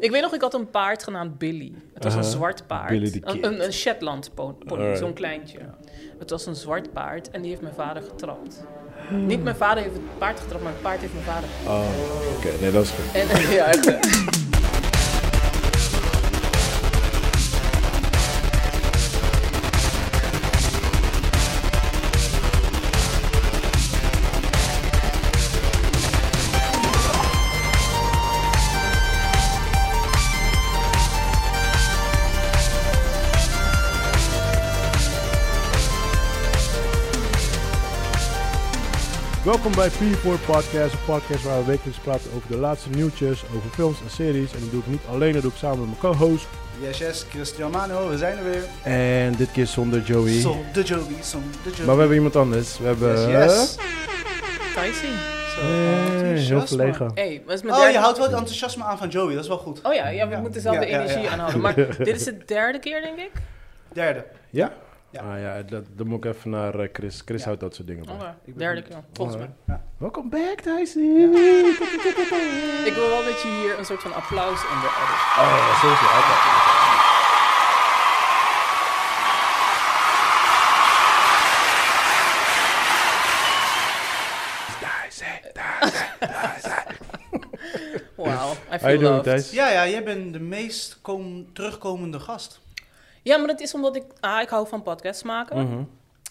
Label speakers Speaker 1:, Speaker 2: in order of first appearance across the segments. Speaker 1: Ik weet nog, ik had een paard genaamd Billy. Het was
Speaker 2: Aha.
Speaker 1: een zwart paard.
Speaker 2: Billy the Kid.
Speaker 1: een, een, een Shetland pon- pony,
Speaker 2: Alright.
Speaker 1: zo'n kleintje. Het was een zwart paard en die heeft mijn vader getrapt. Niet mijn vader heeft het paard getrapt, maar het paard heeft mijn vader getrapt.
Speaker 2: Oh, oké. Nee, dat is goed.
Speaker 1: En, ja, echt, hè.
Speaker 3: Welkom bij P4 Podcast, een podcast waar we wekelijks praten over de laatste nieuwtjes, over films en series. En dat doe ik niet alleen, dat doe ik samen met mijn co-host.
Speaker 4: Yes, yes, Christian Mano, we zijn er weer.
Speaker 3: En dit keer zonder Joey.
Speaker 4: Som de Joby, som de Joby.
Speaker 3: Maar we hebben iemand anders. We hebben...
Speaker 4: Yes, yes.
Speaker 1: Tyson. Zo.
Speaker 3: Hey, heel verlegen.
Speaker 1: Hey, maar is mijn
Speaker 4: Oh,
Speaker 1: derde-
Speaker 4: je houdt wel het enthousiasme aan van Joey, dat is wel goed.
Speaker 1: Oh ja, ja we
Speaker 4: Ja.
Speaker 1: moeten dezelfde
Speaker 4: Ja, ja, ja.
Speaker 1: energie aanhouden. Maar dit is de derde keer, denk ik.
Speaker 4: Derde.
Speaker 3: Ja?
Speaker 4: Ja.
Speaker 3: Ah ja, dat, dan moet ik even naar eh, Chris. Chris
Speaker 4: Ja.
Speaker 3: houdt dat soort dingen bij.
Speaker 1: Oh, ja,
Speaker 4: ben
Speaker 1: derde
Speaker 4: benieuwd.
Speaker 1: keer, volgens mij.
Speaker 3: Welkom back, Tyson.
Speaker 1: Ik wil wel dat je hier een soort van applaus onder edit.
Speaker 3: Oh ja, sowieso. Altijd.
Speaker 1: Wauw, I
Speaker 3: How you
Speaker 1: feel
Speaker 3: doing,
Speaker 1: loved.
Speaker 3: Thijs?
Speaker 4: Ja, ja, jij bent de meest kom- terugkomende gast.
Speaker 1: Ja, maar dat is omdat ik... Ah, ik hou van podcasts maken.
Speaker 3: Mhm.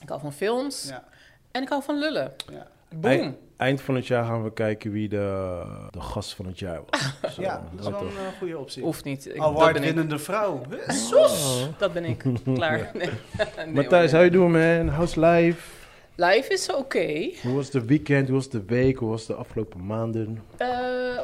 Speaker 1: Ik hou van films.
Speaker 4: Ja,
Speaker 1: En ik hou van lullen.
Speaker 4: ja.
Speaker 1: Boom.
Speaker 3: Ei- Eind van het jaar gaan we kijken wie de, de gast van het jaar was. Zo, nou
Speaker 4: ja dat is wel een
Speaker 3: toch.
Speaker 4: eh, goede optie.
Speaker 1: Hoeft niet. Ik, dat ben ik. Oh.
Speaker 4: Award-winnende vrouw.
Speaker 1: Sos! Dat ben ik. Klaar. Nee. Nee,
Speaker 3: Maar Thijs,
Speaker 1: hoor, nee.
Speaker 3: how you doing, man? How's life?
Speaker 1: Life is oké.
Speaker 3: Hoe was de weekend? Hoe was de week? Hoe was de afgelopen maanden?
Speaker 1: Eh,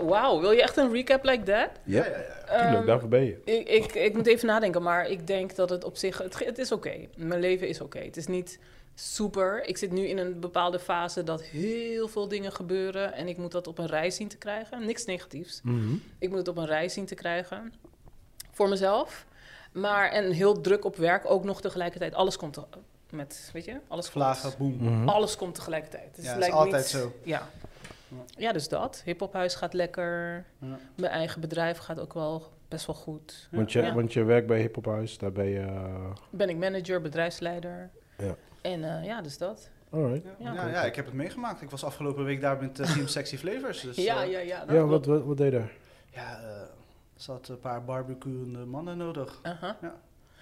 Speaker 1: Wauw, wil je echt een recap like that?
Speaker 3: Ja,
Speaker 1: Ehm,
Speaker 3: tuurlijk, daarvoor ben je.
Speaker 1: Ik, ik, ik moet even nadenken, maar ik denk dat het op zich... Het, ge- het is oké. Mijn leven is oké. Het is niet super. Ik zit nu in een bepaalde fase dat heel veel dingen gebeuren... en ik moet dat op een rij zien te krijgen. Niks negatiefs.
Speaker 3: Mhm.
Speaker 1: Ik moet het op een rij zien te krijgen. Voor mezelf. Maar en heel druk op werk ook nog tegelijkertijd. Alles komt te- met, weet je? Alles komt-
Speaker 4: Vlagen, boem.
Speaker 3: Mhm.
Speaker 1: Alles komt tegelijkertijd. Dus
Speaker 4: Ja,
Speaker 1: het
Speaker 4: is
Speaker 1: lijkt
Speaker 4: altijd
Speaker 1: niet-
Speaker 4: zo.
Speaker 1: Ja. ja, dus dat. Hiphophuis gaat lekker.
Speaker 4: Ja.
Speaker 1: Mijn eigen bedrijf gaat ook wel best wel goed.
Speaker 3: Want, je,
Speaker 1: Ja.
Speaker 3: want je werkt bij Hip Hop House, daar ben je... eh,
Speaker 1: Ben ik manager, bedrijfsleider.
Speaker 3: Ja.
Speaker 1: En eh, ja, dus dat.
Speaker 3: alright.
Speaker 4: Ja,
Speaker 1: Ja.
Speaker 4: ja, ja, ik heb het meegemaakt. Ik was afgelopen week daar met eh, Team Sexy Flavors. Dus,
Speaker 1: ja,
Speaker 4: eh,
Speaker 1: ja, ja. dat
Speaker 3: Ja, wat,
Speaker 1: klopt.
Speaker 3: wat, wat deed je daar?
Speaker 4: ja eh, er zat een paar barbecuende mannen nodig.
Speaker 1: Aha.
Speaker 4: die ook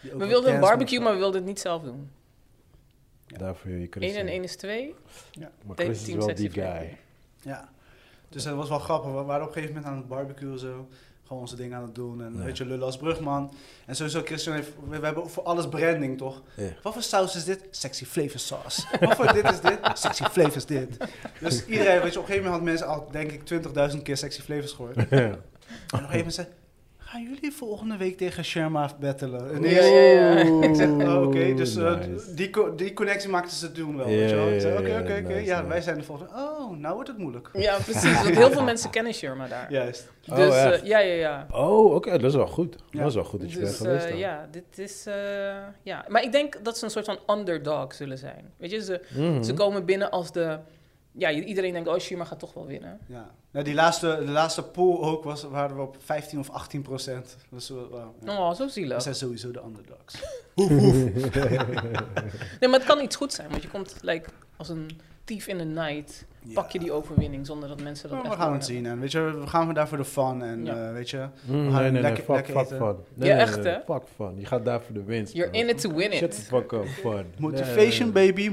Speaker 1: Uh-huh. We
Speaker 4: wel
Speaker 1: wilden een
Speaker 4: dance
Speaker 1: barbecue, maar we wilden het niet zelf doen.
Speaker 4: Ja.
Speaker 3: Daarvoor je Chris.
Speaker 1: 1 en
Speaker 3: in.
Speaker 1: 1 is 2.
Speaker 3: Maar
Speaker 1: Tegen
Speaker 3: Chris is
Speaker 1: Team
Speaker 3: wel
Speaker 1: Sexy
Speaker 3: die
Speaker 1: Flavor.
Speaker 3: guy.
Speaker 4: Ja, dus dat was wel grappig. We waren op een gegeven moment aan het barbecue zo. Gewoon onze dingen aan het doen. En
Speaker 3: Ja.
Speaker 4: weet je, lullen als brugman. En sowieso, Christian heeft... We, we hebben voor alles branding, toch?
Speaker 3: Ja.
Speaker 4: Wat voor saus is dit? Sexy flavor sauce. Wat voor dit is dit? Sexy flavor is dit. Dus iedereen, weet je, op een gegeven moment had mensen al, denk ik, 20.000 keer sexy flavors gehoord. En op
Speaker 3: Ja.
Speaker 4: een gegeven moment zei... Gaan jullie volgende week tegen Sherma battelen? En
Speaker 1: Ja,
Speaker 4: ik-
Speaker 1: ja, ja.
Speaker 4: Ik zeg, oh, oké, dus eh,
Speaker 3: Nice.
Speaker 4: die, co- die connectie maakten ze toen wel,
Speaker 3: Ja,
Speaker 4: weet je wel.
Speaker 3: ja,
Speaker 4: Ik zei,
Speaker 3: ja,
Speaker 4: oké,
Speaker 3: ja,
Speaker 4: oké, oké.
Speaker 3: nice,
Speaker 4: Ja,
Speaker 3: nice.
Speaker 4: wij zijn de volgende. Oh, nou wordt het moeilijk.
Speaker 1: Ja, precies. Want heel veel mensen kennen Sherma daar.
Speaker 4: Juist.
Speaker 3: Oh,
Speaker 1: Dus eh,
Speaker 3: echt?
Speaker 1: ja, ja, ja.
Speaker 3: Oh, oké, dat is wel goed.
Speaker 4: Ja.
Speaker 3: Dat is wel goed dat je bent
Speaker 1: Dus
Speaker 3: geweest.
Speaker 1: eh,
Speaker 3: dan.
Speaker 1: ja, dit is... eh, ja. Maar ik denk dat ze een soort van underdog zullen zijn. Weet je, ze,
Speaker 3: Mhm.
Speaker 1: ze komen binnen als de... Ja, iedereen denkt, oh, Shima gaat toch wel winnen.
Speaker 4: Ja. Nou, die laatste, de laatste pool ook was, waren we op 15 of 18 procent. Dus we, wel- ja.
Speaker 1: Oh, zo
Speaker 4: we
Speaker 1: zielig.
Speaker 4: zijn sowieso de underdogs.
Speaker 1: Nee, maar het kan iets goed zijn. Want je komt like, als een thief in de night...
Speaker 4: Ja.
Speaker 1: pak je die overwinning zonder dat mensen dat
Speaker 4: Maar
Speaker 1: echt
Speaker 4: we gaan het
Speaker 1: doorhebben.
Speaker 4: zien. En weet je, we gaan daar voor de fun. En
Speaker 1: Ja.
Speaker 4: eh, weet je,
Speaker 3: Mm,
Speaker 4: We gaan
Speaker 3: nee, nee, nee,
Speaker 4: lekker-
Speaker 3: fuck,
Speaker 4: lekker
Speaker 3: fuck
Speaker 4: eten.
Speaker 3: fun. Nee,
Speaker 1: Ja,
Speaker 3: nee,
Speaker 1: echt,
Speaker 3: nee,
Speaker 1: hè?
Speaker 3: Fuck fun. Je gaat daar voor de winst.
Speaker 1: You're
Speaker 3: bro.
Speaker 1: in it to win
Speaker 3: Shut the
Speaker 1: it.
Speaker 3: fuck up, fun.
Speaker 4: motivation,
Speaker 3: Nee,
Speaker 4: baby,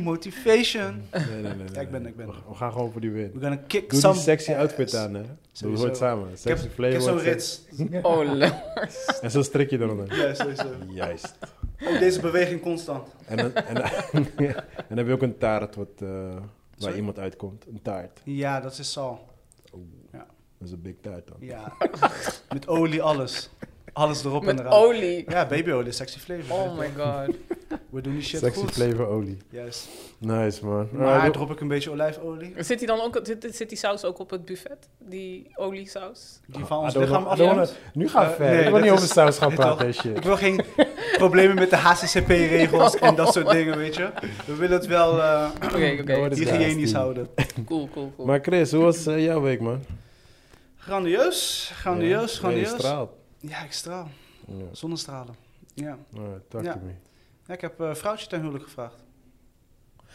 Speaker 4: motivation.
Speaker 3: nee, nee, nee, nee, nee.
Speaker 4: ik ben- ik ben.
Speaker 3: We- We gaan gewoon voor die win.
Speaker 4: We're gonna kick
Speaker 3: Doe
Speaker 4: some
Speaker 3: die sexy
Speaker 4: ass.
Speaker 3: outfit aan, hè? Doe
Speaker 4: Sowieso.
Speaker 3: het samen.
Speaker 4: Ik heb,
Speaker 3: Sexy
Speaker 4: ik
Speaker 3: flavor.
Speaker 4: heb zo'n
Speaker 3: sexy-
Speaker 4: rits.
Speaker 1: Oh, le-
Speaker 3: En zo strik je eronder.
Speaker 4: Ja, sowieso.
Speaker 3: Juist.
Speaker 4: Ook deze beweging constant.
Speaker 3: En dan, en, dan- en dan heb je ook een taart wat, eh, waar
Speaker 4: Sorry?
Speaker 3: iemand uitkomt. Een taart.
Speaker 4: Ja, dat is Sal.
Speaker 3: Dat is een big taart dan.
Speaker 4: Ja. Met olie alles. Alles erop
Speaker 1: met
Speaker 4: en eraan.
Speaker 1: olie.
Speaker 4: Ja, babyolie, sexy flavor.
Speaker 1: Oh my god.
Speaker 4: We doen die shit
Speaker 3: Sexy
Speaker 4: goed.
Speaker 3: flavor olie.
Speaker 4: Juist.
Speaker 3: Nice, man. Ah,
Speaker 4: Maar drop ik een beetje olijfolie.
Speaker 1: Zit die, dan ook, zit, zit die saus ook op het buffet? Die oliesaus?
Speaker 4: Die van
Speaker 3: I
Speaker 4: ons
Speaker 3: don't
Speaker 4: lichaam
Speaker 3: know- I don't
Speaker 4: afkomt.
Speaker 3: know- Nu gaan we
Speaker 4: Eh,
Speaker 3: verder. Ik
Speaker 4: nee,
Speaker 3: wil
Speaker 4: dat
Speaker 3: niet
Speaker 4: is-
Speaker 3: over saus gaan
Speaker 4: dit
Speaker 3: praten
Speaker 4: toch?
Speaker 3: en shit.
Speaker 4: Ik wil geen problemen met de HCCP-regels en dat
Speaker 3: Oh.
Speaker 4: soort dingen, weet je. We willen het wel eh,
Speaker 1: Oké, oké.
Speaker 3: Nou, dat is
Speaker 4: hygiënisch
Speaker 3: nasty.
Speaker 4: houden.
Speaker 1: Cool, cool, cool.
Speaker 3: Maar Chris, hoe was eh, jouw week, man?
Speaker 4: Grandioos, grandioos,
Speaker 3: Ja. Ja, je
Speaker 4: grandioos.
Speaker 3: straalt.
Speaker 4: Ja, ik straal.
Speaker 3: Ja,
Speaker 4: Zonnestralen. Ja.
Speaker 3: alright, talk
Speaker 4: Ja.
Speaker 3: to me.
Speaker 4: ja ik heb eh vrouwtje ten huwelijk gevraagd. Thank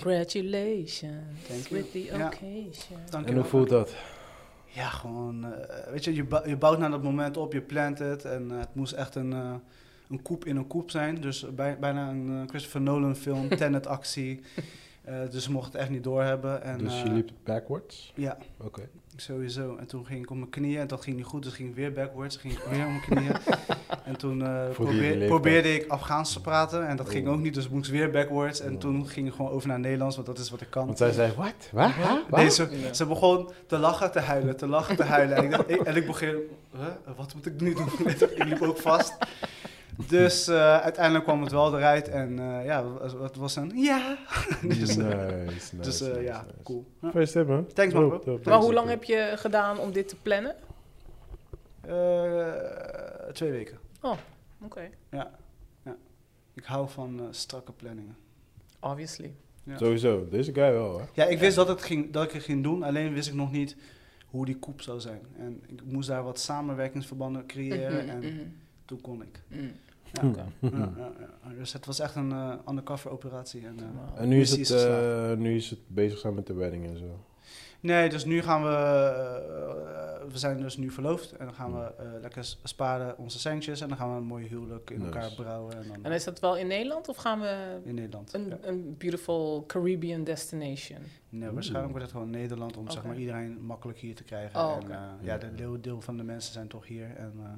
Speaker 1: Congratulations
Speaker 4: you.
Speaker 1: with the
Speaker 4: Ja.
Speaker 1: occasion.
Speaker 4: Dank je
Speaker 3: En hoe
Speaker 4: wel.
Speaker 3: voelt dat?
Speaker 4: Ja, gewoon, eh, weet je, je, bou- je bouwt naar dat moment op, je plant het. En eh, het moest echt een, eh, een koep in een koep zijn. Dus bij- bijna een eh, Christopher Nolan film, Tenet actie. Eh, dus ze mochten het echt niet doorhebben. En,
Speaker 3: dus je
Speaker 4: eh,
Speaker 3: liep backwards?
Speaker 4: Ja.
Speaker 3: Oké.
Speaker 4: Sowieso. En toen ging ik op mijn knieën en dat ging niet goed. Dus ging ik weer backwards, ging ik weer op mijn knieën. en toen eh,
Speaker 3: die
Speaker 4: probeer-
Speaker 3: leeftijd.
Speaker 4: probeerde ik Afghaans te praten en dat ging
Speaker 3: Oh.
Speaker 4: ook niet. Dus moest ik weer backwards. En
Speaker 3: Oh.
Speaker 4: toen ging ik gewoon over naar Nederlands, want dat is wat ik kan.
Speaker 3: Want zij zei, wat? Wat? Huh? Wat?
Speaker 4: Nee, ze,
Speaker 1: Ja.
Speaker 4: ze begon te lachen, te huilen, te lachen, te huilen. En ik, dacht, ik- en ik begon, huh? wat moet ik nu doen? ik liep ook vast. Dus eh, uiteindelijk kwam het wel eruit en eh, ja, het was een ja. dus, eh,
Speaker 3: nice, nice,
Speaker 4: dus eh,
Speaker 3: nice,
Speaker 4: ja,
Speaker 3: nice.
Speaker 4: cool. Ja.
Speaker 3: Feest hebben, man.
Speaker 4: Thanks, man,
Speaker 3: Dope,
Speaker 4: bro.
Speaker 3: dope,
Speaker 1: Maar
Speaker 3: dope.
Speaker 1: hoe lang heb je gedaan om dit te plannen?
Speaker 4: Eh, twee weken.
Speaker 1: Oké,
Speaker 4: Ik hou van eh, strakke planningen.
Speaker 1: obviously.
Speaker 4: Ja.
Speaker 3: Sowieso, deze guy wel, hè?
Speaker 4: Ja, ik wist dat, het ging, dat ik het ging doen, alleen wist ik nog niet hoe die koep zou zijn. En ik moest daar wat samenwerkingsverbanden creëren
Speaker 1: Mhm,
Speaker 4: en
Speaker 1: mhm,
Speaker 4: toen kon ik.
Speaker 1: mhm.
Speaker 4: Ja,
Speaker 1: Oké.
Speaker 4: Ja, ja, ja. Dus het was echt een eh, undercover operatie. En, eh,
Speaker 1: Wauw.
Speaker 3: En nu is,
Speaker 4: Missie
Speaker 3: het,
Speaker 4: is geslaagd.
Speaker 3: eh, nu is het bezig zijn met de wedding en zo.
Speaker 4: nee, dus nu gaan we, eh, we zijn dus nu verloofd en dan gaan we eh, lekker s- sparen onze centjes en dan gaan we een mooi huwelijk in
Speaker 3: Nice.
Speaker 4: elkaar brouwen en dan
Speaker 1: En is dat wel in Nederland of gaan we
Speaker 4: in Nederland.
Speaker 1: een,
Speaker 4: Ja.
Speaker 1: een beautiful Caribbean destination?
Speaker 4: Nee,
Speaker 3: Oeh.
Speaker 4: waarschijnlijk wordt het gewoon Nederland om zeg
Speaker 1: Oké.
Speaker 4: maar iedereen makkelijk hier te krijgen.
Speaker 1: Oh,
Speaker 4: en,
Speaker 1: oké.
Speaker 4: eh, ja, de deel, deel van de mensen zijn toch hier en eh,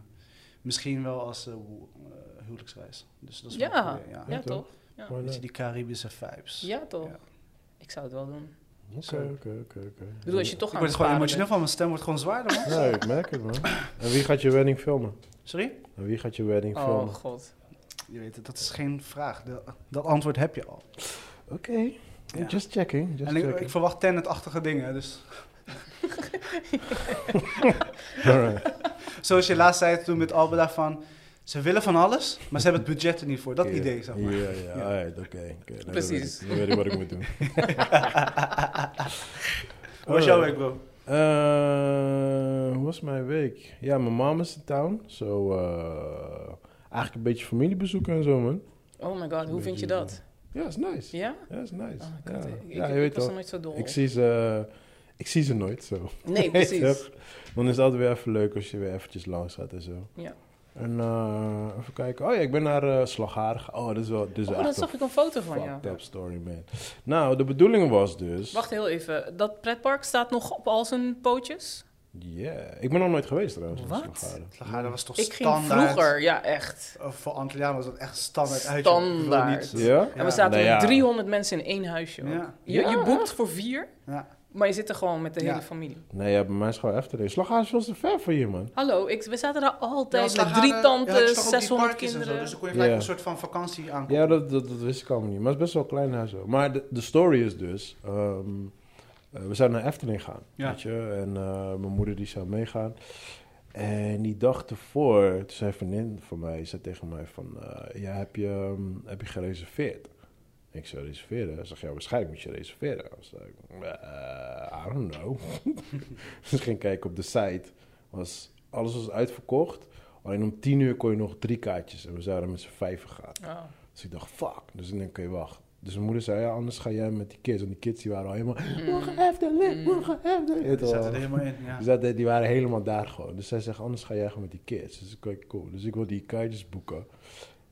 Speaker 4: misschien wel als eh, wo- eh, huwelijksreis. Dus dat is wel
Speaker 1: Ja.
Speaker 4: een goeie, ja.
Speaker 1: Ja,
Speaker 3: Ja, toch?
Speaker 1: toch? Ja.
Speaker 3: Why
Speaker 4: Weet je,
Speaker 3: not?
Speaker 4: die Caribische vibes.
Speaker 1: Ja, toch?
Speaker 4: Ja.
Speaker 1: Ik zou het wel doen.
Speaker 3: Oké, oké, oké, oké.
Speaker 1: Ik bedoel, als je toch
Speaker 4: Ik
Speaker 1: aan
Speaker 4: word
Speaker 1: het
Speaker 4: gewoon
Speaker 1: sparen
Speaker 4: emotioneel van, mijn stem wordt gewoon zwaarder. man.
Speaker 3: Ja, ik merk het, man. En wie gaat je wedding filmen?
Speaker 4: Sorry?
Speaker 3: En wie gaat je wedding
Speaker 1: bent. Oh,
Speaker 3: filmen?
Speaker 1: god.
Speaker 4: Je weet het, dat is geen vraag. De- dat antwoord heb je al.
Speaker 3: Oké.
Speaker 4: Ja.
Speaker 3: Just checking, just
Speaker 4: en ik,
Speaker 3: checking.
Speaker 4: ik verwacht tenetachtige dingen. Dus.
Speaker 3: Alright.
Speaker 4: Zoals je laatst zei toen met Albeda van, ze willen van alles, maar ze hebben het budget er niet voor. Dat
Speaker 3: Ja.
Speaker 4: idee, zeg maar.
Speaker 3: Ja, ja, alright, oké. oké. Nou, dan
Speaker 1: Precies.
Speaker 3: weet ik- Dan weet ik wat ik moet doen.
Speaker 4: Hoe was jouw week, bro?
Speaker 3: Eh, hoe was mijn week? Ja, mijn mom is in town. So, eh, eigenlijk een beetje familiebezoeken en zo, man.
Speaker 1: Oh my god, hoe vind je dat?
Speaker 3: Ja, is nice. Ja,
Speaker 1: Ja?
Speaker 3: is nice.
Speaker 1: Oh my
Speaker 3: ja.
Speaker 1: god, ik, ik-
Speaker 3: ja, je
Speaker 1: ik
Speaker 3: weet
Speaker 1: was
Speaker 3: toch.
Speaker 1: er nooit zo dol.
Speaker 3: Ik zie ze... ik zie ze nooit, zo.
Speaker 1: Nee, precies.
Speaker 3: Dan is het altijd weer even leuk als je weer eventjes langs gaat en zo.
Speaker 1: Ja.
Speaker 3: En eh, even kijken. Oh ja, ik ben naar eh Slagharen ge- Oh, dat is wel... Dit is
Speaker 1: Oh,
Speaker 3: echt
Speaker 1: dan zag ik een foto van
Speaker 3: fucked
Speaker 1: jou.
Speaker 3: up story, man. Nou, de bedoeling was dus...
Speaker 1: Wacht heel even, dat pretpark staat nog op al zijn pootjes?
Speaker 3: Yeah. Ik ben nog nooit geweest trouwens. in
Speaker 1: Wat?
Speaker 3: Slagharen.
Speaker 4: Slagaren was toch
Speaker 1: Ik ging
Speaker 4: standaard?
Speaker 1: vroeger, ja echt.
Speaker 4: Uh, Voor Antilliaan was dat echt standaard uit.
Speaker 1: Standaard.
Speaker 3: Ja?
Speaker 1: En we zaten
Speaker 3: Nou ja.
Speaker 1: met 300 mensen in één huisje. ook.
Speaker 4: Ja.
Speaker 1: Je,
Speaker 3: Ja.
Speaker 1: je boekt voor vier,
Speaker 4: Ja.
Speaker 1: maar je zit er gewoon met de
Speaker 4: Ja.
Speaker 1: hele familie.
Speaker 3: Nee, ja, bij mij is het gewoon Efteling. Slagharen is veel te ver voor je, man.
Speaker 1: Hallo, ik, we zaten daar
Speaker 4: Ja,
Speaker 1: altijd met
Speaker 4: Slagharen-
Speaker 1: drie
Speaker 4: ja,
Speaker 1: tantes,
Speaker 4: het is toch ook die
Speaker 1: 600
Speaker 4: parkjes en zo,
Speaker 1: kinderen.
Speaker 4: dus dan kon je
Speaker 3: Ja.
Speaker 4: gelijk een soort van vakantie aankomen.
Speaker 3: Ja, dat, dat, dat wist ik allemaal niet. Maar het is best wel een klein huis. Hoor. Maar de, de story is dus... ehm, eh, we zouden naar Efteling gaan,
Speaker 4: Ja.
Speaker 3: weet je. En eh, mijn moeder die zou meegaan. En die dag ervoor, toen zei een vriendin van mij... zei tegen mij van... eh, ja, heb je, ehm, heb je gereserveerd? Ik zou reserveren. Ze zegt, ja, waarschijnlijk moet je reserveren. Ik zei, eh, I don't know. dus ik ging kijken op de site. Was, alles was uitverkocht. Alleen om tien uur kon je nog drie kaartjes. En we zouden met z'n vijven gaan.
Speaker 1: Oh.
Speaker 3: Dus ik dacht, fuck. Dus ik denk, oké, wacht. Dus mijn moeder zei, ja, anders ga jij met die kids. En die kids die waren al helemaal, morgen Efteling, morgen Efteling. Je weet wel.
Speaker 4: Die zaten er helemaal in, ja.
Speaker 3: Dus dat, die waren helemaal daar gewoon. Dus zij zegt, anders ga jij gewoon met die kids. Dus ik kijk, cool. Dus ik wil die kaartjes boeken.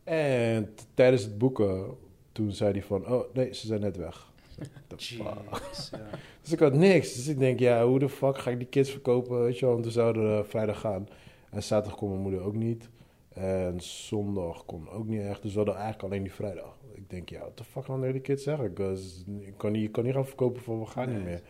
Speaker 3: En t- tijdens het boeken, toen zei die van, oh, nee, ze zijn net weg. Ik zeg, "What the fuck?"
Speaker 4: Jeez, ja.
Speaker 3: Dus ik had niks. Dus ik denk, ja, hoe de fuck ga ik die kids verkopen? Weet je wel, want we zouden eh, vrijdag gaan. En zaterdag kon mijn moeder ook niet. En zondag kon ook niet echt. Dus we hadden eigenlijk alleen die vrijdag. Ik denk, ja, wat de fuck gaan die kids zeggen? Ik was- Ik kan niet, ik kan niet gaan verkopen voor we gaan niet
Speaker 4: Nee.
Speaker 3: meer.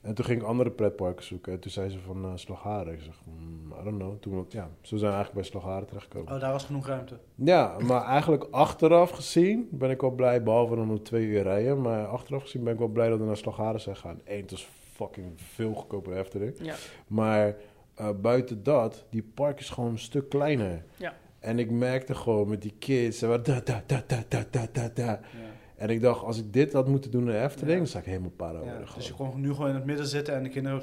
Speaker 3: En toen ging ik andere pretparken zoeken. En toen zei ze van eh Slagharen. Ik zeg, mm, I don't know. Toen, ja, zo zijn we eigenlijk bij Slagharen terechtgekomen.
Speaker 4: Oh, daar was genoeg ruimte.
Speaker 3: Ja, maar eigenlijk achteraf gezien ben ik wel blij, behalve dan om twee uur rijden. Maar achteraf gezien ben ik wel blij dat we naar Slagharen zijn gaan. Eén, het is fucking veel goedkoper Efteling.
Speaker 1: Ja.
Speaker 3: Maar eh, buiten dat, die park is gewoon een stuk kleiner.
Speaker 1: Ja.
Speaker 3: En ik merkte gewoon met die kids, ze waren da, da, da, da, da, da, da, da.
Speaker 4: Ja.
Speaker 3: En ik dacht, als ik dit had moeten doen in de Efteling,
Speaker 4: Ja.
Speaker 3: dan zou ik helemaal para
Speaker 4: Ja,
Speaker 3: worden.
Speaker 4: dus je
Speaker 3: gewoon.
Speaker 4: kon nu gewoon in het midden zitten en de kinderen...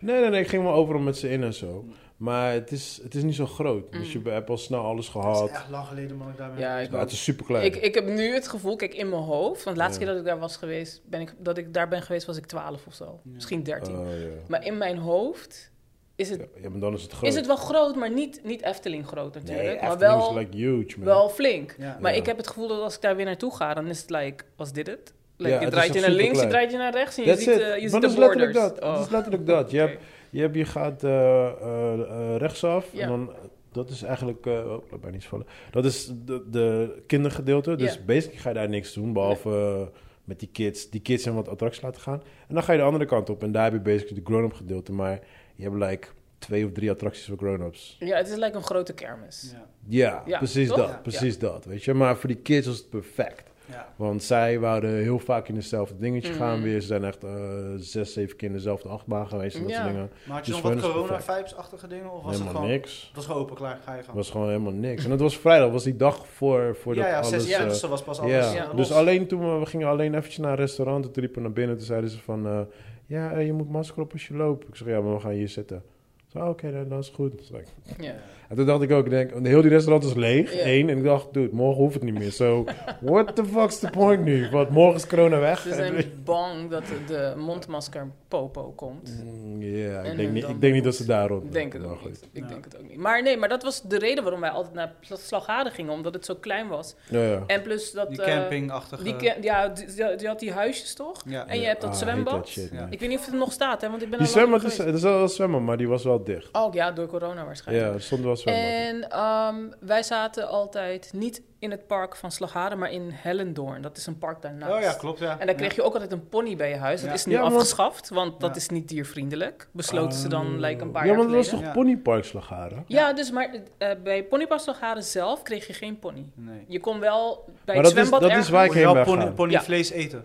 Speaker 3: Nee, nee, nee, ik ging wel overal met ze in en zo. Maar het is, het is niet zo groot. Dus je
Speaker 1: Mm.
Speaker 3: hebt al snel alles
Speaker 4: Het
Speaker 3: gehad.
Speaker 4: is echt lang geleden, man, ik daar ben.
Speaker 1: Ja, ik
Speaker 3: Nou, het is super klein.
Speaker 1: Oh. Ik, ik heb nu het gevoel, kijk in mijn hoofd, want de laatste
Speaker 3: Ja.
Speaker 1: keer dat ik daar was geweest, ben ik, dat ik daar ben geweest, was ik 12 of zo.
Speaker 4: Ja.
Speaker 1: Misschien 13.
Speaker 3: Oh, ja.
Speaker 1: Maar in mijn hoofd is het,
Speaker 3: Ja, maar dan is het groot.
Speaker 1: is het wel groot, maar niet, niet Efteling groot
Speaker 3: nee,
Speaker 1: natuurlijk. maar
Speaker 3: Efteling
Speaker 1: wel,
Speaker 3: is like huge, man.
Speaker 1: wel flink.
Speaker 4: Ja.
Speaker 1: Maar
Speaker 3: Ja.
Speaker 1: ik heb het gevoel dat als ik daar weer naartoe ga, dan is het like, was dit het? Like,
Speaker 3: Ja,
Speaker 1: je
Speaker 3: het
Speaker 1: draait
Speaker 3: is
Speaker 1: je
Speaker 3: echt
Speaker 1: naar links, je
Speaker 3: superklein.
Speaker 1: draait je naar rechts en je
Speaker 3: That's
Speaker 1: ziet,
Speaker 3: it.
Speaker 1: eh, je
Speaker 3: Maar
Speaker 1: ziet
Speaker 3: dat
Speaker 1: de
Speaker 3: is letterlijk
Speaker 1: borders.
Speaker 3: dat.
Speaker 1: Oh.
Speaker 3: Dat is letterlijk dat. Je, hebt,
Speaker 1: Oké.
Speaker 3: je, hebt, je gaat eh, eh, eh, rechtsaf
Speaker 1: Ja.
Speaker 3: en dan... Dat is eigenlijk, eh oh, laat mij niet vallen. Dat is de, de kindergedeelte. Dus
Speaker 1: Ja.
Speaker 3: basically ga je daar niks doen, behalve eh, met die kids. Die kids en wat attracties laten gaan. En dan ga je de andere kant op en daar heb je basically de grown-up gedeelte. Maar je hebt like twee of drie attracties voor grown-ups.
Speaker 1: Ja, het is like een grote kermis.
Speaker 4: Ja.
Speaker 3: Ja,
Speaker 1: Ja,
Speaker 3: precies
Speaker 1: toch?
Speaker 3: dat,
Speaker 4: Ja.
Speaker 3: precies dat. Weet je, maar voor die kids was het perfect.
Speaker 4: Ja.
Speaker 3: Want zij wouden heel vaak in hetzelfde dingetje
Speaker 1: Mm.
Speaker 3: gaan weer. Ze zijn echt eh, zes, zeven keer in dezelfde achtbaan geweest en dat
Speaker 1: Ja.
Speaker 3: soort dingen.
Speaker 4: Maar had je
Speaker 3: Dus
Speaker 4: nog wat
Speaker 3: voor hen is het
Speaker 4: corona-vibes-achtige dingen? Of was het
Speaker 3: helemaal
Speaker 4: gewoon...
Speaker 3: niks.
Speaker 4: Het was gewoon open, klaar, ga je
Speaker 3: Het
Speaker 4: gang.
Speaker 3: was gewoon helemaal niks. En het was vrijdag, was die dag voor, voordat
Speaker 4: ja, ja,
Speaker 3: alles...
Speaker 4: 6
Speaker 3: eh,
Speaker 4: ja. was pas alles
Speaker 3: ja.
Speaker 4: eh, los.
Speaker 3: dus alleen toen we, we gingen alleen eventjes naar een restaurant. Toen riepen we naar binnen. Toen zeiden ze van, eh, ja, eh, je moet masker op als je loopt. Ik zeg, ja, maar we gaan hier zitten. Zo, oké, dan, dan is het goed. Zeg ik.
Speaker 1: Ja.
Speaker 3: En toen dacht ik ook, ik denk, want heel die restaurant is leeg,
Speaker 1: Ja.
Speaker 3: één. En ik dacht, dude, morgen hoeft het niet meer. So, what the fuck's the point nu? Want morgen is corona weg.
Speaker 1: Ze
Speaker 3: En-
Speaker 1: zijn bang dat de- de mondmasker popo komt.
Speaker 3: Mm, Ja,
Speaker 1: En
Speaker 3: ik, denk
Speaker 1: hun
Speaker 3: niet,
Speaker 1: dan
Speaker 3: ik denk niet
Speaker 1: moet-
Speaker 3: dat ze daarop.
Speaker 1: Ik denk het
Speaker 3: maar
Speaker 1: ook
Speaker 3: goed.
Speaker 1: niet. Ik
Speaker 4: Ja.
Speaker 1: denk het ook niet. Maar nee, maar dat was de reden waarom wij altijd naar Pla- Slaghade gingen, omdat het zo klein was.
Speaker 3: Ja, ja.
Speaker 1: En plus dat...
Speaker 4: Die
Speaker 1: eh,
Speaker 4: campingachtige...
Speaker 1: die ca- ja, die, die- die had die huisjes toch?
Speaker 4: ja.
Speaker 1: en je hebt dat
Speaker 3: Ah,
Speaker 1: zwembad.
Speaker 3: heet dat shit,
Speaker 4: Ja.
Speaker 3: man.
Speaker 1: Ik weet niet of het nog staat, hè, want ik ben
Speaker 3: Die
Speaker 1: al lang
Speaker 3: zwembad
Speaker 1: niet
Speaker 3: is, er is wel een zwembad, maar die was wel dicht.
Speaker 1: geweest. Oh ja, door corona waarschijnlijk.
Speaker 3: Ja, er stond wel een zwembad. in.
Speaker 1: En ehm, wij zaten altijd niet in het park van Slaghade, maar in Hellendoorn. Dat is een park daarnaast.
Speaker 4: Oh ja, klopt, ja.
Speaker 1: En dan kreeg je ook altijd een pony bij je huis. Dat
Speaker 4: Ja.
Speaker 1: is nu
Speaker 3: Ja, want-
Speaker 1: afgeschaft, want dat
Speaker 4: Ja.
Speaker 1: is niet diervriendelijk. Besloten ze dan like, een paar
Speaker 3: Oh. Ah. Ja,
Speaker 1: jaar
Speaker 3: want dat
Speaker 1: geleden.
Speaker 3: was toch
Speaker 4: Ja.
Speaker 3: Ponypark Slagharen?
Speaker 1: Ja, dus maar eh, bij Ponypaslagharen zelf kreeg je geen pony.
Speaker 4: Ja. Nee.
Speaker 1: Je kon wel bij het
Speaker 3: Maar dat is,
Speaker 1: zwembad
Speaker 3: dat is
Speaker 1: ergens-
Speaker 3: waar ik
Speaker 4: Moet je
Speaker 3: heen
Speaker 4: wel
Speaker 3: ben
Speaker 4: pony,
Speaker 3: gegaan.
Speaker 4: ponyvlees eten.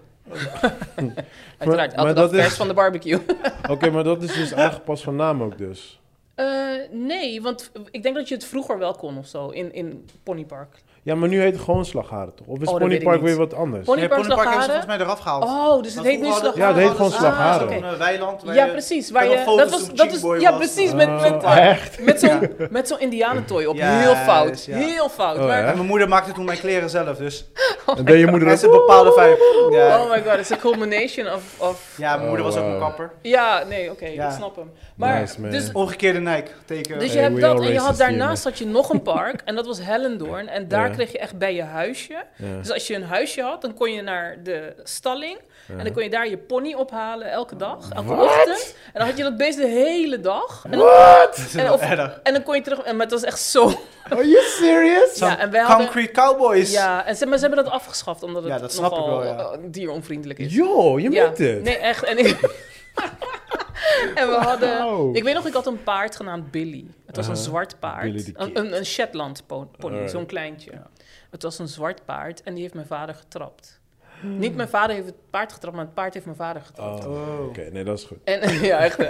Speaker 1: Uiteraard,
Speaker 3: maar
Speaker 1: altijd
Speaker 3: dat
Speaker 1: afvers
Speaker 3: is-
Speaker 1: van de barbecue.
Speaker 3: Oké, maar dat is dus aangepast van naam ook dus.
Speaker 1: Eh, nee, want ik denk dat je het vroeger wel kon of zo in, in Ponypark.
Speaker 3: Ja, maar nu heet het gewoon Slagharen toch? Of is
Speaker 1: Oh, dat weet ik
Speaker 3: Ponypark
Speaker 1: niet.
Speaker 3: weer wat anders?
Speaker 1: Pony-
Speaker 4: Nee, ponypark hebben ze
Speaker 1: Slagharen?
Speaker 4: volgens mij eraf gehaald.
Speaker 1: Oh, dus het
Speaker 4: Want
Speaker 1: heet nu
Speaker 4: vroeger hadden-
Speaker 1: Slagharen.
Speaker 3: Ja, het heet gewoon
Speaker 4: hadden ze- ah,
Speaker 3: Slagharen.
Speaker 4: Zo'n eh, weiland waar
Speaker 1: Ja,
Speaker 4: je-
Speaker 1: precies.
Speaker 4: Ik
Speaker 1: Waar
Speaker 4: heb
Speaker 1: je,
Speaker 4: nog
Speaker 1: dat
Speaker 4: foto's
Speaker 1: was,
Speaker 4: toen
Speaker 1: dat
Speaker 4: Cheap
Speaker 1: is,
Speaker 4: Boy
Speaker 1: ja,
Speaker 4: was.
Speaker 1: precies.
Speaker 3: Ah,
Speaker 1: Met, met,
Speaker 3: echt?
Speaker 1: met zo'n met zo'n indianentooi op.
Speaker 4: Ja,
Speaker 1: heel fout.
Speaker 4: ja.
Speaker 1: Heel fout.
Speaker 3: Oh,
Speaker 1: maar-
Speaker 3: hè?
Speaker 4: En mijn moeder maakte toen mijn kleren zelf, dus...
Speaker 3: En deed je moeder
Speaker 4: Het is
Speaker 3: dat?
Speaker 4: een bepaalde vibe.
Speaker 1: Oh
Speaker 4: Ja,
Speaker 1: my god, it's a culmination of... of...
Speaker 4: ja mijn moeder was ook
Speaker 3: Oh,
Speaker 4: een
Speaker 3: wow.
Speaker 4: kapper.
Speaker 1: Ja, nee, oké,
Speaker 4: Ja.
Speaker 1: ik snap hem. Maar
Speaker 3: Nice, man.
Speaker 1: dus
Speaker 4: Omgekeerde Nike, teken.
Speaker 1: Dus je
Speaker 3: Hey,
Speaker 1: hebt
Speaker 3: we
Speaker 1: dat
Speaker 3: all
Speaker 1: en je had
Speaker 3: racist here,
Speaker 1: daarnaast had je nog een park en dat was Hellendoorn. En daar
Speaker 3: Ja.
Speaker 1: kreeg je echt bij je huisje.
Speaker 3: Ja.
Speaker 1: Dus als je een huisje had, dan kon je naar de stalling en dan kon je daar je pony ophalen elke dag, elke
Speaker 3: Wat?
Speaker 1: ochtend. En dan had je dat beest de hele dag. En dan,
Speaker 4: Dat is
Speaker 1: en
Speaker 4: wel
Speaker 1: of-
Speaker 4: erg.
Speaker 1: en dan kon je terug, en maar het was echt zo.
Speaker 3: Are you serious?
Speaker 1: Ja, en wij hadden,
Speaker 4: Concrete Cowboys.
Speaker 1: ja, en ze, maar ze hebben dat afgeschaft omdat het
Speaker 4: Ja, dat snap ik
Speaker 1: nogal
Speaker 4: wel, ja.
Speaker 1: eh, dieronvriendelijk is.
Speaker 3: Yo, je moet dit.
Speaker 1: Nee, echt. En, ik- en
Speaker 4: Oh.
Speaker 1: we hadden...
Speaker 3: Wow.
Speaker 1: eh, Ik weet nog, ik had een paard genaamd Billy. Het was een
Speaker 3: Aha.
Speaker 4: Uh-huh.
Speaker 1: zwart
Speaker 3: Billy
Speaker 1: paard.
Speaker 3: the Kid.
Speaker 1: Een, een, een Shetland po- pony,
Speaker 3: Alright.
Speaker 1: zo'n kleintje. Het was een zwart paard en die heeft mijn vader getrapt. Niet mijn vader heeft het paard getrapt, maar het paard heeft mijn vader getrapt.
Speaker 3: Oh,
Speaker 4: Oh.
Speaker 3: Oké, nee, dat is goed.
Speaker 1: En, ja, echt. hè.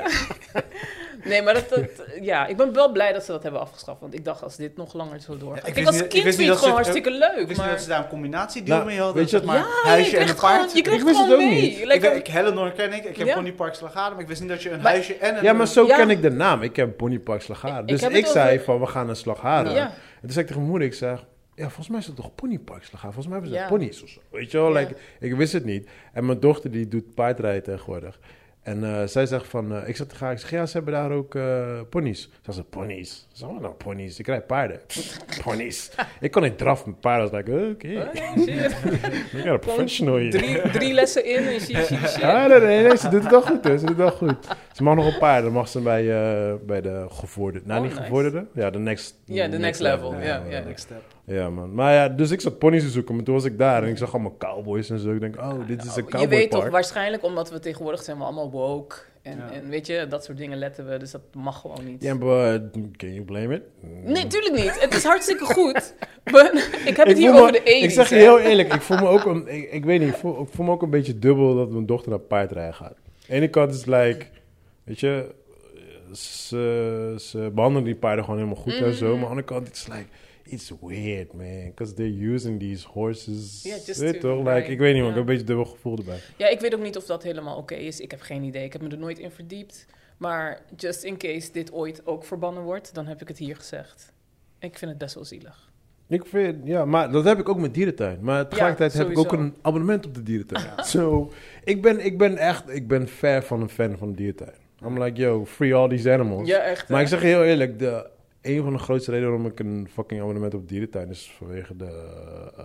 Speaker 1: nee, maar dat, dat, ja, ik ben wel blij dat ze dat hebben afgeschaft. Want ik dacht, als dit nog langer zo doorgaat...
Speaker 4: Ja, ik
Speaker 1: ik
Speaker 4: wist
Speaker 1: als
Speaker 4: niet-
Speaker 1: kind
Speaker 4: ik
Speaker 1: vind
Speaker 4: wist
Speaker 1: ik
Speaker 4: niet
Speaker 1: het gewoon
Speaker 4: dat ze-
Speaker 1: hartstikke
Speaker 4: Ik
Speaker 1: leuk,
Speaker 4: wist niet dat ze
Speaker 1: maar...
Speaker 4: daar een combinatiedeal
Speaker 3: Nou,
Speaker 4: mee hadden.
Speaker 3: weet je
Speaker 4: zeg
Speaker 3: wat-
Speaker 4: maar,
Speaker 1: Ja, je
Speaker 4: huisje en
Speaker 1: kreeg
Speaker 4: een paard.
Speaker 1: gewoon, je kreeg
Speaker 3: Ik wist het
Speaker 1: gewoon
Speaker 3: ook
Speaker 1: mee.
Speaker 3: niet.
Speaker 1: Like,
Speaker 4: ik, ik, Hellenor ken ik, ik heb
Speaker 1: Ja.
Speaker 4: Ponypark Slagharen, maar ik wist niet dat je een
Speaker 1: Maar-
Speaker 4: huisje en een...
Speaker 3: Ja, maar zo
Speaker 1: Ja.
Speaker 3: ken ik de naam. Ik ken Ponypark Slagharen.
Speaker 1: Ik-
Speaker 3: Dus
Speaker 1: ik
Speaker 3: ik,
Speaker 1: heb het
Speaker 3: zei
Speaker 1: over-
Speaker 3: van, we gaan naar Slagharen.
Speaker 1: Ja.
Speaker 3: En toen zei ik tegen mijn moeder, ik zeg... Ja, volgens mij is het toch Ponypark Slagharen? Volgens mij hebben ze
Speaker 1: Ja.
Speaker 3: pony's of zo. Weet je wel,
Speaker 1: Ja.
Speaker 3: like, ik wist het niet. En mijn dochter, die doet paardrijden tegenwoordig. En eh, zij zegt van, eh, ik zat te gaan, ik zeg, ja, ze hebben daar ook eh ponies. Ze zei, ponies? Ze nou ponies? Ik rijd paarden. ponies. Ik kon niet draf met paarden. Ik was like, oké,
Speaker 1: Oh, shit.
Speaker 3: ik ben een professional hier.
Speaker 1: drie, drie lessen in en zie zie- zie-
Speaker 3: Ja, nee, nee, nee, ze doet het wel goed, hè. Ze doet het wel goed. Ze mag nog een paar, dan mag ze bij, eh, bij de gevorderde... Nou,
Speaker 1: Oh,
Speaker 3: niet
Speaker 1: nice.
Speaker 3: gevorderde. Ja, de next...
Speaker 1: Ja, de next level, ja, ja.
Speaker 3: next-
Speaker 4: Next step.
Speaker 3: Ja, man. Maar ja, dus ik zat ponies te zoeken, maar toen was ik daar en ik zag allemaal cowboys en zo. Ik denk, oh, dit is een
Speaker 1: Je weet toch,
Speaker 3: cowboypark.
Speaker 1: waarschijnlijk omdat we tegenwoordig zijn we allemaal woke. En,
Speaker 4: Ja.
Speaker 1: en weet je, dat soort dingen letten we. Dus dat mag gewoon niet.
Speaker 3: Ja, maar eh, can you blame it? Mm.
Speaker 1: Nee, tuurlijk niet. Het is hartstikke goed. Maar ik heb het
Speaker 3: voel
Speaker 1: hier
Speaker 3: me-
Speaker 1: over de 80s.
Speaker 3: Ik zeg je
Speaker 1: hè.
Speaker 3: heel eerlijk, ik voel me ook een, ik, ik weet niet, ik voel, ik voel me ook een beetje dubbel dat mijn dochter naar paardrijden gaat. Aan de ene kant is het like, weet je, ze, ze behandelen die paarden gewoon helemaal goed en zo.
Speaker 1: Mhm.
Speaker 3: Maar aan de andere kant, it's like, it's weird, man. Because they're using these horses.
Speaker 1: Ja, just to
Speaker 3: weet toch? Like,
Speaker 1: ride,
Speaker 3: ik weet niet,
Speaker 1: ja.
Speaker 3: man. Ik heb een beetje dubbel gevoel erbij.
Speaker 1: Ja, ik weet ook niet of dat helemaal oké is. Ik heb geen idee. Ik heb me er nooit in verdiept. Maar just in case dit ooit ook verbannen wordt, dan heb ik het hier gezegd. Ik vind het best wel zielig.
Speaker 3: Ik vind, ja, maar dat heb ik ook met dierentuin. Maar tegelijkertijd heb ik ook
Speaker 1: sowieso.
Speaker 3: een abonnement op de dierentuin. So, ik ben, ik ben echt, ik ben ver van een fan van de dierentuin. I'm like, yo, free all these animals.
Speaker 1: Ja, echt.
Speaker 3: Maar
Speaker 1: hè?
Speaker 3: ik zeg je heel eerlijk, de, een van de grootste redenen waarom ik een fucking abonnement op dierentuin is vanwege de, eh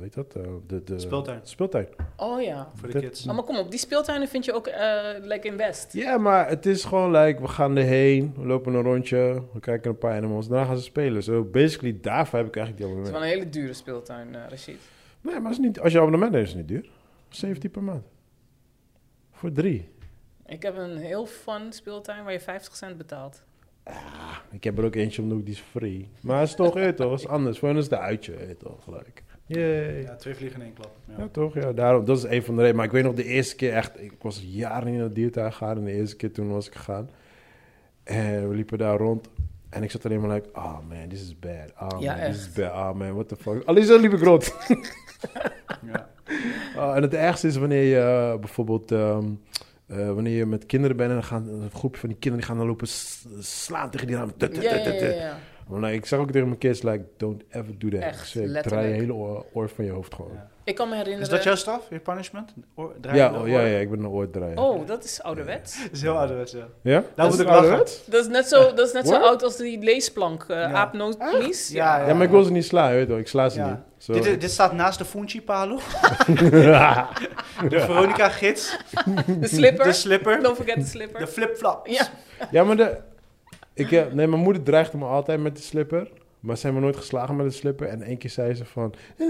Speaker 3: weet dat? eh, de, de
Speaker 4: Speeltuin.
Speaker 3: Speeltuin.
Speaker 1: Oh ja.
Speaker 4: Voor de
Speaker 3: Dat-
Speaker 4: kids.
Speaker 1: Oh, maar kom op, die speeltuinen vind je ook eh like in West.
Speaker 3: Ja, maar het is gewoon like, we gaan erheen, we lopen een rondje, we kijken een paar animals, daarna gaan ze spelen. So basically, daarvoor heb ik eigenlijk die
Speaker 1: Het is
Speaker 3: abonnement.
Speaker 1: wel een hele dure speeltuin, eh Rashid.
Speaker 3: Nee, maar het is niet, als je abonnement neemt, is het niet duur. 17 per maand. Voor drie.
Speaker 1: Ik heb een heel fun speeltuin waar je 50 cent betaalt.
Speaker 3: Ik heb er ook eentje om de hoek, die is free. Maar het is toch, eh, toch, het is anders. Voor hen is het de uitje, eh, toch, gelijk. Yay.
Speaker 4: Ja, twee vliegen in één klap. Ja.
Speaker 3: Ja, toch? Ja, daarom. Dat is een van de redenen. Maar ik weet nog de eerste keer echt... Ik was jaren niet naar de diertuin gegaan. En de eerste keer toen was ik gegaan. En we liepen daar rond. En ik zat alleen maar like... Oh man, this is bad. Oh
Speaker 1: Ja,
Speaker 3: man, this is
Speaker 1: echt.
Speaker 3: bad. Oh man, what the fuck. Alleen zo liep ik rond.
Speaker 4: Ja.
Speaker 3: Oh, en het ergste is wanneer je eh, bijvoorbeeld... ehm, eh, wanneer je met kinderen bent en dan gaan een groepje van die kinderen die gaan dan lopen s- slaan tegen die raam. Tut, tut,
Speaker 1: Ja, ja,
Speaker 3: tut, tut,
Speaker 1: ja,
Speaker 3: tut.
Speaker 1: ja.
Speaker 3: Maar, like, ik zag ook tegen mijn kids, like, don't ever do that.
Speaker 1: Echt,
Speaker 3: Ik zei, ik draai je
Speaker 1: letterlijk.
Speaker 3: hele oor, oor van je hoofd gewoon.
Speaker 4: Ja.
Speaker 1: Ik kan me herinneren...
Speaker 4: Is dat jouw straf? Je punishment? Oor-
Speaker 3: Ja,
Speaker 4: draaien de
Speaker 3: oh,
Speaker 4: oor?
Speaker 3: ja, ja, ik ben een oordraaier.
Speaker 1: Oh, dat is ouderwets.
Speaker 4: Dat is heel ouderwets, ja.
Speaker 3: Ja?
Speaker 4: Daar
Speaker 3: Dat
Speaker 4: moet
Speaker 3: is
Speaker 4: ik lachen.
Speaker 3: ouderwets?
Speaker 1: Dat is net zo, dat is net zo
Speaker 3: What?
Speaker 1: oud als die leesplank. eh
Speaker 4: Ja.
Speaker 1: Aapnoodmies.
Speaker 4: Ja,
Speaker 3: Ja, maar ik wil ze niet slaan, weet je wel. Ik sla ze
Speaker 4: Ja.
Speaker 3: niet. Zo.
Speaker 4: Dit, dit staat naast de Funchi Palo. de Veronica Gids.
Speaker 1: De slipper.
Speaker 4: De slipper.
Speaker 1: Don't forget de slipper.
Speaker 4: De flip-flop.
Speaker 1: Ja.
Speaker 3: Ja, maar de... Ik heb... Nee, mijn moeder dreigde me altijd met de slipper. Maar ze hebben me nooit geslagen met de slipper. En één keer zei ze van... "Eh,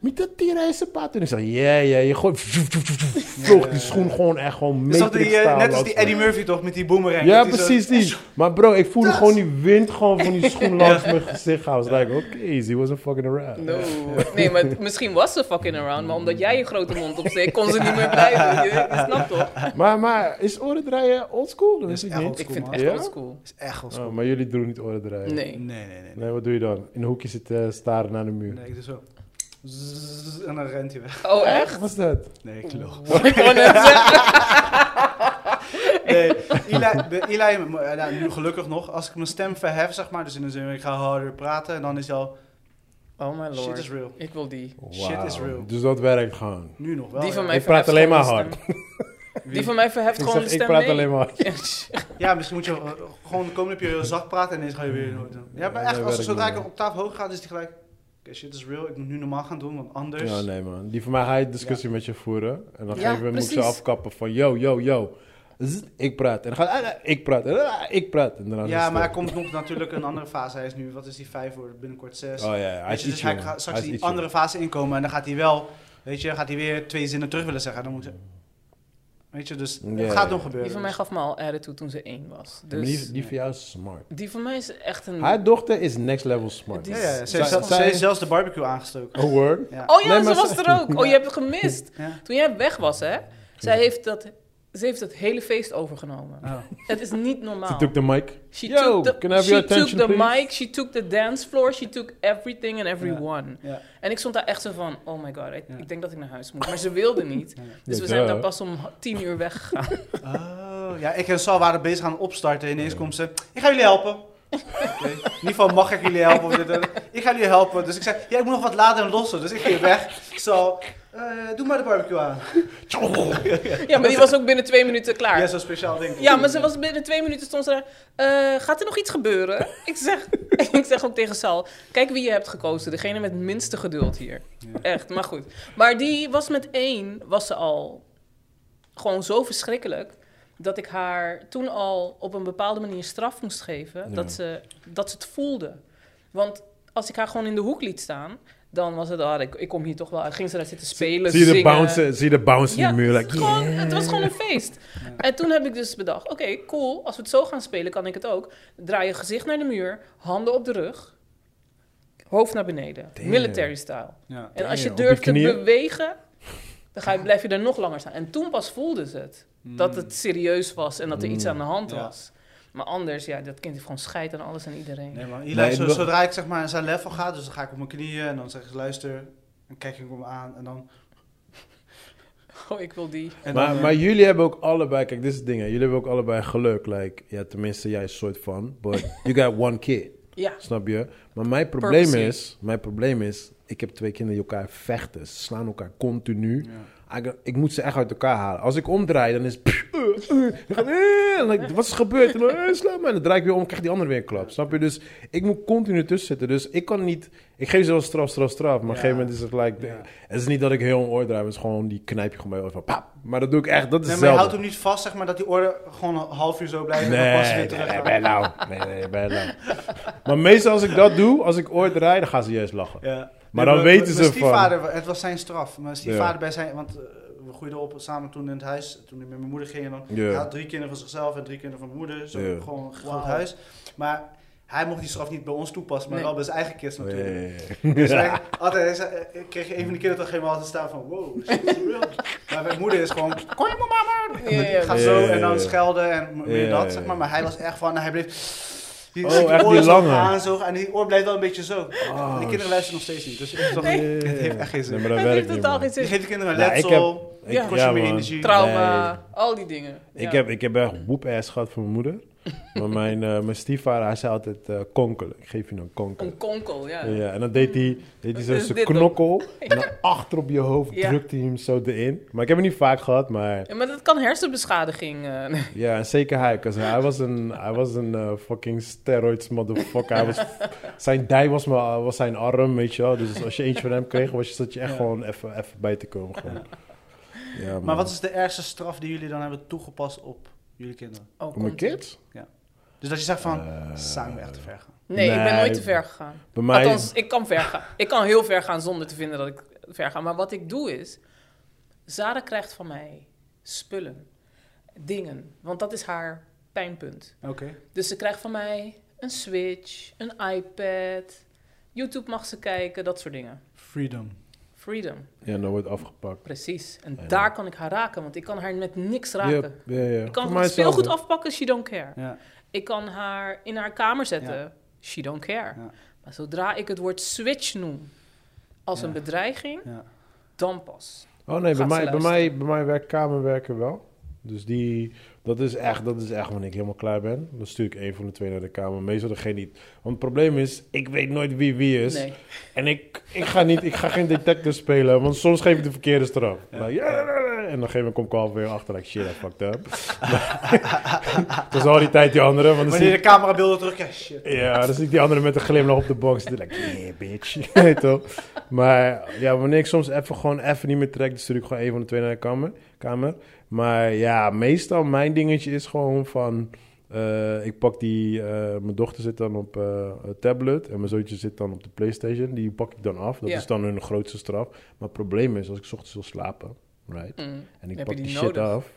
Speaker 3: Met dat tierenijzerpaad. En ik zei, ja, ja, je gooit... Vloog die schoen gewoon echt gewoon
Speaker 4: Dus dat die, eh,
Speaker 3: meterstaal
Speaker 4: net als
Speaker 3: langs
Speaker 4: die
Speaker 3: me.
Speaker 4: Eddie Murphy toch, met die boomerang.
Speaker 3: Ja,
Speaker 4: Dat die zo-
Speaker 3: precies die. Maar bro, ik voelde gewoon die wind gewoon van die schoen langs mijn gezicht gaan. I was like, oké, ze wasn't fucking around.
Speaker 1: No. Nee, maar het- misschien was ze fucking around, maar omdat jij je grote mond opsteekt, kon ze niet meer blijven. Je, je snapt toch?
Speaker 3: Maar, maar is oren draaien oldschool? Dat is
Speaker 4: is
Speaker 3: ik
Speaker 4: echt
Speaker 3: niet.
Speaker 4: oldschool.
Speaker 1: Ik vind het
Speaker 4: man.
Speaker 1: echt
Speaker 3: Ja?
Speaker 1: oldschool.
Speaker 4: Dat is echt wel
Speaker 3: Oh,
Speaker 4: schoon.
Speaker 3: maar jullie doen niet oren draaien.
Speaker 1: Nee.
Speaker 4: Nee, nee, nee. nee.
Speaker 3: Nee, wat doe je dan? In een hoekje zitten eh, staren naar de muur.
Speaker 4: Nee, ik doe zo. Zzz, En dan rent hij weg.
Speaker 1: Oh, echt?
Speaker 3: Wat is dat?
Speaker 4: Nee, ik lul.
Speaker 1: Ik wou net zeggen.
Speaker 4: Nee, Eli, de- Eli eh, nou, nu gelukkig nog, als ik mijn stem verhef, zeg maar, dus in de zin van ik ga harder praten, en dan is hij al,
Speaker 1: Oh my
Speaker 4: shit is
Speaker 1: lord.
Speaker 4: real.
Speaker 1: Ik wil die.
Speaker 4: Shit is
Speaker 3: Wauw.
Speaker 4: real.
Speaker 3: Dus dat werkt gewoon.
Speaker 4: Nu nog wel.
Speaker 1: Die
Speaker 4: ja.
Speaker 1: van mij
Speaker 3: Ik praat
Speaker 1: verheft
Speaker 3: alleen maar
Speaker 1: gewoon de
Speaker 3: hard.
Speaker 1: stem. Die van mij verheft
Speaker 3: Ik,
Speaker 1: gewoon
Speaker 3: zeg,
Speaker 1: de
Speaker 3: ik
Speaker 1: stem
Speaker 3: praat
Speaker 1: mee.
Speaker 3: alleen maar hard.
Speaker 4: Ja, misschien moet je eh, gewoon de komende periode zacht praten en ineens ga je
Speaker 3: Mm.
Speaker 4: weer nooit doen. Ja, maar
Speaker 3: Nee,
Speaker 4: echt,
Speaker 3: dat
Speaker 4: als,
Speaker 3: werkt
Speaker 4: zodra
Speaker 3: niet,
Speaker 4: ik een
Speaker 3: nee.
Speaker 4: octaaf hoog ga, is die gelijk, oké, shit is real, ik moet nu normaal gaan doen, want anders...
Speaker 3: Ja, nee man. Die van mij ga je discussie met je voeren. En dan
Speaker 1: Ja,
Speaker 3: geven we- moet ik ze
Speaker 1: precies.
Speaker 3: afkappen van yo, yo, yo. Zzz, Ik praat. En dan gaat ah, ah, ik praat. Ah, ik praat. En daarna is
Speaker 4: Ja,
Speaker 3: het
Speaker 4: maar er
Speaker 3: stil.
Speaker 4: komt nog natuurlijk een andere fase. Hij is nu, wat is die, vijf worden, binnenkort zes.
Speaker 3: Oh ja, ja, hij
Speaker 4: Weet
Speaker 3: is
Speaker 4: je, dus
Speaker 3: iets
Speaker 4: hij
Speaker 3: jonger.
Speaker 4: gaat straks
Speaker 3: Hij is
Speaker 4: die
Speaker 3: iets
Speaker 4: andere fase inkomen en dan gaat hij wel, weet je, gaat hij weer twee zinnen terug willen zeggen. Dan moet ze, weet je, dus
Speaker 3: Ja,
Speaker 4: het gaat
Speaker 3: ja.
Speaker 4: nog gebeuren.
Speaker 1: Die van mij
Speaker 4: dus.
Speaker 1: gaf me al erre toe toen ze één was.
Speaker 3: jonger. Maar
Speaker 1: Dus
Speaker 3: die, die van jou is smart.
Speaker 1: die van mij is echt een...
Speaker 3: Haar dochter is next level smart.
Speaker 1: Die-
Speaker 4: Hmm. Ja, ja, ja. Ze,
Speaker 3: Zij-
Speaker 4: heeft zelf-
Speaker 3: zij-
Speaker 4: ze heeft zelfs de barbecue aangestoken.
Speaker 3: Oh word.
Speaker 4: Ja.
Speaker 1: Oh ja,
Speaker 3: Nee, maar
Speaker 1: ze was
Speaker 3: ze-
Speaker 1: er ook. Oh, je hebt het gemist.
Speaker 4: Ja.
Speaker 1: Toen jij weg was, hè. Zij heeft dat, ze heeft dat hele feest overgenomen.
Speaker 4: Oh.
Speaker 1: Het is niet normaal.
Speaker 3: Ze took de mic.
Speaker 1: She
Speaker 3: Yo,
Speaker 1: took the,
Speaker 3: can I have
Speaker 1: she
Speaker 3: your attention,
Speaker 1: took the
Speaker 3: please?
Speaker 1: mic, she took the dance floor, she took everything and everyone.
Speaker 4: Ja.
Speaker 1: En ik stond daar echt zo van, oh my god, ik,
Speaker 4: Ja.
Speaker 1: ik denk dat ik naar huis moet. Maar ze wilde niet.
Speaker 4: Ja.
Speaker 1: Dus
Speaker 3: Ja,
Speaker 1: we zijn
Speaker 3: duh.
Speaker 1: daar pas om ha- tien uur weggegaan.
Speaker 4: Oh, ja, ik en Sal waren bezig aan opstarten. Ineens komt ze, ik ga jullie helpen. Oké. In ieder geval mag ik jullie helpen. of dit en dat. ik ga jullie helpen. Dus ik zei, ja, ik moet nog wat laden en lossen. Dus ik ging weg. Zo, eh, doe maar de barbecue aan.
Speaker 1: Ja, maar die was ook binnen twee minuten klaar.
Speaker 4: Ja, zo'n speciaal ding.
Speaker 1: Ja, maar ze was binnen twee minuten stond ze daar. "Eh, gaat er nog iets gebeuren? ik, zeg, ik zeg ook tegen Sal. Kijk wie je hebt gekozen. Degene met het minste geduld hier.
Speaker 4: Ja.
Speaker 1: Echt, maar goed. Maar die was met één, was ze al gewoon zo verschrikkelijk. Dat ik haar toen al op een bepaalde manier straf moest geven.
Speaker 3: Ja.
Speaker 1: Dat, ze, dat ze het voelde. Want als ik haar gewoon in de hoek liet staan. Dan was het, ah, ik, ik kom hier toch wel. uit." Ging ze daar zitten spelen,
Speaker 3: Zie je de
Speaker 1: zingen.
Speaker 3: bounce, zie je de bounce in de muur.
Speaker 1: het,
Speaker 3: like,
Speaker 1: was gewoon,
Speaker 3: yeah.
Speaker 1: het was gewoon een feest. En toen heb ik dus bedacht, oké, cool. Als we het zo gaan spelen, kan ik het ook. Draai je gezicht naar de muur, handen op de rug, hoofd naar beneden.
Speaker 3: Damn.
Speaker 1: Military style.
Speaker 4: Ja.
Speaker 1: En als je
Speaker 3: Damn, op je
Speaker 1: durft te
Speaker 3: knieën.
Speaker 1: bewegen, dan ga je, Mm. blijf je daar nog langer staan. En toen pas voelde ze het. Dat het serieus was en dat er iets
Speaker 3: Mm.
Speaker 1: aan de hand
Speaker 4: Ja.
Speaker 1: was. Maar anders, ja, dat kind heeft gewoon scheid aan alles en iedereen.
Speaker 4: Mm. Nee, maar
Speaker 3: Nee,
Speaker 4: Eli, zo,
Speaker 3: ik be-
Speaker 4: zodra ik zeg maar aan zijn level ga, dus dan ga ik op mijn knieën en dan zeg ik luister. En kijk ik hem aan en dan...
Speaker 1: Oh, ik wil die.
Speaker 4: En
Speaker 3: maar,
Speaker 4: dan, eh,
Speaker 3: maar jullie hebben ook allebei, kijk, dit is het ding. hè. Jullie hebben ook allebei geluk. Like, ja, tenminste, jij is soort van. But you got one kid.
Speaker 1: Ja,
Speaker 3: Snap je? Maar mijn probleem
Speaker 1: Purposely.
Speaker 3: is, mijn probleem is, ik heb twee kinderen die elkaar vechten. Ze slaan elkaar continu.
Speaker 4: ja.
Speaker 3: Ik, ik moet ze echt uit elkaar halen. Als ik omdraai, dan is het... pff, eh, eh, dan gaat- eh, en dan- wat is er gebeurd? En dan, eh, sla me. En dan draai ik weer om, krijg die andere weer een klap. Snap je? Dus ik moet continu tussen zitten. Dus ik kan niet... Ik geef ze wel straf, straf, straf. Maar op een
Speaker 4: Ja.
Speaker 3: gegeven moment is het like...
Speaker 4: Ja.
Speaker 3: Het is niet dat ik heel een oor draai. maar Het is gewoon die knijp je gewoon bij je oor van... Pap. Maar dat doe ik echt. Dat is
Speaker 4: Nee, maar je
Speaker 3: hetzelfde.
Speaker 4: houdt hem niet vast, zeg maar, dat die orde gewoon een half uur zo blijft en dan pas weer
Speaker 3: Nee,
Speaker 4: terug.
Speaker 3: nee, nee, bij nou. Nee, nee, bij nou. Maar meestal als ik dat doe, als ik ooit rijd, dan gaan ze juist lachen.
Speaker 4: Ja.
Speaker 3: Maar dan
Speaker 4: mijn-
Speaker 3: weten
Speaker 4: mijn
Speaker 3: ze van-
Speaker 4: stiefvader, het was zijn straf. Mijn stiefvader bij zijn, want eh, we groeiden op samen toen in het huis, toen ik met mijn moeder ging. En dan,
Speaker 3: Ja.
Speaker 4: Hij had drie kinderen van zichzelf en drie kinderen van mijn moeder, zo
Speaker 3: Ja.
Speaker 4: gewoon een groot
Speaker 1: Wauw.
Speaker 4: huis. Maar hij mocht die straf niet bij ons toepassen, maar
Speaker 1: Nee.
Speaker 4: wel bij zijn eigen kids natuurlijk.
Speaker 3: Nee.
Speaker 4: Dus wij, altijd, hij zei- eh, ik kreeg een van de kinderen toch helemaal altijd staan van, wow, shit, is real. Maar mijn moeder is gewoon, kom je mama,
Speaker 1: Ja, ja.
Speaker 4: gaat zo
Speaker 3: Ja, ja,
Speaker 4: en
Speaker 3: ja.
Speaker 4: dan schelden en m- meer
Speaker 3: Ja, ja,
Speaker 4: dat,
Speaker 3: ja.
Speaker 4: zeg maar. Maar hij was echt van, hij bleef... Die,
Speaker 3: Oh, echt die
Speaker 4: oor zo
Speaker 3: lange.
Speaker 4: aanzogen en die oor blijft wel een beetje zo.
Speaker 3: Oh,
Speaker 4: En die kinderen luisteren nog steeds niet, dus het, is toch, het heeft echt geen zin.
Speaker 3: Nee, maar dat
Speaker 1: het
Speaker 3: werkt
Speaker 1: heeft
Speaker 3: niet,
Speaker 1: totaal
Speaker 3: man.
Speaker 1: geen
Speaker 4: Je
Speaker 1: zin.
Speaker 4: geeft de kinderen
Speaker 3: Nou, ik
Speaker 4: letsel,
Speaker 3: Ik-
Speaker 1: Ja.
Speaker 4: kost je meer
Speaker 3: man.
Speaker 4: energie.
Speaker 1: Trauma, al die dingen.
Speaker 3: Ik,
Speaker 1: Ja.
Speaker 3: heb, ik heb echt whoop-ass gehad van mijn moeder. Maar mijn, eh, mijn stiefvader, hij zei altijd eh konkelen. Ik geef je nou konkelen.
Speaker 1: Een konkel, ja.
Speaker 3: Ja, en dan deed hij, deed hij
Speaker 1: Wat
Speaker 3: zo
Speaker 1: is
Speaker 3: zijn
Speaker 1: dit dan?
Speaker 3: knokkel. En dan achter op je hoofd
Speaker 1: Ja.
Speaker 3: drukte hij hem zo erin. Maar ik heb hem niet vaak gehad, maar...
Speaker 1: Ja, maar dat kan hersenbeschadiging. eh, nee.
Speaker 3: Ja, en zeker hij. 'cause hij was een, hij was een eh, fucking steroids motherfucker. Hij was, zijn dij was, maar, was zijn arm, weet je wel. Dus als je eentje van hem kreeg, was je, zat je echt
Speaker 4: Ja.
Speaker 3: gewoon even, even bij te komen. Gewoon. Ja,
Speaker 4: Maar
Speaker 3: man.
Speaker 4: wat is de ergste straf die jullie dan hebben toegepast op jullie kinderen?
Speaker 1: Oh,
Speaker 3: Voor mijn
Speaker 1: komt-ie.
Speaker 3: kids?
Speaker 4: Dus dat je zegt van,
Speaker 3: Eh,
Speaker 4: samen echt te ver gaan.
Speaker 1: Nee, ik ben
Speaker 3: Nee.
Speaker 1: nooit te ver gegaan.
Speaker 3: Bij mij...
Speaker 1: Althans, ik kan ver gaan. Ik kan heel ver gaan zonder te vinden dat ik ver ga. Maar wat ik doe is... Zara krijgt van mij spullen, dingen. Want dat is haar pijnpunt.
Speaker 4: Oké.
Speaker 1: Dus ze krijgt van mij een Switch, een iPad... YouTube mag ze kijken, dat soort dingen.
Speaker 4: Freedom.
Speaker 1: Freedom,
Speaker 3: Ja, dan wordt afgepakt.
Speaker 1: precies. En
Speaker 3: Ja.
Speaker 1: daar kan ik haar raken, want ik kan haar met niks raken.
Speaker 3: Yep, ja, ja.
Speaker 1: Ik kan
Speaker 3: Voor
Speaker 1: het
Speaker 3: mij
Speaker 1: het speelgoed
Speaker 3: hetzelfde.
Speaker 1: afpakken, she don't care.
Speaker 4: Ja.
Speaker 1: Ik kan haar in haar kamer zetten, she don't care.
Speaker 4: Ja.
Speaker 1: Maar zodra ik het woord switch noem als
Speaker 4: Ja.
Speaker 1: een bedreiging,
Speaker 4: ja.
Speaker 1: dan pas.
Speaker 3: Oh nee, bij
Speaker 1: Gaat
Speaker 3: mij,
Speaker 1: ze
Speaker 3: bij, mij, bij mij werkt kamerwerken wel. Dus die, dat, is echt, dat is echt wanneer ik helemaal klaar ben. Dan stuur ik een van de twee naar de kamer. Meestal degene die... Want het probleem is, ik weet nooit wie wie is.
Speaker 1: Nee.
Speaker 3: En ik, ik, ga niet, ik ga geen detective spelen, want soms geef ik de verkeerde straf. Like, ja, ja, ja, ja. En dan geef ik kom ik alweer achter, like, shit, I fucked up. Dat is al die tijd die andere, want dan
Speaker 4: Wanneer
Speaker 3: zie ik,
Speaker 4: de camerabeelden terug, ja shit.
Speaker 3: ja, dan zie ik die andere met een glimlach op de box. En like, yeah, bitch. Weet toch? Maar ja, wanneer ik soms even gewoon even niet meer trek, dan stuur ik gewoon even van de twee naar de kamer. kamer. Maar ja, meestal mijn dingetje is gewoon van... eh, ik pak die... eh, mijn dochter zit dan op eh, een tablet en mijn zoontje zit dan op de Playstation. Die pak ik dan af. Dat
Speaker 1: Ja.
Speaker 3: is dan hun grootste straf. Maar het probleem is, als ik 's ochtends wil slapen, right?
Speaker 1: Mm.
Speaker 3: En ik
Speaker 1: Heb
Speaker 3: pak
Speaker 1: je
Speaker 3: die,
Speaker 1: die
Speaker 3: shit
Speaker 1: nodig?
Speaker 3: af,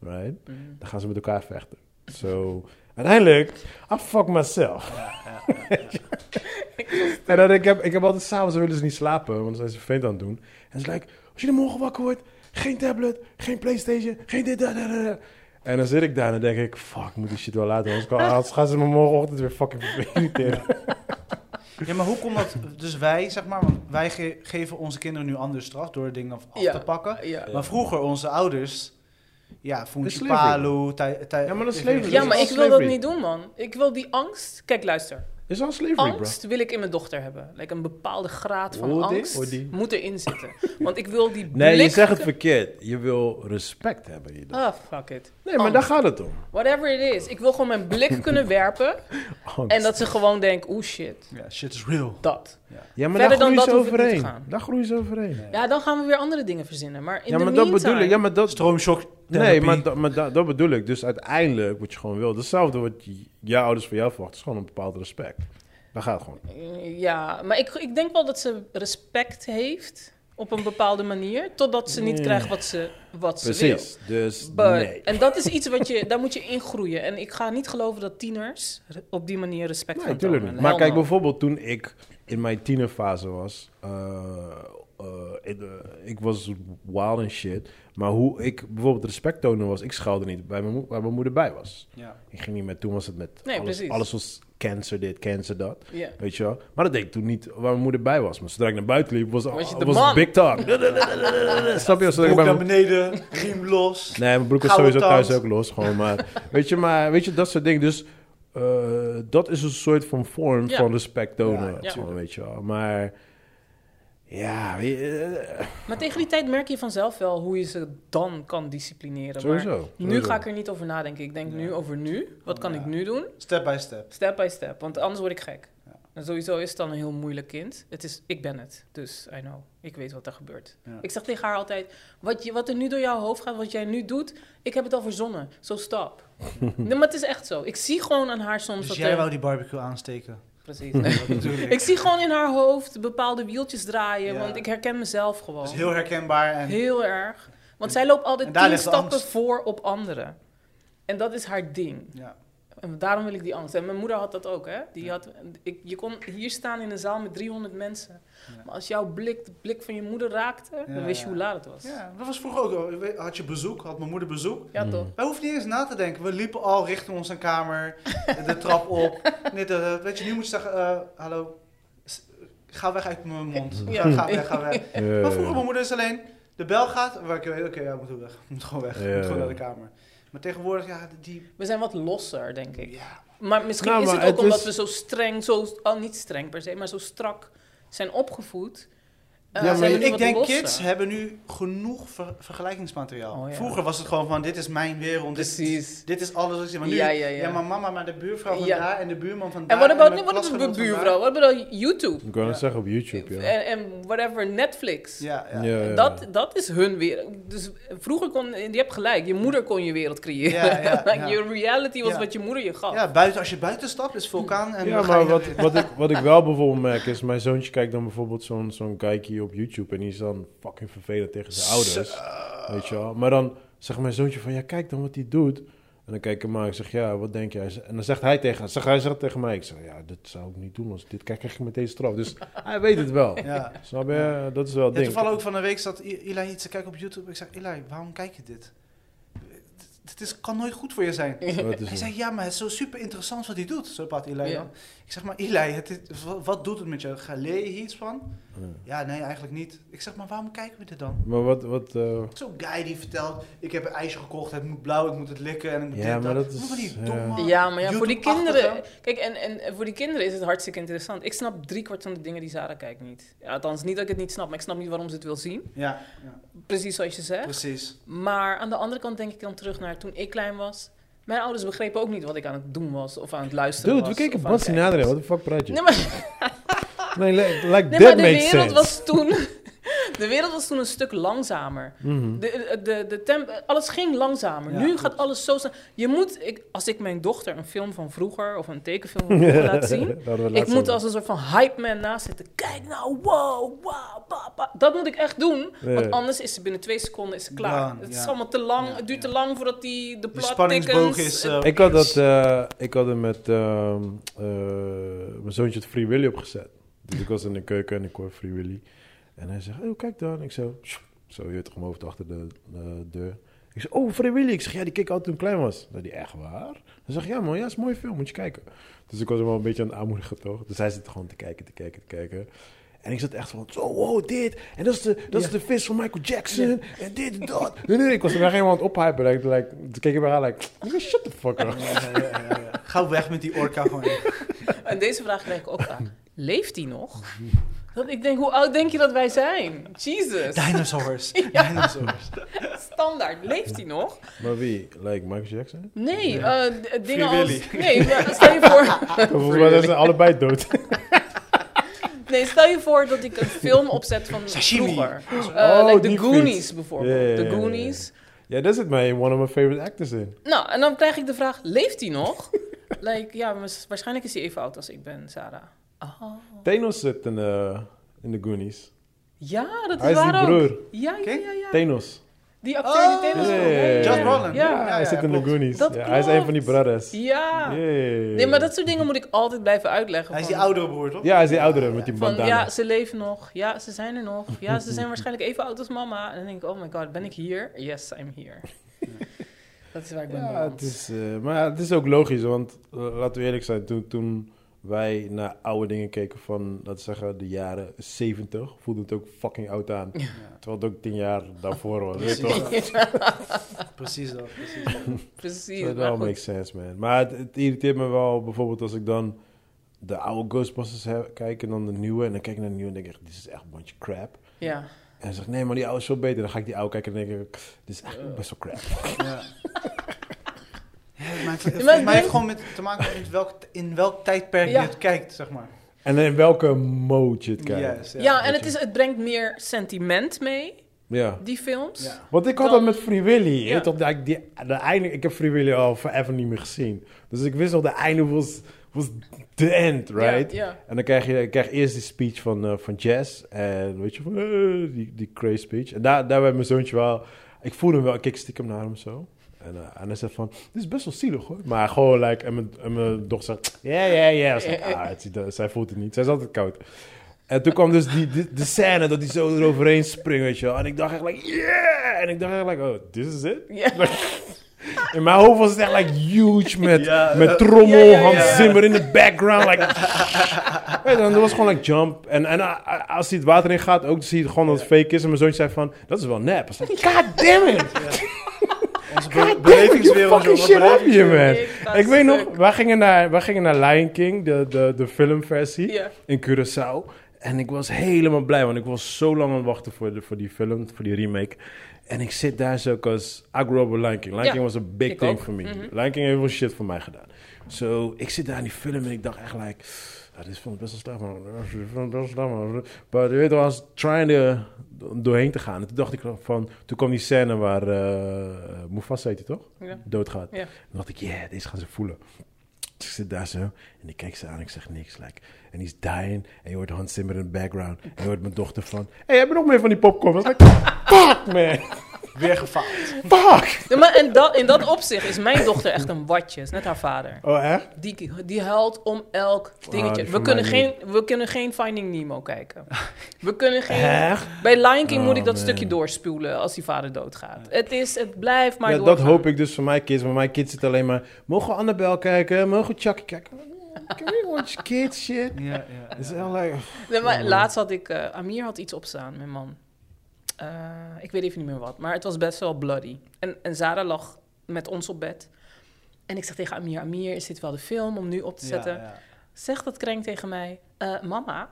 Speaker 3: right?
Speaker 1: Mm.
Speaker 3: Dan gaan ze met elkaar vechten. So, uiteindelijk, I fuck myself. en dan, ik, heb, ik heb altijd s'avonds willen ze niet slapen, want dan zijn ze vervelend aan het doen. En ze like, als jullie morgen wakker wordt, geen tablet, geen Playstation, geen dit, dat, dat, dat, dat. En dan zit ik daar en dan denk ik, fuck, ik moet die shit wel laten, anders kan- anders gaan ze me morgenochtend weer fucking irriteren.
Speaker 4: Ja, maar hoe komt dat? Dus wij, zeg maar, want wij ge- geven onze kinderen nu anders straf door dingen af af
Speaker 1: Ja.
Speaker 4: te pakken.
Speaker 1: Ja.
Speaker 4: Maar vroeger, onze ouders, ja, Funky
Speaker 3: slavery.
Speaker 4: Palo, tij- tij-
Speaker 3: Ja, maar dat is slavery.
Speaker 1: ja, maar
Speaker 3: al
Speaker 1: ik wil dat
Speaker 3: slavery.
Speaker 1: niet doen, man. Ik wil die angst... Kijk, luister.
Speaker 3: Is al slavery, bro.
Speaker 1: Angst wil ik in mijn dochter hebben. Like een bepaalde graad van
Speaker 3: Hoor die?
Speaker 1: angst
Speaker 3: Hoor die?
Speaker 1: moet erin zitten. Want ik wil die blik...
Speaker 3: Nee, je zegt het verkeerd. Je wil respect hebben hierdoor.
Speaker 1: Ah, fuck it.
Speaker 3: Nee, maar daar gaat het om.
Speaker 1: Whatever it is. Ik wil gewoon mijn blik kunnen werpen.
Speaker 3: Angst.
Speaker 1: En dat ze gewoon denkt, oeh shit,
Speaker 4: Ja, shit is real.
Speaker 1: dat.
Speaker 3: Ja, maar
Speaker 1: Verder
Speaker 3: daar groeien
Speaker 1: dan
Speaker 3: ze
Speaker 1: dat hoef ik niet te
Speaker 3: overheen.
Speaker 1: gaan.
Speaker 3: Daar groeien ze overheen.
Speaker 1: Ja, dan gaan we weer andere dingen verzinnen. Maar in
Speaker 3: ja,
Speaker 1: de
Speaker 3: maar dat
Speaker 1: meantime...
Speaker 3: bedoel ik. Ja, maar dat,
Speaker 4: Stroomshock.
Speaker 3: nee, maar, dat- maar dat- dat bedoel ik. Dus uiteindelijk wat je gewoon wil. Hetzelfde wat je- jouw ouders van jou verwachten. is gewoon een bepaald respect. Daar gaat het gewoon.
Speaker 1: Mm, Ja, maar ik, ik denk wel dat ze respect heeft op een bepaalde manier, totdat ze niet
Speaker 3: Nee.
Speaker 1: krijgt wat ze, wat ze wil.
Speaker 3: Precies. Dus
Speaker 1: But-
Speaker 3: nee.
Speaker 1: En dat is iets wat je, daar moet je in groeien. En ik ga niet geloven dat tieners re- op die manier respect
Speaker 3: Nee,
Speaker 1: gaan
Speaker 3: natuurlijk
Speaker 1: tonen.
Speaker 3: niet. Maar
Speaker 1: Hell
Speaker 3: kijk,
Speaker 1: no.
Speaker 3: bijvoorbeeld toen ik in mijn tienerfase was... eh, eh, eh, ik was wild en shit. Maar hoe ik bijvoorbeeld respect tonen was, ik schuilde niet bij mijn, mo- waar mijn moeder bij was.
Speaker 4: Ja.
Speaker 3: Ik ging niet met, toen was het met
Speaker 1: Nee,
Speaker 3: alles,
Speaker 1: precies.
Speaker 3: alles was cancer dit, cancer dat.
Speaker 1: Ja.
Speaker 3: Weet je wel? Maar dat deed ik toen niet waar mijn moeder bij was. Maar zodra ik naar buiten liep, was,
Speaker 1: Was
Speaker 3: was,
Speaker 1: je de man?
Speaker 3: het big talk. Snap je? Zodra ik bij
Speaker 4: Broek naar
Speaker 3: mijn-
Speaker 4: beneden, riem los.
Speaker 3: Nee, mijn broek was
Speaker 4: Gouden
Speaker 3: sowieso thuis
Speaker 4: tand.
Speaker 3: ook los. Gewoon, maar, weet je, maar weet je, dat soort dingen. Dus eh, dat is een soort van vorm
Speaker 1: Ja.
Speaker 3: van respect tonen.
Speaker 4: Ja,
Speaker 1: ja.
Speaker 3: gewoon, weet je wel. Maar ja, weet je, eh,
Speaker 1: Maar tegen die tijd merk je vanzelf wel hoe je ze dan kan disciplineren. Maar
Speaker 3: sowieso.
Speaker 1: nu
Speaker 3: sowieso.
Speaker 1: ga ik er niet over nadenken. Ik denk nu over nu. Wat kan
Speaker 4: Ja.
Speaker 1: ik nu doen?
Speaker 4: Step by step.
Speaker 1: Step by step, want anders word ik gek.
Speaker 4: Ja.
Speaker 1: En sowieso is het dan een heel moeilijk kind. Het is, ik ben het, dus I know. Ik weet wat er gebeurt.
Speaker 4: Ja.
Speaker 1: Ik zeg tegen haar altijd, wat, je, wat er nu door jouw hoofd gaat, wat jij nu doet, ik heb het al verzonnen. Zo stop. nee, maar het is echt zo. Ik zie gewoon aan haar soms
Speaker 4: Dus
Speaker 1: dat
Speaker 4: jij
Speaker 1: er-
Speaker 4: wou die barbecue aansteken.
Speaker 1: Precies.
Speaker 4: Dat bedoel ik.
Speaker 1: ik zie gewoon in haar hoofd bepaalde wieltjes draaien,
Speaker 4: Ja.
Speaker 1: want ik herken mezelf gewoon.
Speaker 4: Dat is heel herkenbaar. En
Speaker 1: Heel erg. Want zij loopt
Speaker 4: En
Speaker 1: altijd
Speaker 4: daar
Speaker 1: tien
Speaker 4: ligt de
Speaker 1: stappen
Speaker 4: angst.
Speaker 1: voor op anderen. En dat is haar ding.
Speaker 4: ja,
Speaker 1: En daarom wil ik die angst. En mijn moeder had dat ook, hè? Die
Speaker 4: Ja.
Speaker 1: had, ik, je kon hier staan in een zaal met 300 mensen.
Speaker 4: Ja.
Speaker 1: Maar als jouw blik de blik van je moeder raakte, dan
Speaker 4: Ja,
Speaker 1: wist je
Speaker 4: ja.
Speaker 1: hoe laat het was. Ja,
Speaker 4: Ja, dat was vroeger ook. al. Ik weet- Had je bezoek, had mijn moeder bezoek.
Speaker 3: Mm.
Speaker 1: toch?
Speaker 4: Wij hoefden niet eens na te denken. We liepen al richting onze kamer, de trap op. Dit, dat, dat. weet je, nu moet je zeggen, eh, hallo, s- eh, ga weg uit mijn mond. Ga,
Speaker 1: Ja.
Speaker 4: ga weg, ga weg.
Speaker 3: Ja,
Speaker 4: Maar vroeger, mijn moeder is alleen, de bel gaat, waar ik weet, oké, ja, ik moet weg. Ik moet gewoon weg, ik
Speaker 3: Ja.
Speaker 4: moet gewoon naar de kamer. Maar tegenwoordig, ja, die...
Speaker 1: We zijn wat losser, denk ik.
Speaker 4: Ja,
Speaker 1: Maar misschien
Speaker 3: Nou,
Speaker 1: is
Speaker 3: maar
Speaker 1: het ook
Speaker 3: het
Speaker 1: omdat
Speaker 3: is-
Speaker 1: we zo streng, zo, al niet streng per se, maar zo strak zijn opgevoed. Eh,
Speaker 3: Ja,
Speaker 1: zijn
Speaker 3: maar
Speaker 1: we nu
Speaker 4: ik
Speaker 1: wat
Speaker 4: denk,
Speaker 1: losser.
Speaker 4: kids hebben nu genoeg ver- vergelijkingsmateriaal.
Speaker 1: Oh, ja.
Speaker 4: Vroeger was het gewoon van, dit is mijn wereld, dit,
Speaker 1: Precies.
Speaker 4: dit is alles wat ik zie. Maar nu,
Speaker 1: Ja, ja, ja.
Speaker 4: Ja, maar mama, maar de buurvrouw van
Speaker 1: Ja.
Speaker 4: daar en de buurman van daar.
Speaker 1: En wat about,
Speaker 4: mijn
Speaker 1: wat is de
Speaker 4: klasgenoot van daar.
Speaker 1: buurvrouw? Wat about YouTube?
Speaker 3: Ik wou het
Speaker 4: Ja.
Speaker 3: zeggen op YouTube, ja.
Speaker 1: En, en whatever, Netflix.
Speaker 4: Ja, ja.
Speaker 3: Ja, ja.
Speaker 1: Dat, dat is hun wereld. Dus vroeger kon, je hebt gelijk, je moeder kon je wereld creëren.
Speaker 4: Ja, ja,
Speaker 1: Like,
Speaker 4: ja.
Speaker 1: Je reality was
Speaker 4: Ja.
Speaker 1: wat je moeder je gaf.
Speaker 4: Ja, buiten, als je buiten stapt is vulkaan en
Speaker 3: ja,
Speaker 4: dan ga je
Speaker 3: maar
Speaker 4: naar
Speaker 3: wat, wat, ik, wat ik wel bijvoorbeeld merk is... mijn zoontje kijkt dan bijvoorbeeld zo'n zo'n kijkje op YouTube... en die is dan fucking vervelend tegen zijn ouders. Weet je wel? Maar dan zegt mijn zoontje van... ja, kijk dan wat hij doet. En dan kijk ik hem aan. Ik zeg, ja, wat denk jij? En dan zegt hij tegen, zeg, hij zegt tegen mij... ik zeg, ja, dit zou ik niet doen. Als ik dit kijk, krijg ik meteen straf. Dus hij weet het wel.
Speaker 4: Ja.
Speaker 3: Snap je? Dat is wel het
Speaker 4: Ja,
Speaker 3: ding.
Speaker 4: toevallig ook van de week zat I- Eli iets te kijken op YouTube. Ik zeg, Eli, waarom kijk je dit? D- Dit is, kan nooit goed voor je zijn.
Speaker 3: Dat is
Speaker 4: Hij
Speaker 3: het.
Speaker 4: zei, Dus ja, maar het is zo super interessant wat hij doet. Zo praat Eli
Speaker 1: Ja.
Speaker 4: dan. Ik zeg, maar Eli, het is- wa- wat doet het met je? Ga- Leer je hier iets van?
Speaker 3: Ja.
Speaker 4: Ja, nee, eigenlijk niet. Ik zeg, maar waarom kijken we dit dan?
Speaker 3: Maar wat... wat eh,
Speaker 4: Zo'n guy die vertelt, ik heb een ijsje gekocht, het moet blauw, ik moet het likken en ik moet
Speaker 3: Ja,
Speaker 4: dit,
Speaker 3: maar
Speaker 4: dat.
Speaker 3: dat is-
Speaker 4: Moet van die
Speaker 3: ja.
Speaker 4: domme
Speaker 1: Ja, maar ja, voor die
Speaker 4: YouTube-achtige-
Speaker 1: kinderen. Kijk, en, en voor die kinderen is het hartstikke interessant. Ik snap driekwart van de dingen die Sarah kijkt niet. Ja, althans, niet dat ik het niet snap, maar ik snap niet waarom ze het wil zien.
Speaker 4: Ja, ja,
Speaker 1: Precies zoals je zegt.
Speaker 4: precies.
Speaker 1: Maar aan de andere kant denk ik dan terug naar toen ik klein was. Mijn ouders begrepen ook niet wat ik aan het doen was of aan het luisteren
Speaker 3: dude,
Speaker 1: was.
Speaker 3: we keken
Speaker 1: of aan het
Speaker 3: Bas
Speaker 1: kijken
Speaker 3: Sinatra. Wat de fuck praat
Speaker 1: was.
Speaker 3: je?
Speaker 1: Nee, maar
Speaker 3: Nee, li- like
Speaker 1: Nee,
Speaker 3: that
Speaker 1: maar de
Speaker 3: makes
Speaker 1: wereld
Speaker 3: sense.
Speaker 1: was toen. De wereld was toen een stuk langzamer.
Speaker 3: Mhm.
Speaker 1: De, de, de temp, alles ging langzamer.
Speaker 4: Ja,
Speaker 1: nu
Speaker 4: klopt.
Speaker 1: gaat alles zo snel. Je moet, ik, als ik mijn dochter een film van vroeger of een tekenfilm van vroeger laat zien,
Speaker 3: Dat hadden we
Speaker 1: ik
Speaker 3: laatst
Speaker 1: moet
Speaker 3: over.
Speaker 1: als een soort van hype man naast zitten. Kijk nou, wow, wow, ba, ba. Dat moet ik echt doen.
Speaker 3: Ja.
Speaker 1: Want anders is ze binnen twee seconden is ze klaar.
Speaker 4: Done,
Speaker 1: het is
Speaker 4: ja.
Speaker 1: allemaal te lang.
Speaker 4: Ja,
Speaker 1: het duurt
Speaker 4: ja.
Speaker 1: te lang voordat die de
Speaker 4: Die
Speaker 1: plot
Speaker 4: spanningsboog is... eh,
Speaker 3: Ik had dat, eh, ik had hem met ehm, eh, mijn zoontje het Free Willy opgezet. Dus ik was in de keuken en ik hoor Free Willy. En hij zegt, oh kijk dan. Ik zo, "Sjoe." zo je weet toch, mijn hoofd achter de eh, deur. Ik zeg, oh Free Willy. Ik zeg, ja die keek ik altijd toen ik klein was. Nou, die echt waar? Hij zegt, ja man, ja is een mooie film, moet je kijken. Dus ik was hem wel een beetje aan het aanmoedigen toch. Dus hij zit gewoon te kijken, te kijken, te kijken. En ik zat echt van, zo, wow, dit. En dat is de, dat is de vis van Michael Jackson. En dit en dat. Nee, nee, ik was hem echt helemaal aan het ophypen. Like, like, toen keek ik bij haar, like, nigga, shut the fuck up.
Speaker 4: ja, ja, ja, ja. Ga weg met die orka gewoon. eh,
Speaker 1: En deze vraag krijg ik ook vaak. Leeft die nog? Dat ik denk, hoe oud denk je dat wij zijn? Jesus.
Speaker 4: Dinosaurs. Dinosaurs.
Speaker 1: Standaard, leeft hij nog?
Speaker 3: Maar wie? Like Michael Jackson?
Speaker 1: Nee, eh, d- dingen
Speaker 4: Willy.
Speaker 1: als... Nee, maar stel je voor,
Speaker 3: Volgens mij zijn ze allebei dood.
Speaker 1: nee, stel je voor dat ik een film opzet van
Speaker 4: Sashimi.
Speaker 1: vroeger. Eh
Speaker 3: Oh,
Speaker 1: like The
Speaker 3: die
Speaker 1: Goonies
Speaker 3: fiets.
Speaker 1: bijvoorbeeld.
Speaker 3: Ja, ja, ja, ja,
Speaker 1: The
Speaker 3: ja.
Speaker 1: Goonies.
Speaker 3: ja, daar zit mij one of my favorite actors in.
Speaker 1: Nou, en dan krijg ik de vraag, leeft hij nog? like, ja, waars- waarschijnlijk is hij even oud als ik ben, Sarah. Ah.
Speaker 3: Thanos zit in, eh, in de Goonies.
Speaker 1: Ja, dat
Speaker 3: Hij
Speaker 1: is
Speaker 3: is die
Speaker 1: waar ook.
Speaker 3: broer.
Speaker 1: Ja, ja,
Speaker 4: Oké.
Speaker 1: ja. ja.
Speaker 3: Thanos.
Speaker 1: Die acteur die
Speaker 4: Oh,
Speaker 1: tennis speelt.
Speaker 3: ja, ja, ja.
Speaker 4: Josh Brolin.
Speaker 1: Ja.
Speaker 3: hij zit in de
Speaker 4: klopt.
Speaker 3: Goonies.
Speaker 1: Dat
Speaker 3: Ja, hij is een van die
Speaker 1: klopt.
Speaker 3: brothers.
Speaker 1: Ja.
Speaker 3: Yay.
Speaker 1: Nee, maar dat soort dingen moet ik altijd blijven uitleggen.
Speaker 4: Hij is
Speaker 1: van-
Speaker 4: die oudere broer, toch?
Speaker 3: Ja, hij is die oudere met die
Speaker 1: Van,
Speaker 3: bandana.
Speaker 1: ja, ze leven nog. Ja, ze zijn er nog. Ja, ze zijn waarschijnlijk even oud als mama. En dan denk ik, oh my god, ben ik hier? Yes, I'm here. dat is waar ik ben
Speaker 3: Ja,
Speaker 1: beland.
Speaker 3: het is, eh, maar ja, het is ook logisch, want eh, laten we eerlijk zijn, toen, toen wij naar oude dingen keken van, laten we zeggen, de jaren 70, voelde het ook fucking oud aan.
Speaker 4: Ja.
Speaker 3: Terwijl het ook tien jaar daarvoor was. weet je
Speaker 4: Precies,
Speaker 3: toch?
Speaker 4: dat. precies dat. Precies dat.
Speaker 1: Precies. maar
Speaker 3: Dat wel
Speaker 1: goed.
Speaker 3: makes sense, man. Maar het, het irriteert me wel, bijvoorbeeld als ik dan de oude Ghostbusters heb- kijk en dan de nieuwe. En dan kijk ik naar de nieuwe en denk ik, echt, dit is echt een bunch crap.
Speaker 1: Ja.
Speaker 3: En dan zeg ik, nee, maar die oude is veel beter. Dan ga ik die oude kijken en denk ik, dit is echt best wel crap.
Speaker 4: Ja. Ja, maar het,
Speaker 1: ik
Speaker 4: het,
Speaker 1: denk-
Speaker 4: maar het heeft gewoon met, te maken met welk, in welk tijdperk
Speaker 1: Ja.
Speaker 4: je het kijkt, zeg maar.
Speaker 3: En in welke mode je het kijkt.
Speaker 4: Yes,
Speaker 1: Ja,
Speaker 4: ja.
Speaker 1: en het, is, het brengt meer sentiment mee,
Speaker 3: Ja.
Speaker 1: die films.
Speaker 4: Ja.
Speaker 3: Want ik had
Speaker 1: Dan-
Speaker 3: dat met Free Willy.
Speaker 1: Ja.
Speaker 3: Ja. Toch, dat ik, die, de einde, ik heb Free Willy al forever niet meer gezien. Dus ik wist al, de einde was, was the end, right?
Speaker 1: Ja, ja.
Speaker 3: En dan krijg je ik krijg eerst die speech van, eh, van Jazz. En weet je, van, eh, die, die crazy speech. En daar, daar werd mijn zoontje wel... Ik voelde hem wel, ik keek stiekem naar hem zo. En, eh, en hij zei van, dit is best wel zielig hoor. Maar gewoon, like, en mijn, en mijn dochter zegt, ja, ja, ja. Ik zei, "Ah, het is- Zij voelt het niet, zij is altijd koud. En toen kwam dus die, die- de scène dat hij zo eroverheen springt, weet je wel. En ik dacht echt like, yeah! En ik dacht echt like, oh, this is it?
Speaker 1: Ja.
Speaker 3: In mijn hoofd was het echt like huge met,
Speaker 4: Ja, eh,
Speaker 3: met trommel,
Speaker 1: ja, ja,
Speaker 3: Hans
Speaker 1: ja.
Speaker 3: Zimmer in de background. Like, weet je, en dat was gewoon like jump. En, en ah, ah, als hij het water in gaat, ook zie je gewoon dat het fake is. En mijn zoontje zei van, dat is wel nep. Ik was like, God damn it!
Speaker 4: Onze be-
Speaker 3: God damn it, you
Speaker 4: belevingswereld,
Speaker 3: fucking
Speaker 4: jongen.
Speaker 3: shit
Speaker 4: Belevingswereld.
Speaker 3: heb je,
Speaker 1: Ik ga
Speaker 3: man. Ik weet
Speaker 1: stuk.
Speaker 3: nog, wij gingen naar, wij gingen naar Lion King, de, de, de filmversie
Speaker 1: Ja.
Speaker 3: in Curaçao. En ik was helemaal blij, want ik was zo lang aan het wachten voor, de, voor die film, voor die remake. En ik zit daar zo, cause I grew up with Lion King. Lion
Speaker 1: Ja,
Speaker 3: King was een big
Speaker 1: ik
Speaker 3: thing
Speaker 1: ook. Mhm.
Speaker 3: for me. Lion King heeft wel shit voor mij gedaan. So, ik zit daar in die film en ik dacht echt like... ah, dit film is best wel slecht, man. Dit film is best wel slecht, man. Maar je weet wel, I was trying to, doorheen te gaan. En toen dacht ik van... Toen kwam die scène waar eh Mufasa heet hij toch?
Speaker 1: Ja.
Speaker 3: Doodgaat.
Speaker 1: Ja.
Speaker 3: Toen dacht ik, yeah, deze gaan ze voelen. Dus ik zit daar zo en ik kijk ze aan ik zeg niks. Like, en die is dying en je hoort Hans Zimmer in de background. En je hoort mijn dochter van, hé, hey, heb je nog meer van die popcorn? Ik was like, fuck man,
Speaker 4: Weer gefaald.
Speaker 3: fuck.
Speaker 1: Ja, maar in, dat, in dat opzicht is mijn dochter echt een watje. Is net haar vader.
Speaker 3: Oh, echt?
Speaker 1: Die, die huilt om elk
Speaker 3: Ah,
Speaker 1: dingetje.
Speaker 3: die
Speaker 1: we,
Speaker 3: van
Speaker 1: kunnen
Speaker 3: mij
Speaker 1: geen, we kunnen geen Finding Nemo kijken. We kunnen geen...
Speaker 3: Echt?
Speaker 1: Bij Lion King
Speaker 3: Oh,
Speaker 1: moet ik dat
Speaker 3: man.
Speaker 1: stukje doorspoelen als die vader doodgaat. Het, is, het blijft maar
Speaker 3: ja, dat
Speaker 1: doorgaan.
Speaker 3: hoop ik dus voor mijn kids. Maar mijn kids zitten alleen maar, mogen we Annabel kijken? Mogen we Chucky kijken? Mm, Can we watch kids shit?
Speaker 4: Ja, ja, ja.
Speaker 3: Is echt like...
Speaker 1: Nee,
Speaker 3: Oh,
Speaker 1: maar laatst had ik... eh, Amir had iets opstaan, mijn man. Eh, ik weet even niet meer wat. Maar het was best wel bloody. En, en Zara lag met ons op bed. En ik zeg tegen Amir... Amir, is dit wel de film om nu op te zetten?
Speaker 4: Ja, ja.
Speaker 1: Zegt dat kreng tegen mij... eh, mama,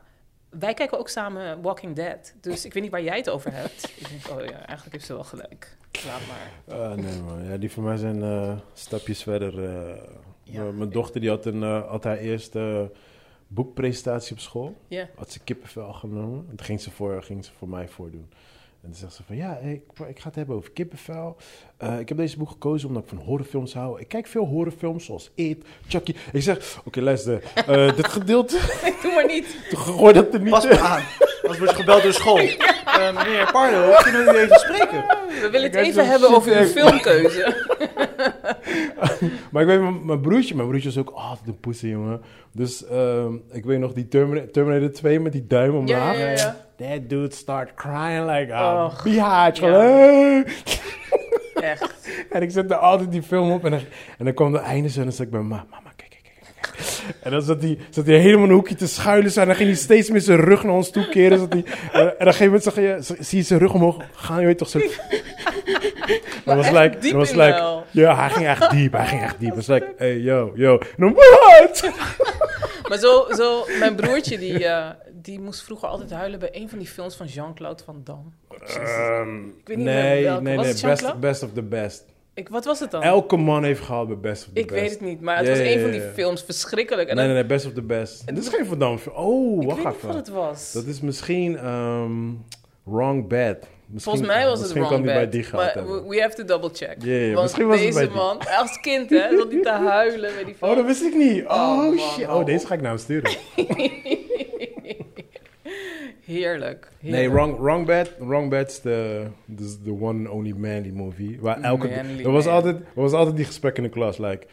Speaker 1: wij kijken ook samen Walking Dead. Dus ik weet niet waar jij het over hebt. ik denk, oh ja, eigenlijk heeft ze wel gelijk. Laat maar.
Speaker 3: Ah, nee man, ja, die voor mij zijn eh, stapjes verder. eh.
Speaker 1: Ja.
Speaker 3: M- Mijn dochter die had, een, eh, had haar eerste eh, boekpresentatie op school.
Speaker 1: Ja.
Speaker 3: Had ze kippenvel genomen. Dat ging ze voor, ging ze voor mij voordoen. En toen zegt ze van, ja, eh, ik, ik ga het hebben over kippenvel. Eh, ik heb deze boek gekozen omdat ik van horrorfilms hou. Ik kijk veel horrorfilms zoals It, Chucky. Ik zeg, oké luister, eh, dit gedeelte,
Speaker 1: Doe maar niet.
Speaker 3: gooi dat er niet
Speaker 4: Pas
Speaker 3: in.
Speaker 4: me aan. Als wordt je gebeld door school. Eh, meneer Pardo, kunnen we u even spreken?
Speaker 1: We willen het
Speaker 3: Kijk,
Speaker 1: even
Speaker 3: zo'n
Speaker 1: hebben
Speaker 3: shit
Speaker 1: over uw
Speaker 3: echt.
Speaker 1: filmkeuze.
Speaker 3: Maar ik weet, mijn- mijn broertje, mijn broertje was ook altijd een poesie, jongen. Dus ehm, ik weet nog die Termina- Terminator 2 met die duim omlaag.
Speaker 1: ja, ja.
Speaker 3: That dude start crying like a
Speaker 1: Och,
Speaker 3: biatch.
Speaker 1: ja.
Speaker 3: Hey.
Speaker 1: Echt.
Speaker 3: En ik zette altijd die film op en dan, en dan kwam de einde zo en dan zat ik bij mama, mama, kijk, kijk, kijk. kijk. En dan zat hij zat hij helemaal in een hoekje te schuilen. zo. En dan ging hij steeds meer zijn rug naar ons toe keren. Zat hij, en, en op een gegeven moment zag je, z- zie je zijn rug omhoog gaan. Je weet toch zo... Dat was
Speaker 1: echt
Speaker 3: like,
Speaker 1: diep
Speaker 3: dat was
Speaker 1: in
Speaker 3: like,
Speaker 1: wel.
Speaker 3: ja, hij ging echt diep, hij ging echt diep. Het was like, hey, yo, yo. En dan, what?
Speaker 1: Maar zo, zo mijn broertje, die, eh, die moest vroeger altijd huilen bij een van die films van Jean-Claude Van Damme.
Speaker 3: Um,
Speaker 1: weet niet meer
Speaker 3: nee,
Speaker 1: welke.
Speaker 3: nee,
Speaker 1: Was
Speaker 3: nee,
Speaker 1: het
Speaker 3: best,
Speaker 1: Jean-Claude?
Speaker 3: best of the best.
Speaker 1: Ik, wat was het dan?
Speaker 3: Elke man heeft gehaald bij best of the
Speaker 1: ik
Speaker 3: best.
Speaker 1: weet het niet, maar het
Speaker 3: Ja,
Speaker 1: was
Speaker 3: ja,
Speaker 1: een
Speaker 3: ja,
Speaker 1: van die
Speaker 3: ja.
Speaker 1: films verschrikkelijk. En
Speaker 3: Nee, nee,
Speaker 1: dat-
Speaker 3: nee, best of the best. Dit is geen Van Damme film. Oh,
Speaker 1: Ik
Speaker 3: wacht
Speaker 1: weet niet wat
Speaker 3: even.
Speaker 1: het was.
Speaker 3: Dat is misschien ehm, Wrong Bed. Misschien,
Speaker 1: Volgens mij was het
Speaker 3: misschien
Speaker 1: wrong
Speaker 3: kan die bij
Speaker 1: bed,
Speaker 3: die gehad
Speaker 1: maar
Speaker 3: hebben.
Speaker 1: we, we have to double check.
Speaker 3: Ja, ja,
Speaker 1: Want
Speaker 3: misschien was het
Speaker 1: deze
Speaker 3: bij die.
Speaker 1: man, als kind hè, zat hij te huilen bij die film.
Speaker 3: Oh, dat wist ik niet. Oh,
Speaker 1: Oh, man,
Speaker 3: shit.
Speaker 1: hou
Speaker 3: Oh, deze
Speaker 1: op.
Speaker 3: ga ik nou sturen.
Speaker 1: Heerlijk.
Speaker 3: Nee,
Speaker 1: heerlijk.
Speaker 3: Wrong, wrong Bad. Wrong Bad's de the, the one and only manly movie. Waar elke,
Speaker 1: Manly
Speaker 3: er, was
Speaker 1: man.
Speaker 3: altijd, er was altijd die gesprek in de klas. Like,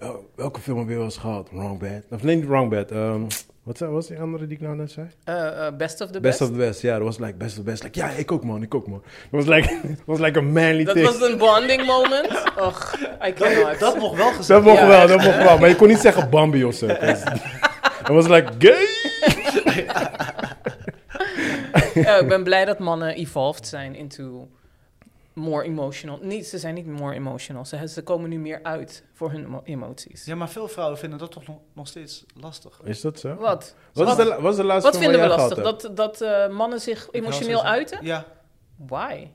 Speaker 3: oh, welke film heb je wel eens gehad? Wrong Bad. Of nee, niet Wrong Bad. ehm, wat zei- was die andere die ik nou net zei?
Speaker 1: Eh, eh, best of the
Speaker 3: best,
Speaker 1: best.
Speaker 3: of the Best. Ja, dat was like Best of the Best. Like, ja, ik ook man, ik ook man. Dat was like, dat was like een manly
Speaker 1: Dat
Speaker 3: thing.
Speaker 1: was een bonding moment. Och, I cannot.
Speaker 4: Dat, dat mocht wel
Speaker 3: Dat
Speaker 4: gezegd
Speaker 3: mocht
Speaker 1: Ja,
Speaker 3: wel,
Speaker 1: echt,
Speaker 3: dat mocht wel. Maar je kon niet zeggen Bambi of zo. Dat was like gay.
Speaker 1: Ja, ik ben blij dat mannen evolved zijn into more emotional. Niet, ze zijn niet more emotional. Ze, ze komen nu meer uit voor hun emo- emoties.
Speaker 4: Ja, maar veel vrouwen vinden dat toch nog, nog steeds lastig.
Speaker 3: Is dat zo?
Speaker 1: Wat?
Speaker 3: Wat is de, la- wat is de laatste
Speaker 1: Wat
Speaker 3: film
Speaker 1: vinden we
Speaker 3: waar jij
Speaker 1: lastig?
Speaker 3: gehad
Speaker 1: Dat, dat eh, mannen zich emotioneel
Speaker 4: zeggen.
Speaker 1: uiten?
Speaker 4: Ja.
Speaker 1: Why?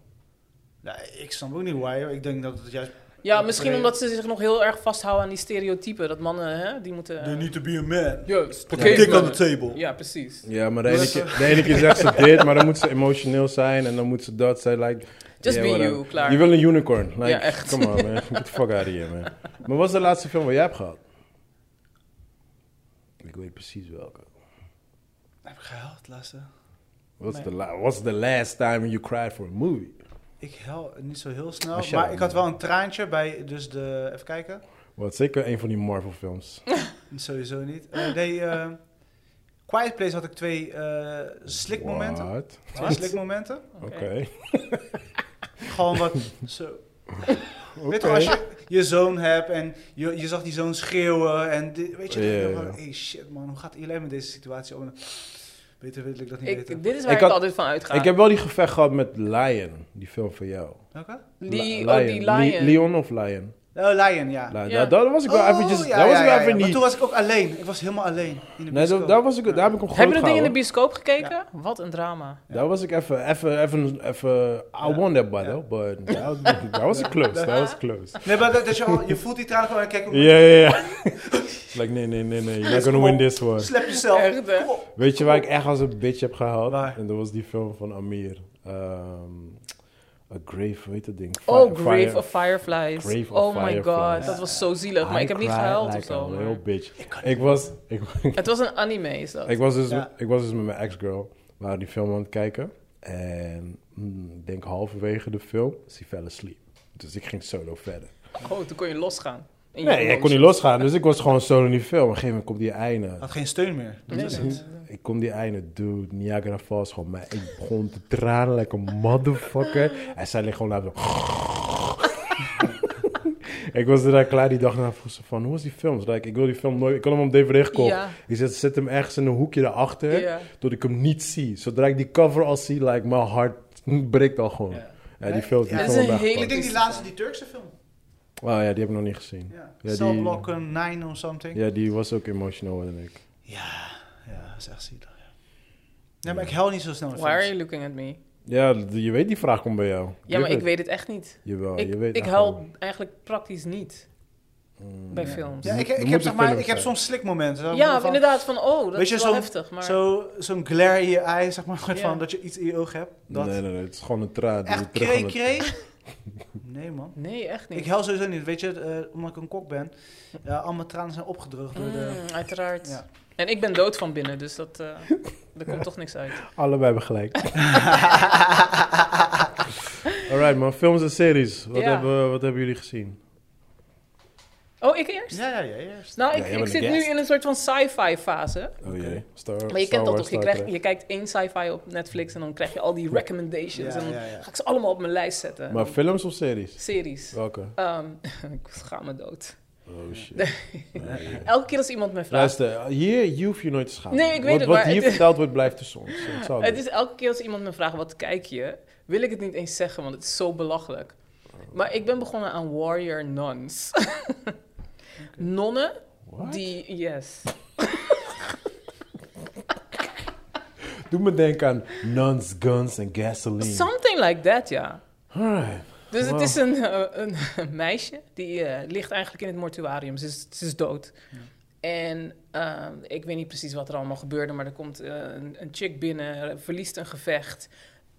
Speaker 4: ja, ik snap ook niet why. hoor. Ik denk dat het juist...
Speaker 1: Ja,
Speaker 4: Dat
Speaker 1: misschien
Speaker 4: breed.
Speaker 1: omdat ze zich nog heel erg vasthouden aan die stereotypen. Dat mannen, hè, die moeten...
Speaker 4: You need to be a man.
Speaker 1: Juist.
Speaker 4: Put
Speaker 1: Oké,
Speaker 4: your dick on
Speaker 1: mannen.
Speaker 4: the table.
Speaker 1: Ja, precies.
Speaker 3: Ja, maar de ene, keer, de ene keer zegt ze dit, maar dan moet ze emotioneel zijn en dan moet ze dat zijn. Like,
Speaker 1: Just
Speaker 3: yeah,
Speaker 1: be
Speaker 3: whatever.
Speaker 1: you, klaar.
Speaker 3: Je wil een unicorn. Like,
Speaker 1: Ja, echt.
Speaker 3: Come on, man. Get the fuck out of here, man. Maar wat is de laatste film waar jij hebt gehad? Ik weet precies welke.
Speaker 4: Heb ik gehuild, laatste?
Speaker 3: What's, the la- what's the last time you cried for a movie?
Speaker 4: Ik huil niet zo heel snel.
Speaker 3: Als jij
Speaker 4: Maar
Speaker 3: dan,
Speaker 4: ik had
Speaker 3: man.
Speaker 4: wel een traantje bij dus de... Even kijken.
Speaker 3: Wat zeker een van die Marvel films.
Speaker 4: Sowieso niet. Eh, nee, eh, Quiet Place had ik twee eh slikmomenten.
Speaker 3: What?
Speaker 4: Twee slikmomenten.
Speaker 3: Oké.
Speaker 4: Gewoon wat... Zo. Weet je,
Speaker 3: Oké.
Speaker 4: als je je zoon hebt en je, je zag die zoon schreeuwen en dit, weet je,
Speaker 3: Ja,
Speaker 4: dan
Speaker 3: ja,
Speaker 4: van,
Speaker 3: ja.
Speaker 4: hey shit man, hoe gaat iedereen met deze situatie om? Beter wil ik dat niet
Speaker 1: Ik,
Speaker 4: weten.
Speaker 1: dit is waar
Speaker 3: Ik
Speaker 1: ik,
Speaker 3: had-
Speaker 1: altijd van uitga.
Speaker 3: Ik heb wel die gevecht gehad met Lion, die film van jou.
Speaker 4: Welke?
Speaker 1: die,
Speaker 3: Li-
Speaker 1: oh, die
Speaker 3: Lion.
Speaker 1: lion.
Speaker 3: Le- Leon of Lion?
Speaker 4: Oh, Lion, ja.
Speaker 1: Ja.
Speaker 3: Lion. Daar, daar was ik wel eventjes...
Speaker 4: Oh, ja,
Speaker 3: daar was
Speaker 4: ja,
Speaker 3: ik wel
Speaker 4: ja,
Speaker 3: even
Speaker 4: ja. Maar
Speaker 3: niet...
Speaker 4: toen was ik ook alleen. Ik was helemaal alleen in
Speaker 3: Nee,
Speaker 4: de bioscoop.
Speaker 3: daar, daar was ik, daar heb ik hem
Speaker 1: Hebben
Speaker 3: gewoon
Speaker 1: we dat ding in de
Speaker 3: gehouden.
Speaker 1: bioscoop gekeken? Wat een drama.
Speaker 3: Daar was ik even, even, even, even... I won that battle, but that was, that was close, that was close.
Speaker 4: Nee, maar dat, dat je, al- je voelt die tranen gewoon en kijk,
Speaker 3: Ja, ja, ja. Like, nee, nee, nee, nee, you're not gonna win this one.
Speaker 4: slap jezelf.
Speaker 1: Echt, hè?
Speaker 4: Kom op.
Speaker 3: Weet je waar ik echt als een bitch heb gehaald?
Speaker 4: Waar?
Speaker 3: En dat was die film van Amir. Ehm A Grave, weet dat ding?
Speaker 1: Oh,
Speaker 3: Fi-
Speaker 1: Grave
Speaker 3: Fire-
Speaker 1: of Fireflies.
Speaker 3: Grave of
Speaker 1: oh my
Speaker 3: Fireflies.
Speaker 1: god, dat was zo zielig. Maar
Speaker 3: I
Speaker 1: ik heb niet
Speaker 3: cried
Speaker 1: gehuild
Speaker 3: like
Speaker 1: of zo.
Speaker 3: a
Speaker 1: maar-
Speaker 3: real bitch. Ik was, ik,
Speaker 1: Het was een anime, is dat?
Speaker 3: ik, was dus,
Speaker 4: Ja.
Speaker 3: ik was dus met mijn ex-girl. We waren die film aan het kijken. En mm, ik denk halverwege de film, she fell asleep. Dus ik ging solo verder.
Speaker 1: Oh, toen kon je losgaan. In je
Speaker 3: Nee, ik kon niet losgaan. Dus ik was gewoon solo in die film. Op een gegeven moment komt die einde.
Speaker 4: Had geen steun meer. Ah, Dat
Speaker 1: Nee,
Speaker 4: is
Speaker 1: nee.
Speaker 4: het.
Speaker 3: Ik kom die einde, dude, Niagara Falls gewoon. Maar ik begon te tranen like een motherfucker. En zij ligt gewoon daar zo... ik was er daar klaar die dag na vroeg ze van, hoe was die film? Ze Like, ik wil die film nooit... Ik kan hem op DVD gekocht.
Speaker 1: Ja.
Speaker 3: Ik zet, zet hem ergens in een hoekje daarachter,
Speaker 1: Ja.
Speaker 3: dat ik hem niet zie. Zodra ik die cover al zie, like, mijn hart breekt al gewoon.
Speaker 4: Ja.
Speaker 3: Ja, die film die
Speaker 4: Ja, dat
Speaker 1: is
Speaker 3: film
Speaker 1: een
Speaker 3: weggepakt.
Speaker 4: Ik denk die laatste, die Turkse film.
Speaker 3: Oh ja, die heb ik nog niet gezien.
Speaker 4: Ja.
Speaker 3: Ja,
Speaker 4: Cell
Speaker 3: die-
Speaker 4: Block 9 of something.
Speaker 3: Ja, die was ook emotional dan ik.
Speaker 4: Ja, ja, dat is echt zielig. Ja, ja maar ik huil niet zo snel. in
Speaker 1: Why are
Speaker 4: films.
Speaker 1: you looking at me?
Speaker 3: Ja, je weet die vraag komt bij jou.
Speaker 1: Ja, maar
Speaker 3: Give
Speaker 1: ik
Speaker 3: it.
Speaker 1: weet het echt niet.
Speaker 3: Jawel,
Speaker 1: ik
Speaker 3: Oh, je weet
Speaker 1: ik
Speaker 3: echt wel.
Speaker 1: huil eigenlijk praktisch niet bij films.
Speaker 4: Ja,
Speaker 1: Ja,
Speaker 4: ik,
Speaker 3: Er
Speaker 4: ik, heb,
Speaker 3: moet
Speaker 4: zeg
Speaker 3: een
Speaker 4: maar,
Speaker 3: film
Speaker 4: ik heb
Speaker 3: zijn.
Speaker 4: soms slikmomenten. van-
Speaker 1: inderdaad, van oh, dat
Speaker 4: Weet
Speaker 1: is
Speaker 4: je,
Speaker 1: wel
Speaker 4: zo'n-
Speaker 1: heftig. Maar
Speaker 4: Zo, zo'n glare in je ei, zeg maar, soort
Speaker 1: Ja.
Speaker 4: van, dat je iets in je oog hebt. Dat.
Speaker 3: Nee, nee, nee, het is gewoon een traan. die
Speaker 4: Echt
Speaker 3: je terug aan
Speaker 4: kree,
Speaker 3: het-
Speaker 4: kree? Nee, man.
Speaker 1: nee, echt niet.
Speaker 4: Ik huil sowieso niet, weet je, eh, omdat ik een kok ben. Ja, al mijn tranen zijn opgedroogd door de...
Speaker 1: Mm, uiteraard.
Speaker 4: Ja.
Speaker 1: En ik ben dood van binnen, dus dat, eh er komt toch niks uit.
Speaker 3: Allebei hebben gelijk. Alright man, films en series. Wat,
Speaker 1: Ja.
Speaker 3: hebben, wat hebben jullie gezien?
Speaker 1: Oh, ik eerst?
Speaker 4: Ja, ja, ja, eerst.
Speaker 1: Nou,
Speaker 3: Ja,
Speaker 1: ik,
Speaker 3: jij
Speaker 1: ik
Speaker 3: bent
Speaker 1: zit
Speaker 3: de
Speaker 1: nu
Speaker 3: guest.
Speaker 1: in een soort van sci-fi fase.
Speaker 3: Oh jee. Star,
Speaker 1: Maar je kent dat toch? Je, krijgt, je kijkt één sci-fi op Netflix en dan krijg je al die recommendations.
Speaker 4: Ja,
Speaker 1: en dan
Speaker 4: ja, ja.
Speaker 1: ga ik ze allemaal op mijn lijst zetten.
Speaker 3: Maar films of series?
Speaker 1: Series.
Speaker 3: Welke?
Speaker 1: Ehm, ik ga me dood.
Speaker 3: Oh shit. Nee.
Speaker 1: Elke keer als iemand me vraagt...
Speaker 3: Luister, hier je hoeft je nooit te schamen.
Speaker 1: Nee, ik weet
Speaker 3: wat,
Speaker 1: het,
Speaker 3: Wat
Speaker 1: maar
Speaker 3: hier
Speaker 1: het-
Speaker 3: verteld wordt, blijft tussen ons. Dat zou
Speaker 1: Het
Speaker 3: doen.
Speaker 1: is elke keer als iemand me vraagt, wat kijk je? Wil ik het niet eens zeggen, want het is zo belachelijk.
Speaker 3: Oh.
Speaker 1: Maar ik ben begonnen aan Warrior Nuns. Nonnen
Speaker 3: What?
Speaker 1: die... Yes.
Speaker 3: Doe me denken aan nuns, guns en gasoline.
Speaker 1: Something like that, ja.
Speaker 3: Alright.
Speaker 1: Dus
Speaker 3: Wow.
Speaker 1: het is een, eh, een, meisje die eh, ligt eigenlijk in het mortuarium. Ze is, ze is dood. En eh, ik weet niet precies wat er allemaal gebeurde, maar er komt eh, een, een chick binnen, verliest een gevecht.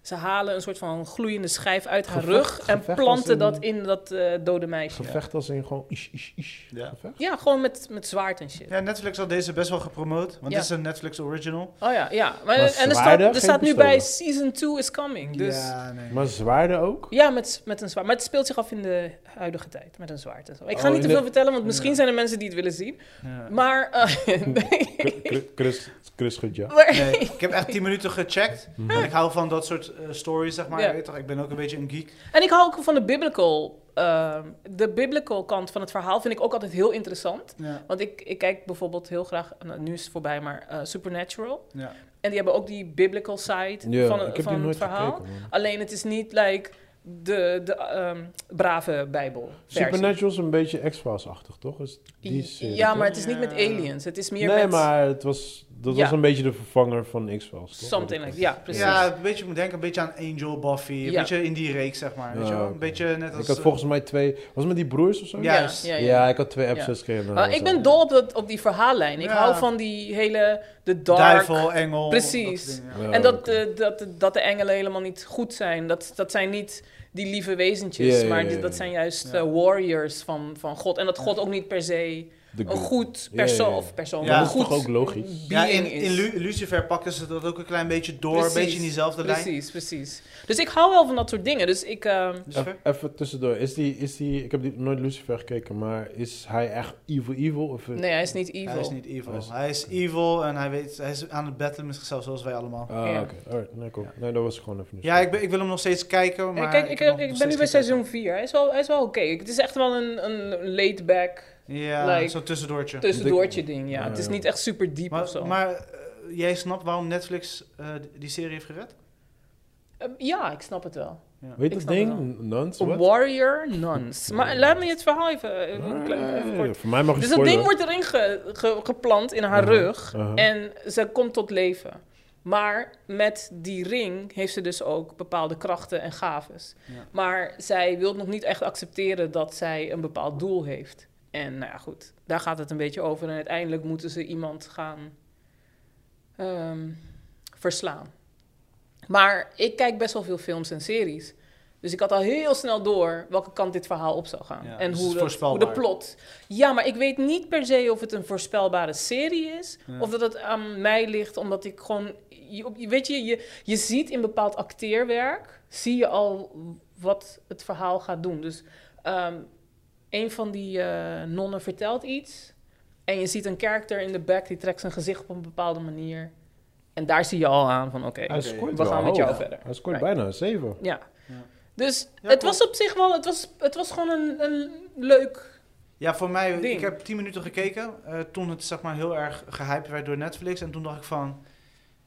Speaker 1: Ze halen een soort van gloeiende schijf uit haar
Speaker 3: Gevecht-
Speaker 1: rug en
Speaker 3: gevecht
Speaker 1: planten
Speaker 3: als in-
Speaker 1: dat in dat eh, dode meisje.
Speaker 3: Gevecht als in gewoon ish, ish, ish.
Speaker 4: Ja.
Speaker 3: Gevecht?
Speaker 1: Ja, gewoon met, met zwaard en shit.
Speaker 4: Ja, Netflix had deze best wel gepromoot, want
Speaker 1: Ja.
Speaker 4: het is een Netflix original.
Speaker 1: Oh ja, ja. Maar,
Speaker 3: Maar
Speaker 1: en er staat,
Speaker 3: zwaarden,
Speaker 1: er staat
Speaker 3: geen
Speaker 1: nu bij
Speaker 3: pistolen.
Speaker 1: Season 2 is coming. Dus ja,
Speaker 4: Ja, nee.
Speaker 3: Maar zwaarden ook?
Speaker 1: met, met een zwaard. Maar het speelt zich af in de huidige tijd, met een zwaard en zo. Ik ga
Speaker 3: Oh,
Speaker 1: niet te
Speaker 3: in
Speaker 1: veel
Speaker 3: de-
Speaker 1: vertellen, want misschien
Speaker 4: Ja.
Speaker 1: zijn er mensen die het willen zien.
Speaker 4: Ja.
Speaker 1: Maar, eh,
Speaker 3: Cru- cru- Chris, Chris goed, ja.
Speaker 1: maar-
Speaker 4: Nee, ik heb echt 10 minuten gecheckt.
Speaker 3: Mhm.
Speaker 4: En ik hou van dat soort eh, stories, zeg maar.
Speaker 1: Ja.
Speaker 4: Je weet toch, ik ben ook een beetje een geek.
Speaker 1: En ik hou ook van de biblical... eh, de biblical kant van het verhaal vind ik ook altijd heel interessant.
Speaker 4: Ja.
Speaker 1: Want ik, ik kijk bijvoorbeeld heel graag, nou, nu is het voorbij, maar eh, Supernatural.
Speaker 4: Ja.
Speaker 1: En die hebben ook die biblical side
Speaker 3: Ja,
Speaker 1: van,
Speaker 3: ik heb
Speaker 1: van
Speaker 3: die nooit
Speaker 1: het verhaal.
Speaker 3: gekeken, man.
Speaker 1: Alleen het is niet like de, de ehm, brave Bijbel.
Speaker 3: Supernatural is een beetje X-Files-achtig, toch? Is die serie,
Speaker 1: Ja,
Speaker 3: toch?
Speaker 1: maar het is niet met
Speaker 4: Ja.
Speaker 1: aliens. Het is meer
Speaker 3: nee,
Speaker 1: met
Speaker 3: maar het was, dat
Speaker 1: Ja.
Speaker 3: was een beetje de vervanger van X-Files, toch?
Speaker 1: something like Ja, precies.
Speaker 4: ja, een beetje, ik moet denken een beetje aan Angel, Buffy, een
Speaker 1: Ja.
Speaker 4: beetje in die reeks, zeg maar. Weet
Speaker 3: Ja,
Speaker 4: je wel? Een
Speaker 3: oké.
Speaker 4: beetje net als...
Speaker 3: Ik had
Speaker 4: eh,
Speaker 3: volgens mij twee... Was het met die broers of zo?
Speaker 4: Ja. juist.
Speaker 1: Ja,
Speaker 3: Ja,
Speaker 1: ja, ja.
Speaker 3: ik had twee
Speaker 1: Ja.
Speaker 3: episodes gekregen.
Speaker 1: Maar ik ben dol op, dat, op die verhaallijn. Ik
Speaker 4: Ja.
Speaker 1: hou van die hele... De dark...
Speaker 4: Duivel, Engel.
Speaker 1: Precies.
Speaker 4: dat soort dingen, ja.
Speaker 1: En
Speaker 3: Oh,
Speaker 1: dat, de- dat, de- dat de engelen helemaal niet goed zijn. Dat, dat zijn niet die lieve wezentjes.
Speaker 3: Ja, ja,
Speaker 1: maar
Speaker 3: ja,
Speaker 1: die-
Speaker 3: ja.
Speaker 1: dat zijn juist
Speaker 4: Ja.
Speaker 1: eh, warriors van, van God. En dat God ook niet per se eh, een goed persoon...
Speaker 3: Ja, ja, ja.
Speaker 1: Of persoon,
Speaker 4: Ja,
Speaker 1: maar
Speaker 4: dat
Speaker 1: een
Speaker 3: is
Speaker 1: goed
Speaker 3: toch ook logisch?
Speaker 1: being
Speaker 4: Ja, in,
Speaker 1: is.
Speaker 4: in Lu- Lucifer pakken ze dat ook een klein beetje door.
Speaker 1: Precies.
Speaker 4: Een beetje in diezelfde lijn.
Speaker 1: Precies, precies. Dus ik hou wel van dat soort dingen. Dus ik... ehm,
Speaker 4: Lucifer?
Speaker 3: Even tussendoor. Is die, is die... Ik heb die, nooit Lucifer gekeken, maar is hij echt evil evil? Of,
Speaker 1: nee, hij is niet evil.
Speaker 4: Hij is niet evil.
Speaker 3: Hij is-
Speaker 4: Hij is evil en hij, weet, hij is aan het battelen met zichzelf, zoals wij allemaal.
Speaker 3: Ah,
Speaker 1: Ja.
Speaker 3: oké. Alright, nee, cool. Nee, dat was gewoon even nieuws.
Speaker 4: Ja, ik, ben, ik wil hem nog steeds kijken,
Speaker 1: Eh,
Speaker 4: maar...
Speaker 1: Kijk, ik, ik,
Speaker 4: heb nog
Speaker 1: ben
Speaker 4: steeds
Speaker 1: nu bij
Speaker 4: geen
Speaker 1: seizoen 4. Hij is wel, hij is wel oké. Het is echt wel een, een laid-back
Speaker 4: Ja,
Speaker 1: Like-
Speaker 4: zo'n tussendoortje.
Speaker 1: tussendoortje ding. Ja.
Speaker 3: Ja,
Speaker 1: het is
Speaker 3: ja.
Speaker 1: niet echt super diep of zo.
Speaker 4: Maar, maar eh, jij snapt waarom Netflix eh, die serie heeft gered?
Speaker 1: Eh, ja, ik snap het wel.
Speaker 3: Weet
Speaker 1: ik
Speaker 3: dat
Speaker 1: snap
Speaker 3: ding? Nuns? wat?
Speaker 1: Warrior Nuns. Maar eh, laat me het verhaal even, eh, een klein- even
Speaker 3: Nee,
Speaker 1: kort.
Speaker 3: Voor mij mag je
Speaker 1: Dus dat
Speaker 3: spoilen. Uh-huh.
Speaker 1: ding wordt erin ge- ge- geplant in haar
Speaker 3: Aha,
Speaker 1: rug.
Speaker 3: aha.
Speaker 1: En ze komt tot leven. Maar met die ring heeft ze dus ook bepaalde krachten en gaves.
Speaker 4: Ja.
Speaker 1: Maar zij wil nog niet echt accepteren dat zij een bepaald doel heeft. En nou ja, goed, daar gaat het een beetje over. En uiteindelijk moeten ze iemand gaan ehm, verslaan. Maar ik kijk best wel veel films en series. Dus ik had al heel snel door welke kant dit verhaal op zou gaan.
Speaker 4: Ja,
Speaker 1: en
Speaker 4: dus het is
Speaker 1: hoe, dat- hoe de
Speaker 4: voorspelbaar.
Speaker 1: plot. Ja, maar ik weet niet per se of het een voorspelbare serie is.
Speaker 4: Ja.
Speaker 1: Of dat het aan mij ligt, omdat ik gewoon. Je, op- je- weet je, je, je ziet in bepaald acteerwerk. zie je al wat het verhaal gaat doen. Dus ehm, een van die eh, nonnen vertelt iets. En je ziet een karakter in de back die trekt zijn gezicht op een bepaalde manier. En daar zie je al aan van oké.
Speaker 3: Hij
Speaker 4: Oké,
Speaker 3: scoort
Speaker 1: we
Speaker 3: wel
Speaker 1: gaan met jou
Speaker 3: hoog.
Speaker 1: verder.
Speaker 3: Hij scoort
Speaker 1: Right.
Speaker 3: bijna een 7.
Speaker 1: Ja.
Speaker 4: Ja.
Speaker 1: Dus
Speaker 4: Ja,
Speaker 1: het
Speaker 4: klopt.
Speaker 1: was op zich wel, het was, het was gewoon een, een leuk.
Speaker 4: Ja, voor mij,
Speaker 1: Ding.
Speaker 4: ik heb 10 minuten gekeken. eh, toen het zeg maar heel erg gehyped werd door Netflix. En toen dacht ik van,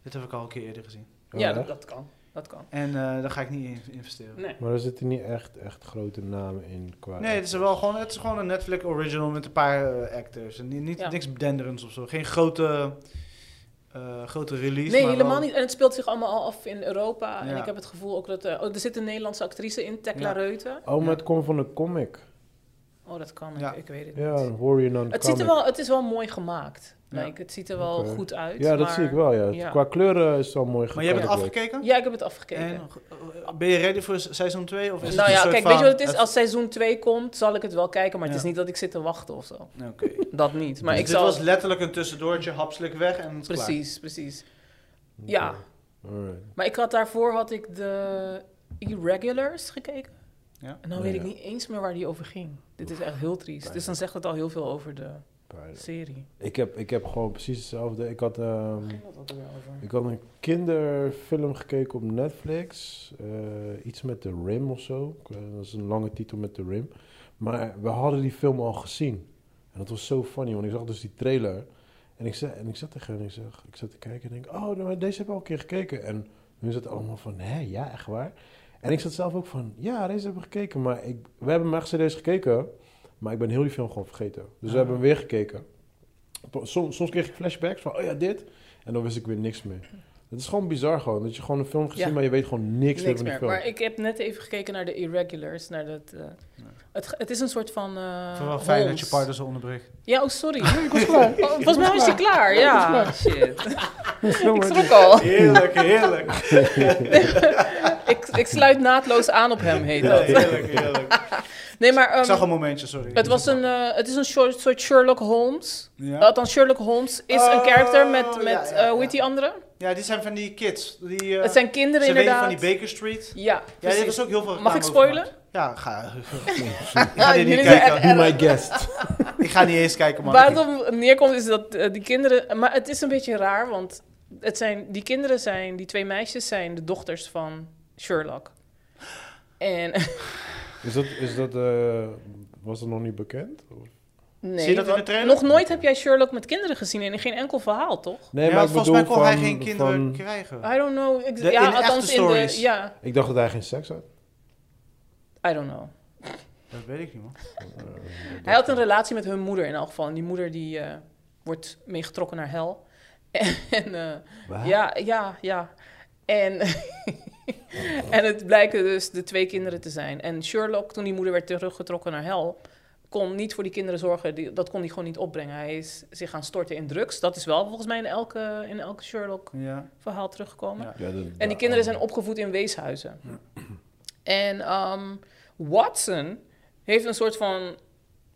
Speaker 4: dit heb ik al een keer eerder gezien.
Speaker 1: ja,
Speaker 3: hè?
Speaker 1: dat, dat kan. Dat kan.
Speaker 4: En eh, daar ga ik niet in investeren. Nee,
Speaker 1: Nee.
Speaker 3: Maar er zitten niet echt, echt grote namen in qua...
Speaker 4: het, is wel gewoon, het is gewoon een Netflix original met een paar eh, actors. En niet, niet,
Speaker 1: Ja.
Speaker 4: niks denderends of zo. Geen grote, eh, grote release.
Speaker 1: Nee,
Speaker 4: maar
Speaker 1: helemaal
Speaker 4: wel-
Speaker 1: niet. En het speelt zich allemaal al af in Europa. En
Speaker 4: Ja.
Speaker 1: ik heb het gevoel ook dat... eh, oh, er zit een Nederlandse actrice in, Tekla
Speaker 4: Ja.
Speaker 1: Reuten.
Speaker 3: Oh, maar het komt van een comic.
Speaker 1: Oh, dat kan.
Speaker 4: Ja.
Speaker 1: Ik, ik weet het
Speaker 3: Ja,
Speaker 1: niet.
Speaker 3: een warrior non
Speaker 1: Het, ziet er wel, het is wel mooi gemaakt.
Speaker 4: Ja.
Speaker 1: Like, het ziet er wel
Speaker 3: Oké.
Speaker 1: goed uit.
Speaker 3: Ja, dat
Speaker 1: maar-
Speaker 3: zie ik wel, ja.
Speaker 1: ja.
Speaker 3: Qua kleuren is het wel mooi
Speaker 4: Maar jij bent
Speaker 3: gekalibreerd.
Speaker 4: afgekeken?
Speaker 1: Ja, ik heb het afgekeken.
Speaker 4: En, eh, ben je ready voor se- seizoen 2? Of is het
Speaker 1: nou
Speaker 4: een
Speaker 1: ja,
Speaker 4: soort
Speaker 1: kijk,
Speaker 4: van-
Speaker 1: weet je wat het is? Als seizoen 2 komt, zal ik het wel kijken. Maar het
Speaker 4: Ja.
Speaker 1: is niet dat ik zit te wachten of zo.
Speaker 4: Oké.
Speaker 1: Dat niet. Maar
Speaker 4: Dus
Speaker 1: ik
Speaker 4: dit
Speaker 1: zal...
Speaker 4: was letterlijk een tussendoortje, hapslik weg en het is klaar.
Speaker 1: Precies, precies. Ja.
Speaker 3: Oké, alright.
Speaker 1: Maar ik had daarvoor had ik de Irregulars gekeken.
Speaker 4: Ja.
Speaker 1: En dan
Speaker 3: Oh,
Speaker 1: weet
Speaker 3: ja.
Speaker 1: ik niet eens meer waar die over ging. Dit is echt heel triest. Dus dan zegt het al heel veel over de
Speaker 3: Pijnlijk.
Speaker 1: serie.
Speaker 3: Ik heb, ik heb gewoon precies hetzelfde. Ik had, ehm,
Speaker 1: Waar ging dat ook weer over?
Speaker 3: ik had een kinderfilm gekeken op Netflix. Eh, iets met de Rim of zo. Ik weet- Dat is een lange titel met de Rim. Maar we hadden die film al gezien. En dat was zo funny, want ik zag dus die trailer. En ik, zei, en ik zat tegen hen en ik, zag, ik zat te kijken en ik denk... Oh, nou, deze hebben we al een keer gekeken. En hun zaten allemaal van, hè, ja, echt waar? En ik zat zelf ook van, ja, deze hebben we gekeken. Maar ik, we hebben hem echt serieus gekeken. Maar ik ben heel die film gewoon vergeten. Dus we
Speaker 4: Ah.
Speaker 3: hebben hem weer gekeken. Soms, soms kreeg ik flashbacks van, oh ja, dit. En dan wist ik weer niks meer. Het is gewoon bizar gewoon. Dat je gewoon een film hebt gezien,
Speaker 1: Ja.
Speaker 3: maar je weet gewoon niks, meer
Speaker 1: Niks
Speaker 3: van die
Speaker 1: meer.
Speaker 3: film.
Speaker 1: Maar ik heb net even gekeken naar de Irregulars. Naar dat, eh, Het, het is een soort van. eh,
Speaker 4: Ik vind het wel fijn dat
Speaker 1: Holmes.
Speaker 4: je partner zo onderbreekt.
Speaker 1: Ja, oh sorry.
Speaker 3: Ik was klaar.
Speaker 1: Oh, volgens mij was je klaar. Ja, shit. Ik schrok al.
Speaker 4: Heerlijk, heerlijk.
Speaker 1: Ik, ik sluit naadloos aan op hem, heet
Speaker 4: Ja,
Speaker 1: dat.
Speaker 4: heerlijk, heerlijk.
Speaker 1: Nee, maar
Speaker 4: Ik
Speaker 1: ehm,
Speaker 4: zag een momentje, sorry.
Speaker 1: het, was een, Oh. eh, het is een soort, soort Sherlock Holmes.
Speaker 4: Ja.
Speaker 1: Althans, Sherlock Holmes is een
Speaker 4: Oh,
Speaker 1: karakter met, met
Speaker 4: ja, ja,
Speaker 1: eh, hoe
Speaker 4: ja.
Speaker 1: heet die andere?
Speaker 4: ja, die zijn van die kids. Die, eh,
Speaker 1: het zijn kinderen
Speaker 4: ze weten
Speaker 1: inderdaad.
Speaker 4: van die Baker Street.
Speaker 1: ja,
Speaker 4: Ja, dit
Speaker 1: precies.
Speaker 4: is ook heel veel
Speaker 1: Mag
Speaker 4: reclame
Speaker 1: ik
Speaker 4: over
Speaker 1: spoilen?
Speaker 4: gemaakt. Ja, ga, ik
Speaker 1: Ja,
Speaker 4: ga dit niet
Speaker 1: jullie zijn
Speaker 4: kijken.
Speaker 1: echt
Speaker 3: Be my guest.
Speaker 4: Ik ga niet eens kijken, man.
Speaker 1: Waar het op neerkomt is dat eh, die kinderen... Maar het is een beetje raar, want het zijn, die kinderen zijn... Die twee meisjes zijn de dochters van Sherlock. En...
Speaker 3: Is dat, is dat eh, was dat nog niet bekend?
Speaker 1: Nee,
Speaker 4: Zie je dat in de
Speaker 1: want
Speaker 4: trailer?
Speaker 1: Nog nooit heb jij Sherlock met kinderen gezien in geen enkel verhaal, toch?
Speaker 3: Nee,
Speaker 4: Ja,
Speaker 3: maar ik
Speaker 4: volgens mij
Speaker 3: bedoel
Speaker 4: kon
Speaker 3: van,
Speaker 4: hij geen kinderen
Speaker 3: van-
Speaker 4: krijgen.
Speaker 1: I don't know. ex-
Speaker 4: De-
Speaker 1: ja,
Speaker 4: in de
Speaker 1: althans
Speaker 4: echte stories.
Speaker 1: in de... Ja,
Speaker 3: Ik dacht dat hij geen seks had.
Speaker 1: I don't know.
Speaker 4: Dat weet ik niet, man.
Speaker 1: Hij had een relatie met hun moeder in elk geval. En die moeder die eh, wordt meegetrokken naar hel. En eh,
Speaker 3: Waar?
Speaker 1: ja, ja, ja. En, en het blijken dus de twee kinderen te zijn. En Sherlock, toen die moeder werd teruggetrokken naar hel, kon niet voor die kinderen zorgen. Die, dat kon hij gewoon niet opbrengen. Hij is zich gaan storten in drugs. Dat is wel volgens mij in elke, in elke Sherlock
Speaker 4: Ja.
Speaker 1: verhaal teruggekomen.
Speaker 4: Ja. oh.
Speaker 3: Ja, dat-
Speaker 1: En die kinderen zijn opgevoed in weeshuizen. En ehm, Watson heeft een soort van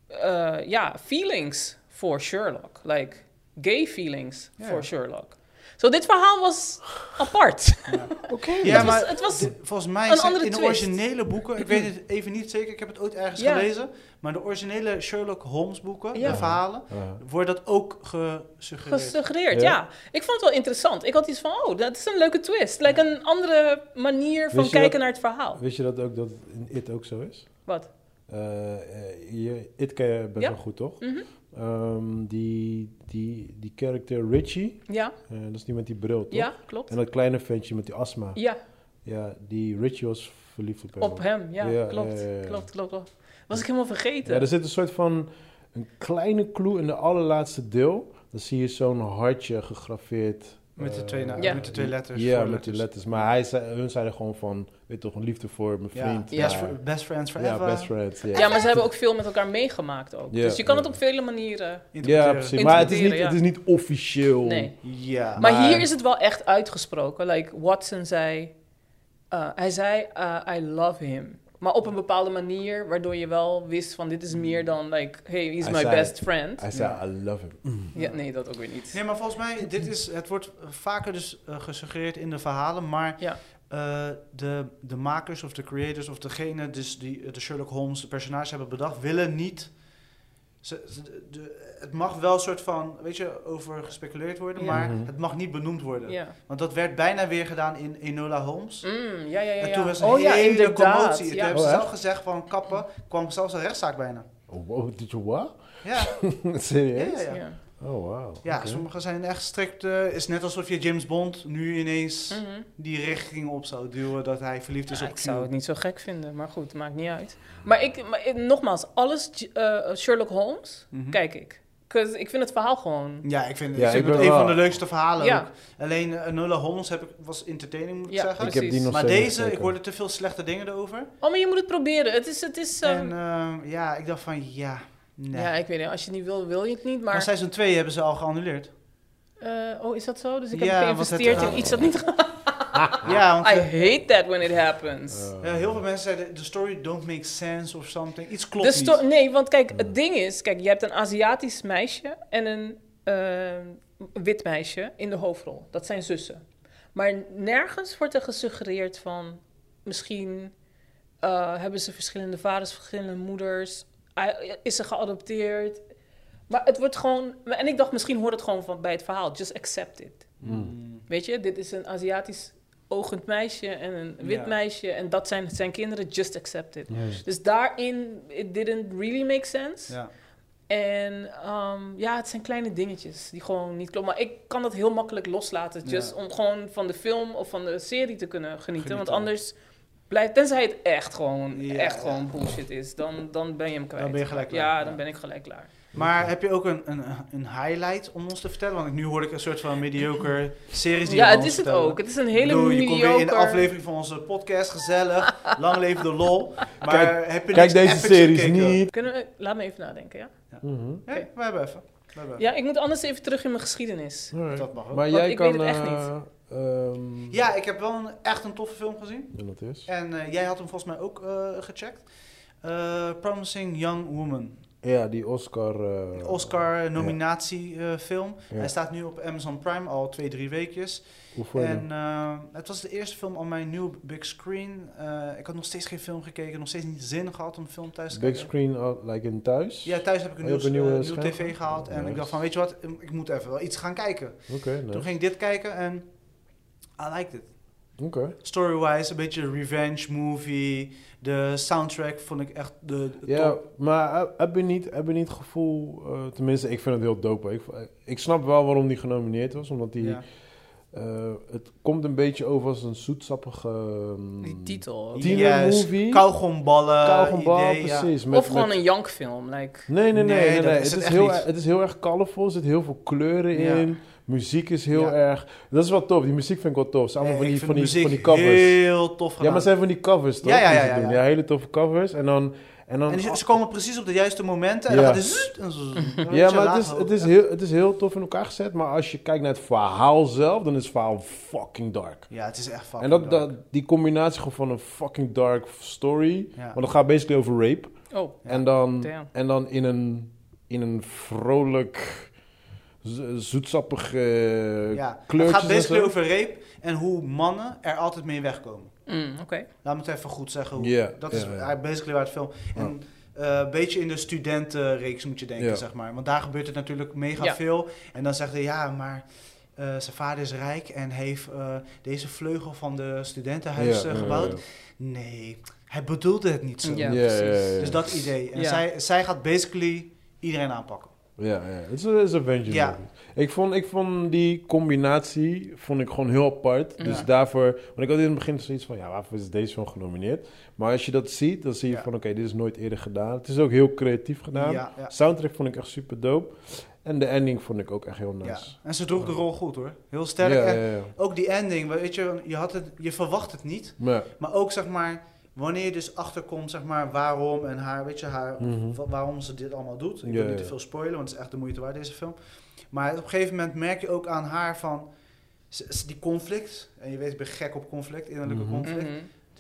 Speaker 1: eh, ja, feelings voor Sherlock. Like gay feelings
Speaker 4: Ja.
Speaker 1: voor Sherlock. Zo, dit verhaal was apart.
Speaker 3: Oké.
Speaker 1: het,
Speaker 4: Ja,
Speaker 1: was,
Speaker 4: maar
Speaker 1: het was.
Speaker 4: de- volgens mij
Speaker 1: een
Speaker 4: zijn
Speaker 1: andere
Speaker 4: in de
Speaker 1: twist.
Speaker 4: originele boeken, ik weet het even niet zeker, ik heb het ooit ergens
Speaker 1: Ja.
Speaker 4: gelezen, maar de originele Sherlock Holmes boeken,
Speaker 1: Ja.
Speaker 4: de verhalen, wordt dat ook gesuggereerd.
Speaker 1: Gesuggereerd,
Speaker 3: Ja.
Speaker 1: ja. Ik vond het wel interessant. Ik had iets van, oh, dat is een leuke twist. Like een andere manier van
Speaker 3: Wist je
Speaker 1: kijken
Speaker 3: dat-
Speaker 1: naar het verhaal.
Speaker 3: Ah. Wist je dat ook dat in It ook zo is?
Speaker 1: Wat?
Speaker 3: Eh, eh, je, It ken je best
Speaker 1: Ja.
Speaker 3: wel goed, toch?
Speaker 1: Mhm.
Speaker 3: Ehm, die, die, die character Richie,
Speaker 1: Ja,
Speaker 3: eh, dat is die met die bril, toch?
Speaker 1: ja, klopt.
Speaker 3: En dat kleine ventje met die astma.
Speaker 1: Ja,
Speaker 3: Ja, die Richie was verliefd op hem.
Speaker 1: op hem. Ja,
Speaker 3: Ja,
Speaker 1: klopt.
Speaker 3: ja, ja, ja.
Speaker 1: Klopt, klopt, klopt. Was ik helemaal vergeten.
Speaker 3: Ja, er zit een soort van een kleine clue in de allerlaatste deel. Dan zie je zo'n hartje gegraveerd.
Speaker 4: Met de
Speaker 3: eh,
Speaker 4: twee na-
Speaker 1: Ja.
Speaker 4: met de twee letters,
Speaker 3: Ja, met
Speaker 4: voorletters.
Speaker 3: die letters. Maar hij zei, hun zeiden gewoon van, weet toch, een liefde voor mijn
Speaker 4: Ja,
Speaker 3: vriend.
Speaker 4: best,
Speaker 3: maar-
Speaker 4: fr- best friends
Speaker 3: ja,
Speaker 4: forever.
Speaker 3: best friends. Ja,
Speaker 1: Ja, maar ze hebben ook veel met elkaar meegemaakt ook.
Speaker 3: Ja,
Speaker 1: dus je kan
Speaker 3: ja.
Speaker 1: het op vele manieren.
Speaker 3: Ja,
Speaker 4: Interpreteren.
Speaker 3: precies. Maar het is niet,
Speaker 1: Interpreteren,
Speaker 3: het is niet officieel.
Speaker 1: Nee.
Speaker 4: Ja.
Speaker 1: Maar,
Speaker 3: Maar-
Speaker 1: hier is het wel echt uitgesproken. Like Watson zei, eh, hij zei eh, I love him. Maar op een bepaalde manier, waardoor je wel wist van dit is meer dan like, hey, he's
Speaker 3: Hmm. Hij
Speaker 1: my
Speaker 3: zei-
Speaker 1: best friend.
Speaker 3: Hij zei, I love him.
Speaker 1: Ja, nee, dat ook weer niet.
Speaker 4: Nee, maar volgens mij, dit is, het wordt vaker dus eh, gesuggereerd in de verhalen, maar
Speaker 1: Ja.
Speaker 4: eh, de, de makers of de creators of degene dus die eh, de Sherlock Holmes, de personages hebben bedacht, willen niet... Ze, ze- de- de- het mag wel een soort van, weet je, over gespeculeerd worden,
Speaker 1: Ja.
Speaker 4: maar
Speaker 3: Mhm.
Speaker 4: het mag niet benoemd worden.
Speaker 1: Ja.
Speaker 4: Want dat werd bijna weer gedaan in Enola Holmes.
Speaker 1: Mm, ja, ja, ja.
Speaker 4: En
Speaker 1: ja.
Speaker 4: toen was een
Speaker 1: oh, ja,
Speaker 4: hele
Speaker 1: inderdaad.
Speaker 4: commotie. Toen
Speaker 1: Ja.
Speaker 4: hebben ze
Speaker 3: Oh, echt?
Speaker 4: zelf gezegd van kappen, kwam zelfs een rechtszaak bijna.
Speaker 3: Oh, wow, did you what?
Speaker 4: Ja, ja,
Speaker 3: Serieus?
Speaker 4: ja. ja.
Speaker 1: Ja.
Speaker 3: Oh, wow.
Speaker 4: Ja,
Speaker 3: Oké.
Speaker 4: sommigen zijn echt strikt. eh, is net alsof je James Bond nu ineens
Speaker 1: Mhm.
Speaker 4: die richting op zou duwen dat hij verliefd is
Speaker 1: Ja,
Speaker 4: op
Speaker 1: ik
Speaker 4: Q.
Speaker 1: zou het niet zo gek vinden, maar goed, maakt niet uit. Maar, ik, maar ik- nogmaals, alles eh, Sherlock Holmes,
Speaker 4: Mhm.
Speaker 1: kijk ik. 'Cause ik vind het verhaal gewoon
Speaker 4: Ja, ik vind,
Speaker 3: Ja,
Speaker 4: ik vind
Speaker 3: ik ben
Speaker 4: het een
Speaker 3: wel-
Speaker 4: van de leukste verhalen
Speaker 1: Ja.
Speaker 4: ook. Alleen eh, Enola Holmes heb ik, was entertaining, moet ik
Speaker 1: Ja,
Speaker 4: zeggen.
Speaker 3: Ik heb die nog
Speaker 4: maar
Speaker 3: steeds niet
Speaker 4: deze, ik
Speaker 3: gekeken.
Speaker 4: hoorde te veel slechte dingen erover.
Speaker 1: Oh, maar je moet het proberen. Het is, het is, ehm,
Speaker 4: En eh, ja, ik dacht van ja, nee.
Speaker 1: ja, ik weet niet. Als je het niet wil, wil je het niet.
Speaker 4: maar
Speaker 1: Maar,
Speaker 4: seizoen 2 hebben ze al geannuleerd.
Speaker 1: eh, oh, is dat zo? Dus ik heb
Speaker 4: Ja, want het- eh,
Speaker 1: geïnvesteerd in iets dat niet gaat. Ah,
Speaker 4: Ja, want
Speaker 1: I
Speaker 4: eh,
Speaker 1: hate that when it happens.
Speaker 3: Eh,
Speaker 4: eh, heel veel mensen zeiden, the story don't make sense of something. Iets
Speaker 1: De
Speaker 4: klopt
Speaker 1: sto-
Speaker 4: niet.
Speaker 1: nee, want kijk, het ding is, kijk, je hebt een Aziatisch meisje en een ehm, wit meisje in de hoofdrol. Dat zijn zussen. Maar nergens wordt er gesuggereerd van misschien eh, hebben ze verschillende vaders, verschillende moeders. Hij- Is ze geadopteerd? Maar het wordt gewoon. En ik dacht, misschien hoort het gewoon van bij het verhaal. Just accept it.
Speaker 4: Mm.
Speaker 1: Weet je, dit is een Aziatisch oogend meisje en een wit
Speaker 4: Ja.
Speaker 1: meisje. En dat zijn zijn kinderen, just accept it. Dus daarin, it didn't really make sense.
Speaker 4: Ja.
Speaker 1: En ehm, ja, het zijn kleine dingetjes die gewoon niet kloppen. Maar ik kan dat heel makkelijk loslaten.
Speaker 4: Ja.
Speaker 1: Just om gewoon van de film of van de serie te kunnen genieten. Want
Speaker 4: Genieten.
Speaker 1: anders blijft, tenzij het echt gewoon,
Speaker 4: Ja,
Speaker 1: echt
Speaker 4: ja.
Speaker 1: gewoon bullshit is, dan, dan ben je hem kwijt.
Speaker 4: ben je gelijk
Speaker 1: Ja,
Speaker 4: klaar,
Speaker 1: dan
Speaker 4: ja.
Speaker 1: ben ik gelijk klaar.
Speaker 4: Maar heb je ook een, een, een highlight om ons te vertellen? Want nu hoor ik een soort van mediocre series die
Speaker 1: ja,
Speaker 4: je
Speaker 1: het
Speaker 4: ons
Speaker 1: is het
Speaker 4: vertellen.
Speaker 1: ook. Het is een
Speaker 4: Ik
Speaker 1: hele
Speaker 4: bedoel,
Speaker 1: mediocre...
Speaker 4: je komt weer in de aflevering van onze podcast, gezellig. Lang leven de lol. Maar
Speaker 3: Kijk-
Speaker 4: heb je
Speaker 3: Kijk
Speaker 4: niks
Speaker 3: deze
Speaker 4: epics
Speaker 3: series
Speaker 4: gekeken?
Speaker 3: niet.
Speaker 1: Kunnen we... Laat me even nadenken, ja?
Speaker 3: Mhm.
Speaker 4: Nee, we hebben even. We hebben even.
Speaker 1: Ja, ik moet anders even terug in mijn geschiedenis.
Speaker 3: Alright.
Speaker 4: Dat mag ook.
Speaker 3: Maar
Speaker 1: Want
Speaker 3: jij
Speaker 1: ik
Speaker 3: kan...
Speaker 1: weet het echt
Speaker 3: eh, ehm,
Speaker 4: Ja, ik heb wel een, echt een toffe film gezien.
Speaker 3: en dat is?
Speaker 4: En eh, jij had hem volgens mij ook eh, gecheckt. Eh, Promising Young Woman.
Speaker 3: Ja, die Oscar... eh,
Speaker 4: Oscar nominatie eh, film.
Speaker 3: Ja.
Speaker 4: Hij staat nu op Amazon Prime al twee, drie weekjes.
Speaker 3: Hoe vond je hem?
Speaker 4: En eh, het was de eerste film op mijn nieuwe big screen. Eh, ik had nog steeds geen film gekeken. Nog steeds niet zin gehad om film thuis te
Speaker 3: Big
Speaker 4: kijken.
Speaker 3: screen, uh, like in thuis?
Speaker 4: Ja, thuis heb ik een
Speaker 3: Oh, je
Speaker 4: nieuw,
Speaker 3: hebt een nieuwe
Speaker 4: eh, nieuw
Speaker 3: scherm
Speaker 4: tv
Speaker 3: gehad?
Speaker 4: gehaald. En
Speaker 3: Nice.
Speaker 4: ik dacht van, weet je wat, ik moet even wel iets gaan kijken.
Speaker 3: Oké, nice.
Speaker 4: Toen ging ik dit kijken en I liked it.
Speaker 3: Oké.
Speaker 4: Story-wise, een beetje revenge movie. De soundtrack vond ik echt de, de
Speaker 3: Ja,
Speaker 4: top.
Speaker 3: maar heb- heb je niet, heb je niet het gevoel... eh, tenminste, ik vind het heel dope. Ik, ik snap wel waarom die genomineerd was. Omdat die...
Speaker 4: Ja.
Speaker 3: eh, het komt een beetje over als een zoetsappige... ehm,
Speaker 1: Die titel.
Speaker 3: Die- movie.
Speaker 4: Kauwgomballen.
Speaker 3: kauwgomballen,
Speaker 4: eh, idee, ja.
Speaker 3: precies.
Speaker 1: of gewoon een jankfilm. Like,
Speaker 3: Nee, nee, nee.
Speaker 4: Nee,
Speaker 3: nee, nee,
Speaker 4: dat is
Speaker 3: Het,
Speaker 4: het
Speaker 3: is
Speaker 4: echt
Speaker 3: heel,
Speaker 4: niet.
Speaker 3: het is heel erg colorful. Er zitten heel veel kleuren
Speaker 4: Ja.
Speaker 3: in. Muziek is heel
Speaker 4: Ja.
Speaker 3: erg... Dat is wel tof. Die muziek vind ik wel tof. Het zijn allemaal
Speaker 4: Nee,
Speaker 3: van,
Speaker 4: Eh, ik
Speaker 3: die,
Speaker 4: vind
Speaker 3: van,
Speaker 4: de
Speaker 3: die, van die
Speaker 4: muziek
Speaker 3: covers.
Speaker 4: heel tof
Speaker 3: Ja, maar
Speaker 4: gedaan.
Speaker 3: het zijn van die covers, toch?
Speaker 4: Ja, ja,
Speaker 3: die ze
Speaker 4: ja, ja,
Speaker 3: doen.
Speaker 4: ja.
Speaker 3: hele toffe covers. En dan... En dan
Speaker 4: en die- ze komen precies op de juiste momenten. En
Speaker 3: Ja.
Speaker 4: dan gaat het zzzt en zo.
Speaker 3: Ja, maar het is, het, is heel, het is heel tof in elkaar gezet. Maar als je kijkt naar het verhaal zelf, dan is het verhaal fucking dark.
Speaker 4: Ja, het is echt fucking
Speaker 3: en dat,
Speaker 4: dark.
Speaker 3: dat, die combinatie gewoon van een fucking dark story.
Speaker 4: Ja.
Speaker 3: Want het gaat basically over rape.
Speaker 1: oh,
Speaker 4: Ja.
Speaker 3: En dan,
Speaker 1: Damn.
Speaker 3: en dan in, een, in een vrolijk, z- zoetsappig eh,
Speaker 4: Ja, het
Speaker 3: kleurtjes
Speaker 4: gaat
Speaker 3: en
Speaker 4: basically
Speaker 3: zo.
Speaker 4: over rape en hoe mannen er altijd mee wegkomen.
Speaker 1: mm, oké.
Speaker 4: Laat me het even goed zeggen. Hoe,
Speaker 3: Ja,
Speaker 4: oh, dat is
Speaker 3: ja, ja.
Speaker 4: eigenlijk basically waar het film... En, eh, een beetje in de studentenreeks moet je denken,
Speaker 3: Ja.
Speaker 4: zeg maar. Want daar gebeurt het natuurlijk mega
Speaker 1: Ja.
Speaker 4: veel. En dan zegt hij, ja, maar eh, zijn vader is rijk en heeft eh, deze vleugel van de studentenhuis
Speaker 3: Ja,
Speaker 4: eh,
Speaker 3: ja,
Speaker 4: gebouwd.
Speaker 3: ja.
Speaker 4: Nee, hij bedoelde het niet zo.
Speaker 1: Ja,
Speaker 3: Ja, ja,
Speaker 1: precies.
Speaker 3: ja, ja.
Speaker 4: Dus dat idee. En
Speaker 1: Ja.
Speaker 4: zij, zij gaat basically iedereen aanpakken.
Speaker 3: Ja, ja. Het is een- het is een Avengers
Speaker 4: Ja.
Speaker 3: movie. Ik vond, ik vond die combinatie vond ik gewoon heel apart. Dus
Speaker 4: Ja.
Speaker 3: daarvoor... Want ik had in het begin zoiets van... Ja, waarvoor is deze film genomineerd? Maar als je dat ziet, dan zie je
Speaker 4: Ja.
Speaker 3: van... Oké, dit is nooit eerder gedaan. Het is ook heel creatief gedaan.
Speaker 4: Ja, ja.
Speaker 3: Soundtrack vond ik echt super dope. En de ending vond ik ook echt heel nice.
Speaker 4: Ja.
Speaker 3: Ja,
Speaker 4: En ze droeg de rol goed hoor. Heel sterk.
Speaker 3: ja,
Speaker 4: en
Speaker 3: ja, ja.
Speaker 4: ook die ending, weet je, je, had het, je verwacht het niet.
Speaker 3: Maar,
Speaker 4: Maar ook zeg maar, wanneer je dus achterkomt, zeg maar, waarom en haar, weet je, haar,
Speaker 3: Mhm.
Speaker 4: wa- waarom ze dit allemaal doet.
Speaker 3: Ja,
Speaker 4: Ik wil niet
Speaker 3: ja.
Speaker 4: te veel spoilen, want het is echt de moeite waard, deze film. Maar op een gegeven moment merk je ook aan haar van ze- ze- die conflict. En je weet, ik ben gek op conflict, innerlijke
Speaker 3: Mhm.
Speaker 4: conflict.
Speaker 1: Mhm.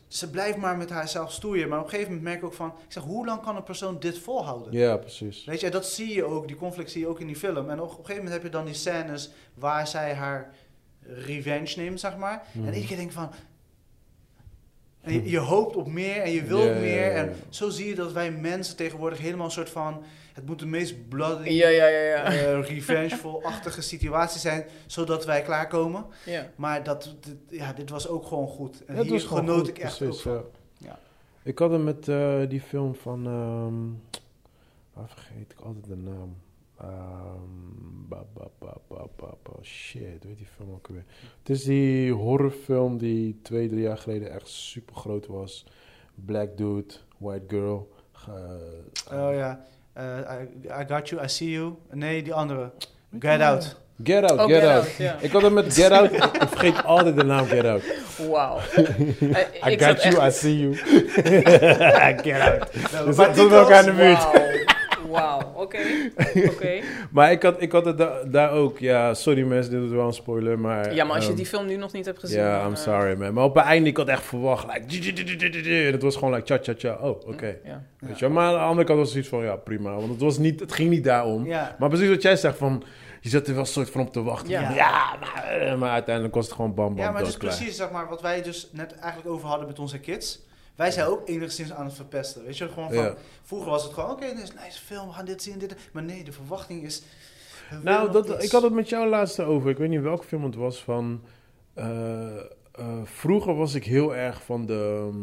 Speaker 4: Ze blijft maar met haarzelf stoeien. Maar op een gegeven moment merk ik ook van, ik zeg, hoe lang kan een persoon dit volhouden?
Speaker 3: ja, precies.
Speaker 4: Weet je, en dat zie je ook, die conflict zie je ook in die film. En op een gegeven moment heb je dan die scènes waar zij haar revenge neemt, zeg maar.
Speaker 3: Mhm.
Speaker 4: En iedere keer denk ik van... En je, je hoopt op meer en je wilt
Speaker 3: Ja, ja, ja,
Speaker 4: meer.
Speaker 3: ja.
Speaker 4: En zo zie je dat wij mensen tegenwoordig helemaal een soort van... Het moet de meest bloody,
Speaker 1: Ja, ja, ja, ja.
Speaker 4: eh, revengeful-achtige situatie zijn, zodat wij klaarkomen.
Speaker 1: ja.
Speaker 4: Maar dat, dit, ja, dit was ook gewoon goed.
Speaker 3: Ja,
Speaker 4: En
Speaker 3: het
Speaker 4: hier
Speaker 3: was gewoon
Speaker 4: genoot
Speaker 3: goed,
Speaker 4: ik echt ook
Speaker 3: precies,
Speaker 4: van.
Speaker 3: ja.
Speaker 4: Ja.
Speaker 3: Ik had hem met eh, die film van... ehm waar vergeet ik altijd de naam? Ehm, ba, ba, ba, ba, ba, ba, shit, weet die film ook weer. Het is die horrorfilm die twee, drie jaar geleden echt super groot was. Black Dude, White Girl. ge-
Speaker 4: Oh ja, Eh, I, I got you, I see you. Nee, die andere.
Speaker 3: Weet je
Speaker 4: Get
Speaker 3: wel?
Speaker 4: out.
Speaker 3: Get Out,
Speaker 1: Oh,
Speaker 3: Get,
Speaker 1: Get
Speaker 3: Out.
Speaker 1: Out, ja.
Speaker 3: Ik had hem met Get Out. ik vergeet altijd de naam Get Out.
Speaker 1: Wauw. Eh,
Speaker 3: I got you, I see you. get Out.
Speaker 4: Nou,
Speaker 3: We
Speaker 4: maar
Speaker 3: zaten
Speaker 4: titels-
Speaker 3: elkaar in de buurt.
Speaker 1: Wauw. Wauw, oké. Oké.
Speaker 3: Maar ik had, ik had het da- daar ook. Ja, sorry mensen, dit is wel een spoiler, maar...
Speaker 1: Ja, maar als je
Speaker 3: ehm,
Speaker 1: die film nu nog niet hebt gezien...
Speaker 3: Ja,
Speaker 1: dan,
Speaker 3: I'm
Speaker 1: eh,
Speaker 3: sorry man. Maar op het einde, ik had echt verwacht, like... "Tju, tju, tju, tju, tju, tju." En het was gewoon like, tja, tja, tja. Oh, oké.
Speaker 1: hm? Ja.
Speaker 3: Weet je wel? Maar aan de andere kant was het iets van, ja, prima. Want het, was niet, het ging niet daarom.
Speaker 4: Ja.
Speaker 3: Maar precies wat jij zegt, van... Je zat er wel een soort van op te wachten.
Speaker 1: Ja.
Speaker 3: Ja, maar, eh, maar uiteindelijk was het gewoon bam, bam,
Speaker 4: Ja, maar het is
Speaker 3: doodklaar.
Speaker 4: precies zeg maar, wat wij dus net eigenlijk over hadden met onze kids. Wij zijn ook enigszins aan het verpesten. Weet je, gewoon van,
Speaker 3: Ja.
Speaker 4: vroeger was het gewoon, oké, dit is een nice film, we gaan dit zien, dit. Maar nee, de verwachting is... we
Speaker 3: Nou,
Speaker 4: willen nog
Speaker 3: dat,
Speaker 4: iets.
Speaker 3: ik had het met jou laatst over. Ik weet niet welke film het was van. eh, eh, vroeger was ik heel erg van de. ehm,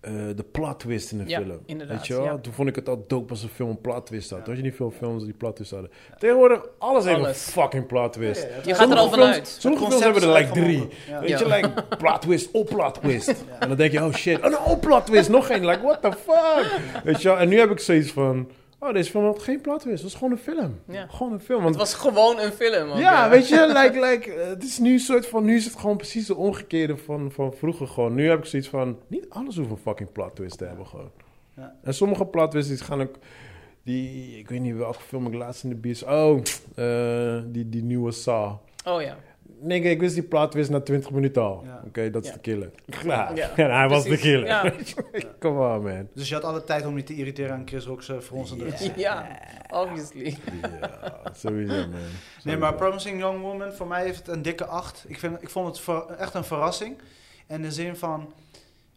Speaker 3: eh, de plot twist in de
Speaker 1: Ja,
Speaker 3: film.
Speaker 1: inderdaad,
Speaker 3: Weet je wel?
Speaker 1: ja.
Speaker 3: Toen vond ik het al dope als een film een plot twist had.
Speaker 4: Ja.
Speaker 3: Had je niet veel films die plot twist hadden? Tegenwoordig, alles heeft een
Speaker 1: Alles.
Speaker 3: fucking plot twist.
Speaker 4: Ja, ja,
Speaker 1: Je
Speaker 4: het-
Speaker 1: gaat er al
Speaker 3: Sommige films-
Speaker 1: vanuit.
Speaker 3: Sommige
Speaker 4: Het
Speaker 3: films
Speaker 4: concept
Speaker 3: hebben er
Speaker 4: is
Speaker 3: like drie.
Speaker 4: uitgewonden. Ja.
Speaker 3: Weet je,
Speaker 1: Ja.
Speaker 3: like plot twist op plot twist. Oh, En dan denk je, oh shit, oh, nou, op plot twist, nog één. Like, what the fuck? Weet je wel? En nu heb ik zoiets van, Oh, deze film had geen plot twist. Het was gewoon een film.
Speaker 1: Ja.
Speaker 3: Gewoon een
Speaker 1: Het
Speaker 3: film. Want
Speaker 1: was gewoon een film. ook,
Speaker 3: ja, weet je, like, like, eh, het is nu een soort van, nu is het gewoon precies de omgekeerde van, van vroeger gewoon. Nu heb ik zoiets van, niet alles hoeft een fucking plot twist te hebben gewoon.
Speaker 4: Ja.
Speaker 3: En sommige plot twists die gaan ook, die, ik weet niet welke film ik laatst in de bios, oh, eh, die, die nieuwe Saw.
Speaker 1: Oh ja.
Speaker 3: Nee, ik wist die plot twist na 20 minuten al.
Speaker 4: Ja.
Speaker 3: Oké, dat is
Speaker 1: Ja.
Speaker 3: de killer. Klaar.
Speaker 1: Ja,
Speaker 3: En hij was de
Speaker 1: precies.
Speaker 3: killer.
Speaker 1: Ja.
Speaker 3: Come on, man.
Speaker 4: Dus je had alle tijd om niet te irriteren aan Chris Rock's eh, fronsende gezicht.
Speaker 1: ja, obviously.
Speaker 3: Ja, sowieso, man.
Speaker 4: Nee, maar Promising Young Woman, voor mij heeft het een dikke 8. Ik, vind, ik vond het ver- echt een verrassing. In de zin van,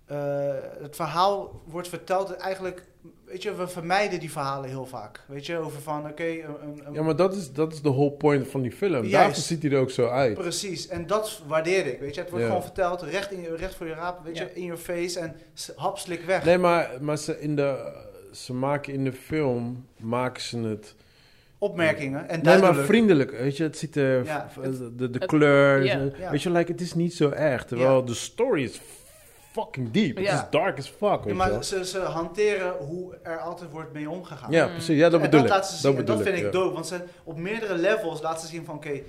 Speaker 4: eh, het verhaal wordt verteld eigenlijk... Weet je, we vermijden die verhalen heel vaak. Weet je, over van, oké... een- een- een-
Speaker 3: Ja, maar dat is, dat is de whole point van die film.
Speaker 4: Juist.
Speaker 3: Daarvoor ziet hij er ook zo uit.
Speaker 4: Precies, en dat waardeer ik. Weet je, het wordt
Speaker 3: Ja.
Speaker 4: gewoon verteld, recht, in, je- recht voor je raap, weet
Speaker 1: Ja.
Speaker 4: je, in your face en s- hapslik weg.
Speaker 3: Nee, maar, maar ze, in de, ze maken in de film maken ze het.
Speaker 4: Opmerkingen en
Speaker 3: Nee,
Speaker 4: duidelijk.
Speaker 3: maar vriendelijk. Weet je, het ziet er.
Speaker 4: Ja,
Speaker 3: v-
Speaker 4: het-
Speaker 3: de de
Speaker 1: het-
Speaker 3: kleur.
Speaker 1: ja.
Speaker 3: eh,
Speaker 4: Ja.
Speaker 3: Weet je, like, het is niet zo erg. Terwijl
Speaker 4: Ja.
Speaker 3: de story is fucking deep. Het
Speaker 1: Ja.
Speaker 3: is dark as fuck. Weet
Speaker 4: Ja,
Speaker 3: je wel.
Speaker 4: maar ze, ze hanteren hoe er altijd wordt mee omgegaan.
Speaker 3: ja, precies. Ja, dat
Speaker 4: en
Speaker 3: bedoel
Speaker 4: dat
Speaker 3: ik.
Speaker 4: laten ze zien. en
Speaker 3: bedoel
Speaker 4: dat vind ik
Speaker 3: ja.
Speaker 4: dope. Want ze, op meerdere levels laten ze zien van... Oké,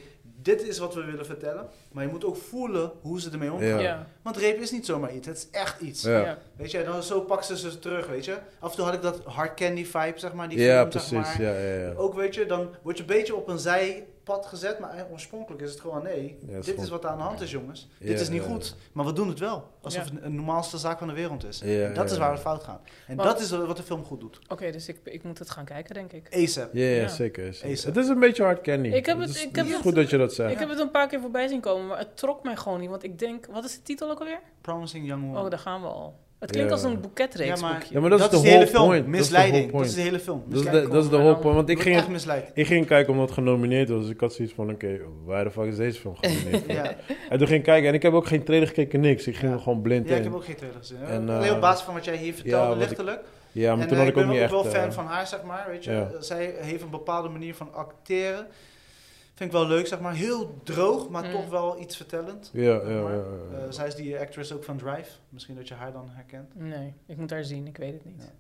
Speaker 4: dit is wat we willen vertellen. Maar je moet ook voelen hoe ze ermee omgaan.
Speaker 3: Ja.
Speaker 1: Ja. Ja.
Speaker 4: Want reep is niet zomaar iets. Het is echt iets.
Speaker 3: Ja.
Speaker 4: Weet je, en dan zo pakken ze ze terug, weet je. Af en toe had ik dat hard candy vibe, zeg maar. Die
Speaker 3: Ja,
Speaker 4: film,
Speaker 3: precies.
Speaker 4: Zeg maar.
Speaker 3: Ja, ja, ja.
Speaker 4: Ook, weet je, dan word je een beetje op een zijpad gezet. Maar eh, oorspronkelijk is het gewoon... Nee,
Speaker 3: het is
Speaker 4: dit
Speaker 3: gewoon-
Speaker 4: is wat er aan de hand is, jongens.
Speaker 3: Ja,
Speaker 4: dit is niet
Speaker 3: ja.
Speaker 4: goed. Maar we doen het wel. Alsof
Speaker 1: Ja.
Speaker 4: het de normaalste zaak van de wereld is.
Speaker 3: Ja,
Speaker 4: En dat
Speaker 3: ja,
Speaker 4: is waar
Speaker 3: ja.
Speaker 4: het fout gaat. En
Speaker 1: Maar-
Speaker 4: dat is wat de film goed doet.
Speaker 1: Oké, dus ik, ik moet het gaan kijken, denk ik.
Speaker 4: ASAP.
Speaker 3: Ja, ja,
Speaker 1: Ja.
Speaker 3: zeker. zeker.
Speaker 4: Ace.
Speaker 3: Het is een beetje hard candy.
Speaker 1: Ik heb het-
Speaker 3: is,
Speaker 1: ik heb
Speaker 3: is
Speaker 1: het-
Speaker 3: goed dat je dat zegt.
Speaker 1: Ik heb het een paar keer voorbij zien komen, maar het trok mij gewoon niet. Want ik denk, wat is de titel ook alweer?
Speaker 4: Promising Young Woman.
Speaker 1: Oh, daar gaan we al. Het klinkt
Speaker 3: Ja.
Speaker 1: als een boeketreeks.
Speaker 4: Ja, maar-
Speaker 3: ja, maar dat, is de
Speaker 4: hele
Speaker 3: whole
Speaker 4: film.
Speaker 3: point. Dat is de whole
Speaker 4: Misleiding. Dat is
Speaker 3: point.
Speaker 4: de hele film.
Speaker 3: Dat is
Speaker 4: Misleiding.
Speaker 3: de, dat is de
Speaker 1: maar
Speaker 3: whole
Speaker 1: dan
Speaker 3: point. Want ik
Speaker 4: Wordt
Speaker 3: ging,
Speaker 4: echt misleid.
Speaker 3: ik ging kijken omdat het genomineerd was. Dus ik had zoiets van, oké, waar de fuck is deze film genomineerd?
Speaker 4: Ja.
Speaker 3: En toen ging ik kijken. En ik heb ook geen trailer gekeken, niks. Ik ging
Speaker 4: Ja.
Speaker 3: er gewoon blind
Speaker 4: ja, ik
Speaker 3: in.
Speaker 4: heb ook geen trailer gezien.
Speaker 3: En,
Speaker 4: Alleen
Speaker 3: eh,
Speaker 4: op basis van wat jij hier
Speaker 3: ja,
Speaker 4: vertelde,
Speaker 3: wat ik-
Speaker 4: lichtelijk.
Speaker 3: Ja, maar
Speaker 4: en,
Speaker 3: toen
Speaker 4: eh,
Speaker 3: had ik, ook
Speaker 4: ben
Speaker 3: niet echt...
Speaker 4: ook wel fan
Speaker 3: eh,
Speaker 4: van haar, zeg maar. Weet je?
Speaker 3: ja.
Speaker 4: Eh, Zij heeft een bepaalde manier van acteren. Vind ik wel leuk, zeg maar. Heel droog, maar
Speaker 1: Mm.
Speaker 4: toch wel iets vertellend.
Speaker 3: Ja, ja,
Speaker 4: zeg
Speaker 3: ja.
Speaker 4: maar.
Speaker 3: ja, ja.
Speaker 4: Eh, zij is die actress ook van Drive. Misschien dat je haar dan herkent.
Speaker 1: Nee, ik moet haar zien, ik weet het niet.
Speaker 4: Ja.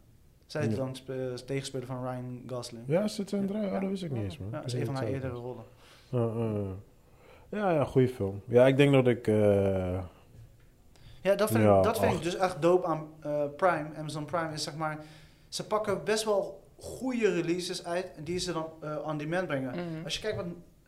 Speaker 4: Zij is
Speaker 3: Ja.
Speaker 4: dan spe- tegenspeler van Ryan Gosling.
Speaker 3: Ja, zit ze in draai? Oh, dat wist ik niet
Speaker 1: Ja.
Speaker 3: eens, man.
Speaker 4: Ja, dat is
Speaker 3: Ik
Speaker 4: een van
Speaker 3: weet
Speaker 4: haar
Speaker 3: het
Speaker 4: eerdere
Speaker 3: zelf.
Speaker 4: rollen.
Speaker 3: Ja, ja, ja. eh. Ja, ja, goede film. Ja, ik denk dat ik... eh,
Speaker 4: Ja, dat vind,
Speaker 3: Ja,
Speaker 4: ik, dat vind ik
Speaker 3: acht.
Speaker 4: dus echt dope aan eh, Prime. Amazon Prime is zeg maar... Ze pakken best wel goede releases uit die ze dan eh, on demand brengen.
Speaker 1: Mhm.
Speaker 4: Als je kijkt wat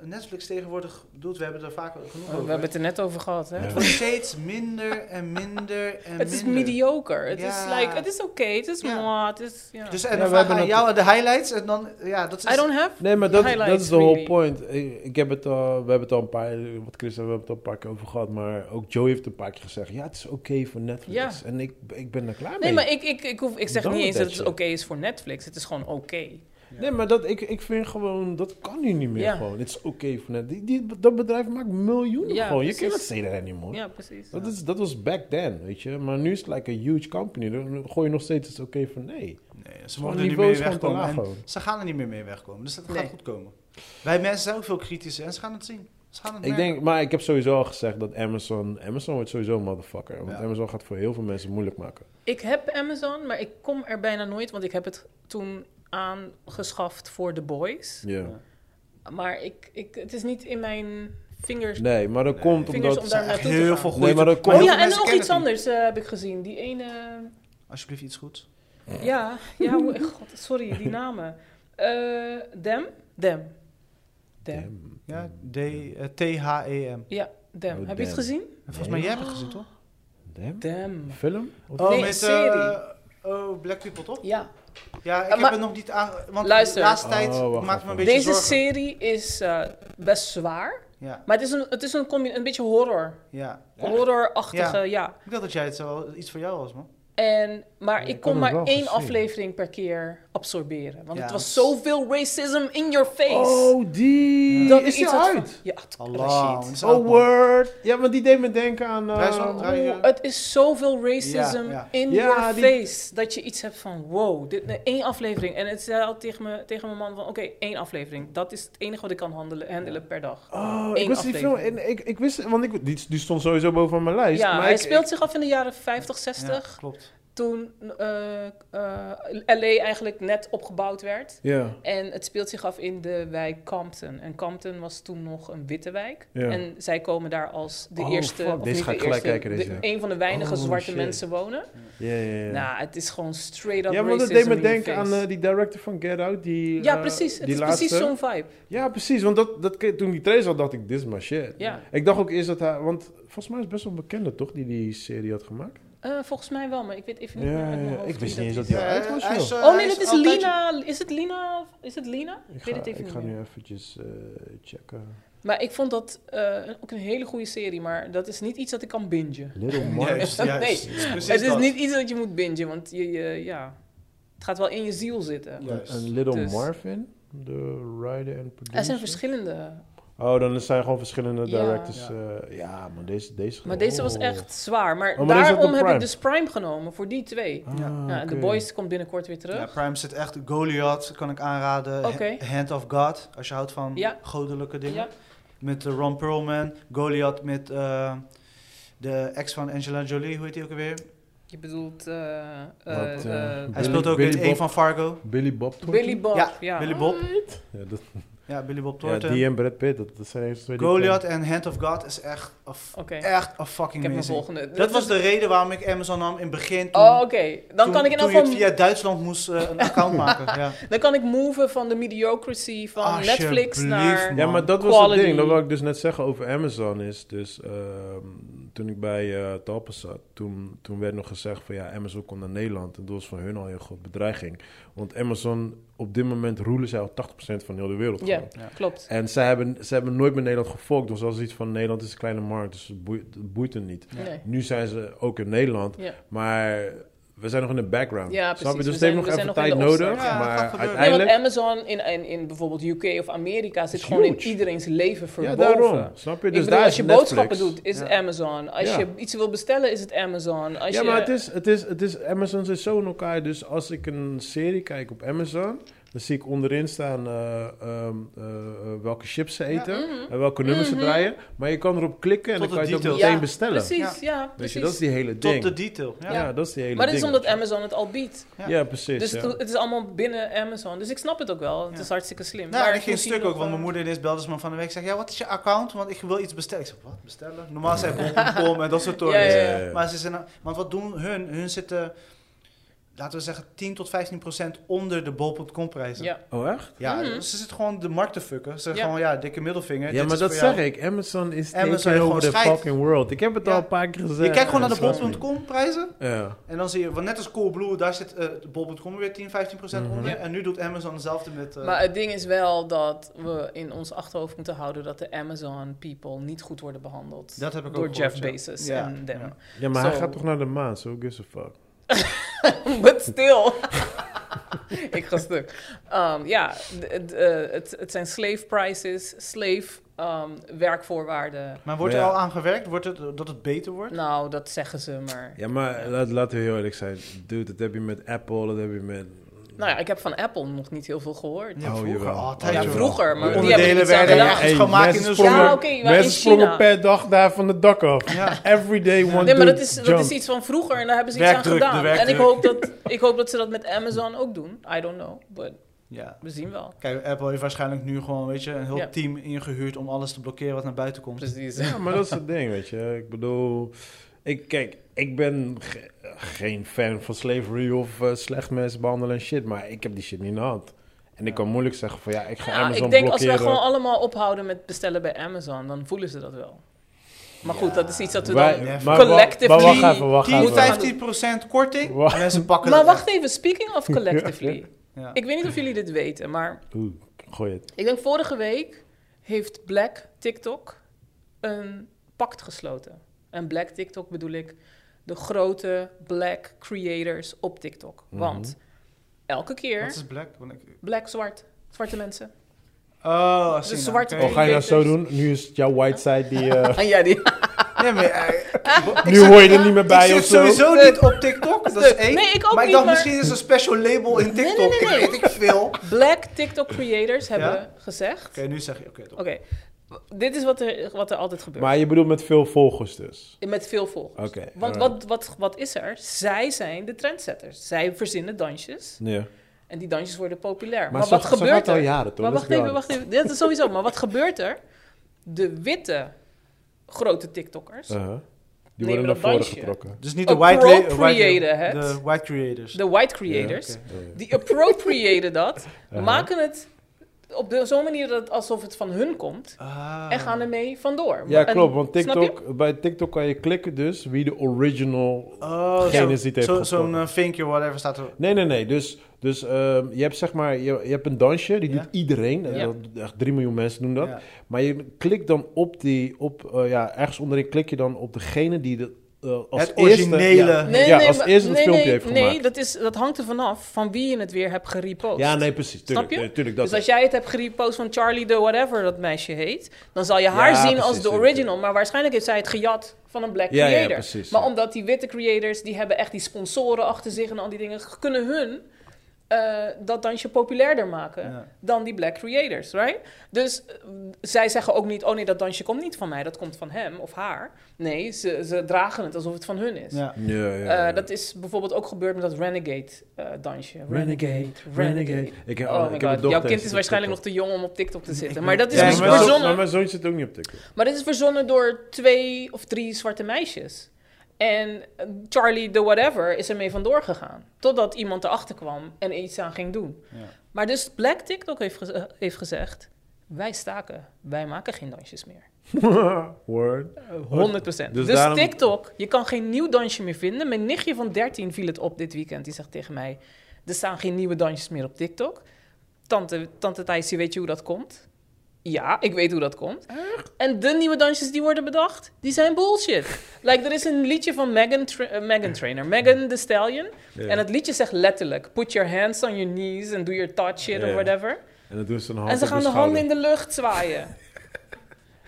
Speaker 4: Netflix tegenwoordig doet, we hebben er vaak genoeg
Speaker 1: Oh, We
Speaker 4: over.
Speaker 1: hebben het er net over gehad, hè?
Speaker 3: Ja.
Speaker 4: Het wordt steeds minder en minder en
Speaker 1: Het is
Speaker 4: minder.
Speaker 1: mediocre. Het is
Speaker 4: Ja.
Speaker 1: like, het is oké, het is
Speaker 4: Ja.
Speaker 1: mooi, het is... ja.
Speaker 4: Dus
Speaker 3: Ja,
Speaker 4: en
Speaker 3: we
Speaker 4: dan vragen
Speaker 3: hebben
Speaker 4: aan
Speaker 3: het-
Speaker 4: jou de highlights en dan... Ja, dat is...
Speaker 1: I don't have...
Speaker 3: Nee, maar dat, dat
Speaker 1: Highlights,
Speaker 3: is de whole
Speaker 1: really.
Speaker 3: point. Ik, ik heb het al, we hebben het al een paar, wat Chris, we hebben het al een paar keer over gehad, maar ook Joey heeft een paar keer gezegd, ja, het is oké voor Netflix.
Speaker 1: Ja.
Speaker 3: En ik, ik ben er klaar mee.
Speaker 1: Nee, maar ik, ik, ik, hoef, ik zeg
Speaker 3: Don't
Speaker 1: niet eens
Speaker 3: that
Speaker 1: dat het
Speaker 3: shit.
Speaker 1: oké is voor Netflix. Het is gewoon oké.
Speaker 3: Nee, maar dat, ik, ik vind gewoon, dat kan nu niet meer
Speaker 1: Ja.
Speaker 3: gewoon. Het is oké voor Netflix. Die, die- dat bedrijf maakt miljoenen
Speaker 1: Ja,
Speaker 3: gewoon. Je
Speaker 1: precies.
Speaker 3: kan dat say that anymore.
Speaker 1: Ja, precies.
Speaker 3: Dat, is, dat was back then, weet je. Maar nu is het like a huge company. Dan gooi je nog steeds het is oké voor nee.
Speaker 4: Nee, ze
Speaker 3: Gewoon
Speaker 4: mogen er niet
Speaker 3: niveau
Speaker 4: meer
Speaker 3: is gewoon te
Speaker 4: wegkomen.
Speaker 3: laag
Speaker 4: en
Speaker 3: gewoon.
Speaker 4: Ze gaan er niet meer mee wegkomen, dus dat gaat
Speaker 1: Nee.
Speaker 4: goed komen. Wij mensen zijn ook veel kritischer en ze gaan het zien. Ze gaan het
Speaker 3: Ik
Speaker 4: merken.
Speaker 3: denk, maar ik heb sowieso al gezegd dat Amazon... Amazon wordt sowieso een motherfucker. Want
Speaker 4: Ja.
Speaker 3: Amazon gaat voor heel veel mensen moeilijk maken.
Speaker 1: Ik heb Amazon, maar ik kom er bijna nooit, want ik heb het toen aangeschaft voor The Boys.
Speaker 3: Ja.
Speaker 4: Ja.
Speaker 1: Maar ik, ik, het is niet in mijn vingers.
Speaker 3: Nee, maar dat
Speaker 4: Nee.
Speaker 3: komt
Speaker 1: Vingers
Speaker 3: omdat...
Speaker 1: om daar naartoe te
Speaker 4: heel
Speaker 1: gaan.
Speaker 4: veel goede
Speaker 3: Nee, maar dat
Speaker 1: Oh
Speaker 3: komt-
Speaker 4: heel
Speaker 1: ja,
Speaker 4: veel
Speaker 1: en
Speaker 4: mensen
Speaker 1: nog
Speaker 4: kennen
Speaker 1: iets
Speaker 4: het niet.
Speaker 1: anders eh, heb ik gezien. Die ene.
Speaker 4: Alsjeblieft iets goeds.
Speaker 1: Ja, ja, hoe- god, sorry, die namen. Eh, Dem? Dem. Dem.
Speaker 3: Damn.
Speaker 4: Ja,
Speaker 1: Mm,
Speaker 4: D, eh, T-H-E-M.
Speaker 1: Ja, Dem.
Speaker 3: Oh,
Speaker 1: heb je het
Speaker 3: Dem.
Speaker 1: gezien?
Speaker 4: Volgens mij, jij hebt het gezien, toch?
Speaker 3: Damn.
Speaker 1: Dem.
Speaker 3: Film? Of-
Speaker 1: Oh, Nee,
Speaker 4: met,
Speaker 1: een serie.
Speaker 4: eh, oh, Black People, toch?
Speaker 1: Ja,
Speaker 4: Ja, ik
Speaker 1: Eh,
Speaker 4: heb
Speaker 1: maar-
Speaker 4: het nog niet aan... Want
Speaker 1: Luister.
Speaker 4: de laatste tijd
Speaker 3: Oh, wacht
Speaker 4: maakt me
Speaker 3: even.
Speaker 4: een beetje
Speaker 1: deze
Speaker 4: zorgen.
Speaker 1: serie is eh, best zwaar.
Speaker 4: Ja,
Speaker 1: Maar het is een, het is een, combi- een beetje horror.
Speaker 4: ja.
Speaker 1: Horrorachtige,
Speaker 4: Ja.
Speaker 1: ja.
Speaker 4: Ik dacht dat jij het zo, iets voor jou was, man.
Speaker 1: En, maar
Speaker 3: Ja, ik
Speaker 1: ik
Speaker 3: had
Speaker 1: kon
Speaker 3: hem wel
Speaker 1: maar één
Speaker 3: gezien.
Speaker 1: aflevering per keer absorberen. Want
Speaker 4: Ja.
Speaker 1: het was zoveel racism in your face.
Speaker 3: Oh, die...
Speaker 1: Dat
Speaker 3: is
Speaker 1: ik
Speaker 3: die
Speaker 1: iets had van-
Speaker 3: uit?
Speaker 1: Ja, het-
Speaker 4: Allah,
Speaker 1: shit.
Speaker 4: het is oud,
Speaker 3: Oh,
Speaker 4: man.
Speaker 3: word. Ja, want die deed me denken aan... eh,
Speaker 4: Draai eens om, draai je-
Speaker 1: Oeh, Het is zoveel racism
Speaker 4: Ja, ja.
Speaker 1: in
Speaker 3: Ja,
Speaker 1: your
Speaker 3: die-
Speaker 1: face. Dat je iets hebt van wow, dit nee, één aflevering. En het zei al tegen, me, tegen mijn man van oké, één aflevering. Dat is het enige wat ik kan handelen, handelen per dag.
Speaker 3: Oh, ik
Speaker 1: Eén
Speaker 3: wist die film.
Speaker 1: aflevering.
Speaker 3: En ik, ik wist, want ik, die, die stond sowieso boven mijn lijst.
Speaker 1: Ja,
Speaker 3: maar
Speaker 1: hij
Speaker 3: ik,
Speaker 1: speelt zich af in de jaren 50, 60.
Speaker 4: Ja, klopt.
Speaker 1: toen eh, eh, LA eigenlijk net opgebouwd werd.
Speaker 3: Ja,
Speaker 1: En het speelt zich af in de wijk Compton. En Compton was toen nog een witte wijk.
Speaker 3: Ja.
Speaker 1: En zij komen daar als de
Speaker 3: Oh,
Speaker 1: eerste,
Speaker 3: fuck.
Speaker 1: of
Speaker 3: Deze
Speaker 1: niet
Speaker 3: ga
Speaker 1: de
Speaker 3: ik gelijk
Speaker 1: eerste,
Speaker 3: kijken, deze.
Speaker 1: de- een van de weinige
Speaker 3: Oh,
Speaker 1: zwarte
Speaker 3: shit.
Speaker 1: mensen wonen.
Speaker 3: ja, ja. ja.
Speaker 1: Nou, het is gewoon straight up
Speaker 3: ja, want dat
Speaker 1: racism
Speaker 3: deed me
Speaker 1: in je
Speaker 3: denken aan
Speaker 1: face.
Speaker 3: eh, die director van Get Out. Die,
Speaker 1: ja,
Speaker 3: eh,
Speaker 1: precies. Het
Speaker 3: die
Speaker 1: is
Speaker 3: laatste.
Speaker 1: precies zo'n vibe.
Speaker 3: Ja, precies. Want dat, dat, toen die trailer zat, dacht ik, dit is my shit.
Speaker 1: Ja.
Speaker 3: Ik dacht ook eerst dat hij... Want volgens mij is het best wel een bekende, toch? Die die serie had gemaakt.
Speaker 1: Eh, volgens mij wel, maar ik weet even niet
Speaker 3: Ja,
Speaker 1: meer uit mijn
Speaker 3: ja,
Speaker 1: hoofd
Speaker 3: ik wist
Speaker 1: wie
Speaker 3: niet
Speaker 1: dat
Speaker 3: eens dat
Speaker 1: is.
Speaker 3: Ja, hij is wel chill.
Speaker 4: eh,
Speaker 1: Oh nee,
Speaker 4: hij
Speaker 1: dat is
Speaker 4: altijd-
Speaker 1: Lina. Is het Lina? Is het Lina?
Speaker 3: Ik
Speaker 1: Ik
Speaker 3: ga,
Speaker 1: weet het even
Speaker 3: ik
Speaker 1: niet
Speaker 3: ga
Speaker 1: meer.
Speaker 3: nu eventjes eh, checken.
Speaker 1: Maar ik vond dat eh, ook een hele goede serie, maar dat is niet iets dat ik kan bingen.
Speaker 3: Little
Speaker 4: Juist,
Speaker 3: Mars.
Speaker 4: juist.
Speaker 1: Nee,
Speaker 4: Het is precies
Speaker 1: het is
Speaker 4: dat.
Speaker 1: niet iets dat je moet bingen, want je, je- ja, het gaat wel in je ziel zitten.
Speaker 4: Ja.
Speaker 3: Een-
Speaker 4: Juist.
Speaker 3: Een Little
Speaker 1: Dus-
Speaker 3: Marvin. De writer en producer.
Speaker 1: Er zijn verschillende,
Speaker 3: Oh, dan zijn gewoon verschillende
Speaker 1: Ja.
Speaker 3: directors. eh, Ja, maar deze... deze
Speaker 1: maar deze was
Speaker 3: oh.
Speaker 1: echt zwaar. Maar,
Speaker 3: Oh, maar deze had
Speaker 1: daarom
Speaker 3: een
Speaker 1: heb ik
Speaker 3: Prime.
Speaker 1: dus Prime genomen voor die twee.
Speaker 3: Ah,
Speaker 4: Ja.
Speaker 1: Ja, en The
Speaker 3: oké.
Speaker 1: Boys komt binnenkort weer
Speaker 4: Ja,
Speaker 1: terug.
Speaker 4: Prime zit echt. Goliath kan ik aanraden.
Speaker 1: Oké.
Speaker 4: Ha- Hand of God, als je houdt van
Speaker 1: Ja.
Speaker 4: goddelijke dingen.
Speaker 1: Ja,
Speaker 4: Met eh, Ron Perlman. Goliath met eh, de ex van Angela Jolie, hoe heet die ook alweer?
Speaker 1: je bedoelt eh, eh,
Speaker 3: Wat, eh,
Speaker 1: eh,
Speaker 4: Hij
Speaker 3: Billy-
Speaker 4: speelt ook
Speaker 3: Billy
Speaker 4: in een
Speaker 3: Bob.
Speaker 4: van Fargo.
Speaker 3: Billy Bob Thornton.
Speaker 1: Billy Bob.
Speaker 4: Ja,
Speaker 1: ja. Mm.
Speaker 4: Billy Bob.
Speaker 3: Ja, dat,
Speaker 4: Ja, Billy Bob
Speaker 3: ja,
Speaker 4: Thornton.
Speaker 3: die en Brad Pitt. Dat, dat zijn even twee die ik
Speaker 4: Goliath en Hand of God is echt a, f-
Speaker 1: Oké,
Speaker 4: echt a
Speaker 1: ik
Speaker 4: fucking
Speaker 1: heb mijn
Speaker 4: amazing.
Speaker 1: volgende.
Speaker 4: Dat was de reden waarom ik Amazon nam in het begin. Toen,
Speaker 1: Oh, oké. Dan
Speaker 4: toen-
Speaker 1: kan ik in
Speaker 4: toen
Speaker 1: elk
Speaker 4: je het
Speaker 1: geval
Speaker 4: via Duitsland moest eh, een account maken. Ja.
Speaker 1: Dan kan ik moven van de mediocrity van
Speaker 4: Alsjeblieft,
Speaker 1: Netflix naar...
Speaker 4: man.
Speaker 3: Ja, maar dat was het
Speaker 1: Quality.
Speaker 3: ding. Dat wil ik dus net zeggen over Amazon is. Dus ehm, toen ik bij eh Talpa zat, toen, toen werd nog gezegd van ja, Amazon komt naar Nederland. En dat was van hun al een grote bedreiging. Want Amazon, op dit moment roelen zij al 80% van heel de wereld.
Speaker 1: Ja,
Speaker 3: gewoon.
Speaker 1: klopt.
Speaker 3: En zij hebben, zij hebben nooit met Nederland gevolgd. Dus als iets van Nederland is een kleine markt, dus het boeit, het boeit hen niet.
Speaker 1: Nee.
Speaker 3: Nu zijn ze ook in Nederland,
Speaker 1: Ja.
Speaker 3: maar we zijn nog in de background.
Speaker 1: Ja,
Speaker 3: Snap je?
Speaker 1: precies. We
Speaker 3: Dus het
Speaker 1: zijn-
Speaker 3: heeft nog
Speaker 1: we zijn
Speaker 3: even
Speaker 1: nog in
Speaker 3: tijd
Speaker 1: de opstart.
Speaker 3: nodig.
Speaker 4: Ja, dat gaat
Speaker 3: maar
Speaker 4: gebeuren.
Speaker 1: Nee, want
Speaker 3: uiteindelijk...
Speaker 1: Amazon in, in, in bijvoorbeeld UK of Amerika zit
Speaker 3: Is
Speaker 1: gewoon in
Speaker 3: huge.
Speaker 1: iedereen's leven
Speaker 3: Ja,
Speaker 1: verboven.
Speaker 3: daarom. Snap je?
Speaker 1: Ik
Speaker 3: Dus
Speaker 1: bedoel,
Speaker 3: daar
Speaker 1: als
Speaker 3: is
Speaker 1: je
Speaker 3: Netflix.
Speaker 1: boodschappen doet, is
Speaker 4: Ja.
Speaker 1: Amazon. Als
Speaker 3: Ja.
Speaker 1: je iets wil bestellen, is het Amazon. Als
Speaker 3: ja,
Speaker 1: je,
Speaker 3: maar het is, het, is, het is, Amazon zit zo in elkaar. Dus als ik een serie kijk op Amazon, dan zie ik onderin staan eh, ehm, eh, eh, welke chips ze eten
Speaker 1: Mhm.
Speaker 3: en welke nummers ze draaien. Maar je kan erop klikken en
Speaker 4: Tot
Speaker 3: dan kan
Speaker 4: de
Speaker 3: je het ook
Speaker 4: details.
Speaker 3: meteen
Speaker 1: Ja,
Speaker 3: bestellen.
Speaker 1: Precies, ja,
Speaker 3: Weet
Speaker 1: precies.
Speaker 3: je, dat is die hele
Speaker 4: Tot
Speaker 3: ding.
Speaker 4: de detail. Ja.
Speaker 3: ja. dat is die hele
Speaker 1: maar dat
Speaker 3: ding.
Speaker 1: is omdat Amazon het al biedt.
Speaker 3: Ja,
Speaker 4: Ja.
Speaker 3: precies.
Speaker 1: Dus
Speaker 3: ja.
Speaker 1: het, het is allemaal binnen Amazon. Dus ik snap het ook wel. Het
Speaker 4: Ja.
Speaker 1: is hartstikke slim.
Speaker 4: Nou, en ik
Speaker 1: toen
Speaker 4: ging een
Speaker 1: zie
Speaker 4: stuk
Speaker 1: je
Speaker 4: ook,
Speaker 1: nog,
Speaker 4: want mijn
Speaker 1: eh,
Speaker 4: moeder ineens belde ze me van de week. Zeg, ja, wat is je account? Want ik wil iets bestellen. Ik zeg, wat bestellen? Normaal zijn bol.com en dat soort
Speaker 1: Ja,
Speaker 4: toren.
Speaker 1: ja, ja.
Speaker 3: Ja.
Speaker 4: Maar ze zijn, nou- want wat doen hun? Hun zitten, laten we zeggen, 10 tot 15 procent onder de bol.com prijzen.
Speaker 1: Ja.
Speaker 3: Oh, echt?
Speaker 4: Ja,
Speaker 1: Mhm.
Speaker 4: ze zitten gewoon de markt te fucken. Ze zeggen
Speaker 1: Ja.
Speaker 4: gewoon, ja, dikke middelvinger.
Speaker 3: Ja,
Speaker 4: dit
Speaker 3: maar
Speaker 4: is
Speaker 3: dat
Speaker 4: voor
Speaker 3: zeg
Speaker 4: jou.
Speaker 3: ik. Amazon is
Speaker 4: Amazon
Speaker 3: taking
Speaker 4: heeft
Speaker 3: over
Speaker 4: gewoon
Speaker 3: the
Speaker 4: scheid.
Speaker 3: fucking world. Ik heb het
Speaker 4: Ja.
Speaker 3: al een paar keer gezegd.
Speaker 4: Je kijkt gewoon naar de
Speaker 3: Snap je?
Speaker 4: bol.com prijzen.
Speaker 3: Ja.
Speaker 4: En dan zie je, van net als Coolblue, daar zit eh, de bol.com weer 10, 15 procent
Speaker 3: Mhm.
Speaker 4: onder.
Speaker 1: Ja.
Speaker 4: En nu doet Amazon hetzelfde met... eh,
Speaker 1: Maar het ding is wel dat we in ons achterhoofd moeten houden dat de Amazon people niet goed worden behandeld.
Speaker 4: dat heb ik
Speaker 1: door
Speaker 4: ook
Speaker 1: Jeff
Speaker 4: gehoord, ja.
Speaker 1: Bezos
Speaker 4: Ja,
Speaker 1: en them.
Speaker 4: ja.
Speaker 3: ja, maar hij
Speaker 1: Zo.
Speaker 3: gaat toch naar de maan, so who gives a fuck.
Speaker 1: But still. ik ga stuk. Um, ja, d- d- eh, het, het zijn slave prices, slave um, werkvoorwaarden.
Speaker 4: Maar wordt
Speaker 3: Maar
Speaker 4: er
Speaker 3: ja.
Speaker 4: al aan gewerkt? Wordt het, eh, dat het beter wordt?
Speaker 1: Nou, dat zeggen ze, maar...
Speaker 3: Ja, maar
Speaker 4: eh,
Speaker 3: laat, laten we heel eerlijk zijn. Dude, dat heb je met Apple, dat heb je met... Oh,
Speaker 1: Nou ja, ik heb van Apple nog niet heel veel gehoord.
Speaker 4: Ja, vroeger
Speaker 3: jawel.
Speaker 4: altijd,
Speaker 1: Ja,
Speaker 4: joh.
Speaker 1: vroeger, maar
Speaker 4: De
Speaker 1: die hebben
Speaker 4: onderdelen
Speaker 1: niets aan
Speaker 4: werden
Speaker 1: gedaan.
Speaker 4: echt gemaakt in de
Speaker 1: sprongen-
Speaker 4: zon.
Speaker 1: Ja, oké, maar in
Speaker 3: mensen sprongen
Speaker 1: China.
Speaker 3: per dag daar van de dak af.
Speaker 4: Ja.
Speaker 3: Every day one
Speaker 1: Nee, maar dat
Speaker 3: dude
Speaker 1: is, dat
Speaker 3: jumped.
Speaker 1: is iets van vroeger en daar hebben ze
Speaker 4: Werkdruk,
Speaker 1: iets
Speaker 4: de
Speaker 1: aan gedaan. En
Speaker 4: werkdruk.
Speaker 1: ik hoop, dat, ik hoop dat ze dat met Amazon ook doen. I don't know, but
Speaker 4: ja.
Speaker 1: we zien wel.
Speaker 4: Kijk, Apple heeft waarschijnlijk nu gewoon, weet je, een heel
Speaker 1: Ja.
Speaker 4: team ingehuurd om alles te blokkeren wat naar buiten komt.
Speaker 1: Precies.
Speaker 3: Ja, maar dat is het ding, weet je. Ik bedoel... Ik, kijk, ik ben ge- geen fan van slavery of eh, slecht mensen behandelen en shit. Maar ik heb die shit niet in de hand. En ik kan moeilijk zeggen van ja, ik ga
Speaker 1: Ja,
Speaker 3: Amazon
Speaker 1: ik denk als
Speaker 3: blokkeren.
Speaker 1: wij gewoon allemaal ophouden met bestellen bij Amazon, dan voelen ze dat wel. Maar goed, dat is iets dat we
Speaker 3: Wij-
Speaker 1: dan...
Speaker 3: maar wa-
Speaker 1: collectively-
Speaker 3: Maar wacht even, wacht
Speaker 4: 10,
Speaker 1: Moet
Speaker 3: even.
Speaker 1: wij-
Speaker 4: 15 procent korting.
Speaker 3: Wacht.
Speaker 4: Mensen pakken
Speaker 1: Maar
Speaker 4: het
Speaker 1: wacht even, speaking of collectively.
Speaker 4: echt. Ja.
Speaker 1: Ik weet niet of jullie dit weten, maar
Speaker 3: Oeh, gooi het.
Speaker 1: ik denk vorige week heeft Black TikTok een pact gesloten. En Black TikTok bedoel ik de grote black creators op TikTok.
Speaker 3: Mhm.
Speaker 1: Want elke
Speaker 4: Wat
Speaker 1: keer
Speaker 4: is black? Want ik-
Speaker 1: black, zwart, zwarte mensen.
Speaker 4: Oh,
Speaker 1: De
Speaker 4: Sina,
Speaker 1: zwarte
Speaker 4: oké.
Speaker 3: Oh, ga je dat zo doen? Nu is het jouw white side die... eh,
Speaker 1: En ja, die...
Speaker 4: Nee, maar, eh, ik
Speaker 3: nu
Speaker 4: zit-
Speaker 3: hoor je er niet meer
Speaker 4: Ik
Speaker 3: bij
Speaker 4: zit
Speaker 3: of zo.
Speaker 4: sowieso niet op TikTok, dat is één.
Speaker 1: Nee, ik ook
Speaker 4: maar ik
Speaker 1: niet,
Speaker 4: dacht,
Speaker 1: maar-
Speaker 4: misschien is er een special label in
Speaker 1: nee,
Speaker 4: TikTok.
Speaker 1: nee.
Speaker 4: Ik weet ik veel. Oké,
Speaker 1: Black TikTok creators hebben gezegd
Speaker 4: nu zeg je, oké. toch.
Speaker 1: Oké, Dit is wat er, wat er altijd gebeurt.
Speaker 3: Maar je bedoelt met veel volgers dus.
Speaker 1: Met veel volgers.
Speaker 3: Oké,
Speaker 4: eh.
Speaker 1: Want
Speaker 3: alright.
Speaker 1: wat, wat, wat is er? Zij zijn de trendsetters. Zij verzinnen dansjes.
Speaker 3: Ja.
Speaker 1: En die dansjes worden populair. Maar,
Speaker 3: Maar,
Speaker 1: wat
Speaker 3: ze, ze
Speaker 1: gebeurt
Speaker 3: gaat al
Speaker 1: er?
Speaker 3: jaren toch?
Speaker 1: maar
Speaker 3: Dat
Speaker 1: wacht
Speaker 3: is
Speaker 1: even,
Speaker 3: wel-
Speaker 1: wacht even. Dat is sowieso. Maar wat gebeurt er? De witte grote TikTokkers,
Speaker 3: Uh-huh. Die
Speaker 1: Neem
Speaker 3: worden naar
Speaker 1: dat
Speaker 3: voren
Speaker 1: dansje.
Speaker 3: getrokken.
Speaker 4: Dus niet de white, la- white-
Speaker 1: Appropriëren het.
Speaker 4: De white creators.
Speaker 1: de white creators,
Speaker 4: Ja,
Speaker 3: Uh-huh.
Speaker 1: die appropriëren dat,
Speaker 3: Ja.
Speaker 1: maken het op de- zo'n manier dat het alsof het van hun komt
Speaker 4: Ah.
Speaker 1: en gaan ermee vandoor.
Speaker 3: Ja,
Speaker 1: En-
Speaker 3: klopt. Want
Speaker 1: snap je?
Speaker 3: TikTok, bij TikTok kan je klikken dus wie de original...
Speaker 4: Oh,
Speaker 3: Degene
Speaker 4: zo-
Speaker 3: die het heeft
Speaker 4: zo-
Speaker 3: gestopt.
Speaker 4: Zo'n eh, vinkje, whatever, staat er.
Speaker 3: Nee, nee, nee. Dus, dus ehm, je hebt zeg maar... Je, je hebt een dansje, die
Speaker 4: Ja.
Speaker 3: doet iedereen.
Speaker 1: Ja.
Speaker 3: Dat- Echt 3 miljoen mensen doen dat.
Speaker 4: Ja.
Speaker 3: Maar je klikt dan op die... Op, eh, ja, ergens onderin klik je dan op degene die de, eh, als
Speaker 4: Het
Speaker 3: eerste...
Speaker 4: originele.
Speaker 3: ja, eh, ja, als
Speaker 1: maar-
Speaker 3: eerste dat
Speaker 1: nee,
Speaker 3: filmpje
Speaker 1: nee,
Speaker 3: heeft
Speaker 1: Nee,
Speaker 3: gemaakt.
Speaker 1: dat, is, dat hangt er vanaf van wie je het weer hebt gerepost.
Speaker 3: Ja, nee, precies. Tuurlijk,
Speaker 1: Oh, je?
Speaker 3: Nee, tuurlijk, dat
Speaker 1: dus als
Speaker 3: is-
Speaker 1: jij het hebt gerepost van Charlie de whatever dat meisje heet, dan zal je haar
Speaker 3: Ja,
Speaker 1: zien
Speaker 3: precies,
Speaker 1: als de
Speaker 3: tuurlijk,
Speaker 1: original. Maar waarschijnlijk heeft zij het gejat van een black
Speaker 3: Ja, ja,
Speaker 1: creator.
Speaker 3: precies,
Speaker 1: maar
Speaker 3: ja.
Speaker 1: omdat die witte creators, die hebben echt die sponsoren achter zich en al die dingen, kunnen hun eh, dat dansje populairder maken
Speaker 4: Ja.
Speaker 1: dan die black creators, right? Dus eh, zij zeggen ook niet, oh nee, dat dansje komt niet van mij, dat komt van hem of haar. Nee, ze, ze dragen het alsof het van hun is.
Speaker 4: Ja.
Speaker 3: Ja, ja,
Speaker 1: Eh,
Speaker 3: ja.
Speaker 1: dat is bijvoorbeeld ook gebeurd met dat Renegade-dansje.
Speaker 3: Ik, heb-
Speaker 1: Oh my
Speaker 3: ik heb een
Speaker 1: god,
Speaker 3: dochter,
Speaker 1: jouw
Speaker 3: die
Speaker 1: kind
Speaker 3: zit
Speaker 1: is
Speaker 3: op
Speaker 1: waarschijnlijk nog
Speaker 3: TikTok.
Speaker 1: te jong om op TikTok te zitten.
Speaker 4: weet
Speaker 1: maar dat is
Speaker 4: het.
Speaker 1: dus
Speaker 4: Ja, maar wel-
Speaker 1: verzonnen.
Speaker 3: maar mijn zoon zit ook niet op TikTok.
Speaker 1: Maar dit is verzonnen door twee of drie zwarte meisjes. En eh, Charlie the whatever is ermee vandoor gegaan. Totdat iemand erachter kwam en er iets aan ging doen.
Speaker 4: Ja.
Speaker 1: Maar dus Black TikTok heeft, gez- eh, heeft gezegd... wij staken, wij maken geen dansjes meer.
Speaker 3: Word.
Speaker 1: 100 Eh, procent.
Speaker 3: Dus
Speaker 1: Dus,
Speaker 3: daarom-
Speaker 1: TikTok, je kan geen nieuw dansje meer vinden. Mijn nichtje van 13 viel het op dit weekend. Die zegt tegen mij, er staan geen nieuwe dansjes meer op TikTok. Tante, tante Thijsie, weet je hoe dat komt? Ja, ik weet hoe dat komt. En de nieuwe dansjes die worden bedacht, die zijn bullshit. like, er is een liedje van Megan, Tra- eh, Megan Trainer, Megan The Stallion.
Speaker 3: Ja.
Speaker 1: En het liedje zegt letterlijk, put your hands on your knees and do your touch shit
Speaker 3: Ja.
Speaker 1: of whatever.
Speaker 3: En dan doen ze een hand
Speaker 1: En ze
Speaker 3: op
Speaker 1: gaan
Speaker 3: hun
Speaker 1: de handen in
Speaker 3: schouder.
Speaker 1: de lucht zwaaien.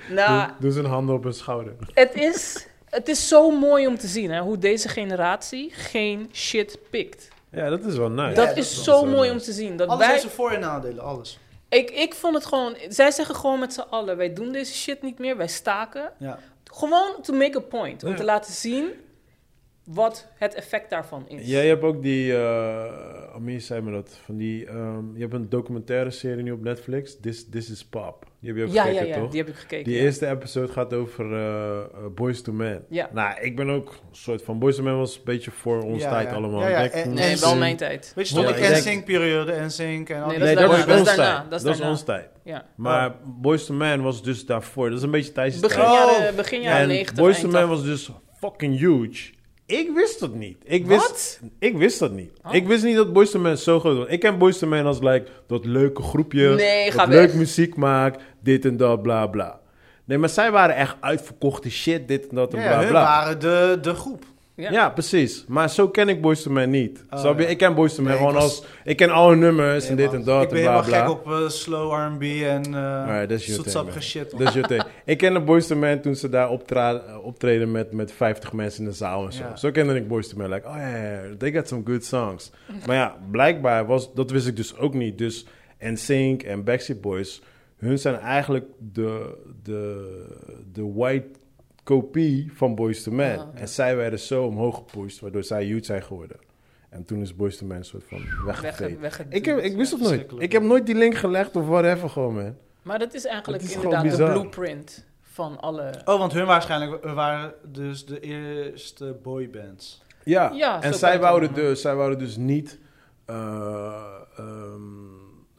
Speaker 1: nou,
Speaker 3: Doen, doen ze een handen op hun schouder.
Speaker 1: het is, het is zo mooi om te zien hè, hoe deze generatie geen shit pikt.
Speaker 3: Ja, dat is wel nice.
Speaker 1: dat
Speaker 4: dat
Speaker 1: is
Speaker 3: is
Speaker 1: zo
Speaker 3: wel
Speaker 1: mooi
Speaker 3: nice.
Speaker 1: om te zien. Dat
Speaker 4: Alles
Speaker 1: wij,
Speaker 4: heeft zijn voor- en nadelen, alles.
Speaker 1: ik, ik vond het gewoon. Zij zeggen gewoon met z'n allen: wij doen deze shit niet meer, wij staken.
Speaker 4: Ja.
Speaker 1: Gewoon to make a point. Om
Speaker 3: Ja.
Speaker 1: te laten zien wat het effect daarvan is.
Speaker 3: Jij hebt ook die, eh, Amir zei me dat, van die, ehm, je hebt een documentaire serie nu op Netflix, This, This is Pop. Die heb je ook
Speaker 1: ja, ja,
Speaker 3: gekeken,
Speaker 1: ja,
Speaker 3: toch?
Speaker 1: die heb ik gekeken.
Speaker 3: Die
Speaker 1: ja.
Speaker 3: eerste episode gaat over eh, eh, Boys to Men.
Speaker 1: Ja.
Speaker 3: Nou, ik ben ook een soort van, Boys to Men was een beetje voor ons
Speaker 4: Ja,
Speaker 3: tijd
Speaker 4: ja.
Speaker 3: allemaal.
Speaker 4: Ja, ja,
Speaker 3: Ik denk,
Speaker 4: en-
Speaker 1: Nee,
Speaker 3: mm,
Speaker 1: wel mijn tijd.
Speaker 4: Weet je,
Speaker 3: Ja,
Speaker 4: tot
Speaker 3: ik
Speaker 4: de
Speaker 3: denk-
Speaker 4: NSYNC-periode, NSYNC en al
Speaker 1: Nee,
Speaker 4: die-
Speaker 1: dat is
Speaker 3: Nee, dat
Speaker 1: daarna,
Speaker 3: was
Speaker 1: dat is
Speaker 3: ons
Speaker 1: daarna,
Speaker 3: tijd.
Speaker 1: dat is
Speaker 3: Dat is
Speaker 1: daarna.
Speaker 3: ons tijd.
Speaker 1: Ja.
Speaker 3: Maar Boys to Man was dus daarvoor. Dat is een beetje tijdens
Speaker 1: Begin
Speaker 4: Oh.
Speaker 1: jaren, begin jaren
Speaker 3: En
Speaker 1: 90.
Speaker 3: Boys to
Speaker 1: eind
Speaker 3: Man
Speaker 1: 80.
Speaker 3: was dus fucking huge. Ik wist dat niet. Ik wist,
Speaker 1: Wat?
Speaker 3: Ik wist dat niet.
Speaker 1: Oh.
Speaker 3: Ik wist niet dat Boys to Man zo groot was. Ik ken Boys to Man als like, dat leuke groepje.
Speaker 1: Nee,
Speaker 3: dat
Speaker 1: ga
Speaker 3: leuk
Speaker 1: weg.
Speaker 3: muziek maakt. Dit en dat, bla bla. Nee, maar zij waren echt uitverkochte shit. Dit en dat en
Speaker 4: Ja,
Speaker 3: bla
Speaker 4: hun
Speaker 3: bla.
Speaker 4: waren de, de groep.
Speaker 1: Ja.
Speaker 3: Ja. precies. Maar zo ken ik Boys to Man niet.
Speaker 4: Oh,
Speaker 3: Snap je?
Speaker 4: ja.
Speaker 3: Ik ken Boys to Man
Speaker 4: Nee, ik
Speaker 3: gewoon
Speaker 4: was-
Speaker 3: als... Ik ken alle nummers en dit en dat
Speaker 4: ik ben
Speaker 3: en bla
Speaker 4: helemaal
Speaker 3: bla.
Speaker 4: gek op eh, slow R&B en
Speaker 3: Alright,
Speaker 4: eh
Speaker 3: dat is your thing,
Speaker 4: zoetsappige
Speaker 3: man.
Speaker 4: shit. man.
Speaker 3: Dat is je thing. Ik kende Boys to Man toen ze daar optra- optreden met, met 50 mensen in de zaal en zo.
Speaker 4: Ja.
Speaker 3: Zo kende ik Boys to Man. Like, oh ja, ja, ja, they got some good songs. maar ja, blijkbaar was, dat wist ik dus ook niet. Dus NSYNC en Backstreet Boys, hun zijn eigenlijk de, de, de white kopie van Boys to Man.
Speaker 4: Uh-huh.
Speaker 1: Ja.
Speaker 3: En zij werden zo omhoog gepusht, waardoor zij huge zijn geworden. En toen is Boys to Man een soort van
Speaker 1: Wegge-
Speaker 3: weggeveegd.
Speaker 1: weggeduwd.
Speaker 3: Ik, heb, ik wist
Speaker 4: Ja,
Speaker 3: het nooit.
Speaker 4: verschrikkelijk.
Speaker 3: Ik heb nooit die link gelegd of whatever gewoon, man.
Speaker 1: Maar dat is eigenlijk
Speaker 3: Dat is gewoon
Speaker 1: inderdaad de
Speaker 3: bizar.
Speaker 1: blueprint van alle
Speaker 4: Oh, want hun waarschijnlijk waren dus de eerste boybands.
Speaker 3: Ja,
Speaker 1: Ja,
Speaker 3: en
Speaker 1: zo
Speaker 3: zij
Speaker 1: kan je
Speaker 3: wouden,
Speaker 1: het wel
Speaker 3: dus, zij wouden dus niet eh, ehm,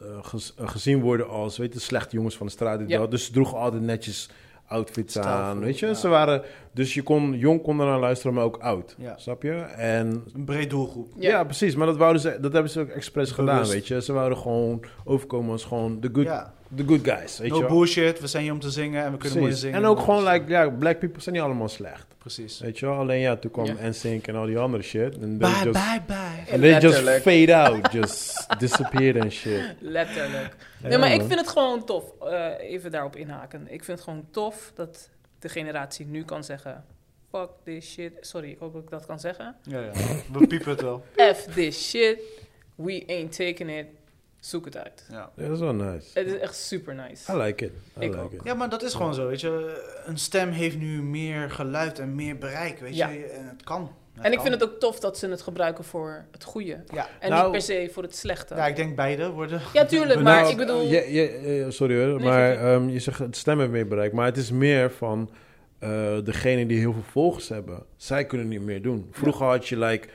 Speaker 3: eh, gez- eh, gezien worden als, weet je, slechte jongens van de straat. dit,
Speaker 1: Ja.
Speaker 3: dat. Dus ze droegen altijd netjes outfits aan,
Speaker 4: Stijlvol,
Speaker 3: weet je.
Speaker 4: ja.
Speaker 3: Ze waren, dus je kon, jong kon ernaar luisteren, maar ook oud,
Speaker 4: Ja.
Speaker 3: snap je? En
Speaker 4: Een breed doelgroep.
Speaker 1: Ja.
Speaker 3: ja. precies, maar dat, wouden ze, dat hebben ze ook expres gedaan,
Speaker 4: Bewust.
Speaker 3: weet je. Ze wouden gewoon overkomen als gewoon de good,
Speaker 4: Ja.
Speaker 3: the good guys, weet
Speaker 4: No
Speaker 3: je. wel.
Speaker 4: bullshit, we zijn hier om te zingen en we kunnen mooi
Speaker 3: Precies.
Speaker 4: zingen.
Speaker 3: En ook gewoon, like, ja, black people zijn niet allemaal slecht.
Speaker 4: Precies.
Speaker 3: Weet je wel, alleen ja, toen kwam
Speaker 1: Ja.
Speaker 3: NSYNC en al die andere shit. En they
Speaker 4: Bye,
Speaker 3: just-
Speaker 4: bye, bye.
Speaker 3: And they just
Speaker 1: Letterlijk.
Speaker 3: fade out, just disappeared and shit.
Speaker 1: Letterlijk.
Speaker 3: Ja,
Speaker 1: nee, maar ik
Speaker 3: man.
Speaker 1: vind het gewoon tof. eh, even daarop inhaken. Ik vind het gewoon tof dat de generatie nu kan zeggen... Fuck this shit. Sorry, ik hoop dat ik dat kan zeggen.
Speaker 4: Ja, ja. We piepen het wel.
Speaker 1: F this shit. We ain't taking it. Zoek het uit.
Speaker 4: Ja.
Speaker 3: Ja, dat is wel nice.
Speaker 1: Het is echt super nice.
Speaker 3: I like it. I
Speaker 1: Ik
Speaker 3: like
Speaker 1: ook.
Speaker 3: it.
Speaker 4: Ja, maar dat is gewoon zo, weet je. Een stem heeft nu meer geluid en meer bereik, weet
Speaker 1: Ja.
Speaker 4: je. En het kan.
Speaker 1: En ik vind het ook tof dat ze het gebruiken voor het goede.
Speaker 4: kan. Ja.
Speaker 1: En
Speaker 3: Nou-
Speaker 1: niet per se voor het slechte.
Speaker 4: ja, ik denk beide worden...
Speaker 1: Ja, tuurlijk,
Speaker 3: Nou,
Speaker 1: maar ik bedoel...
Speaker 3: je- je- eh, sorry hoor,
Speaker 1: Nee,
Speaker 3: maar
Speaker 1: zeg
Speaker 3: ehm, je zegt het stemmen meer bereik. Maar het is meer van eh degene die heel veel volgers hebben. Zij kunnen niet meer doen. Vroeger had je like,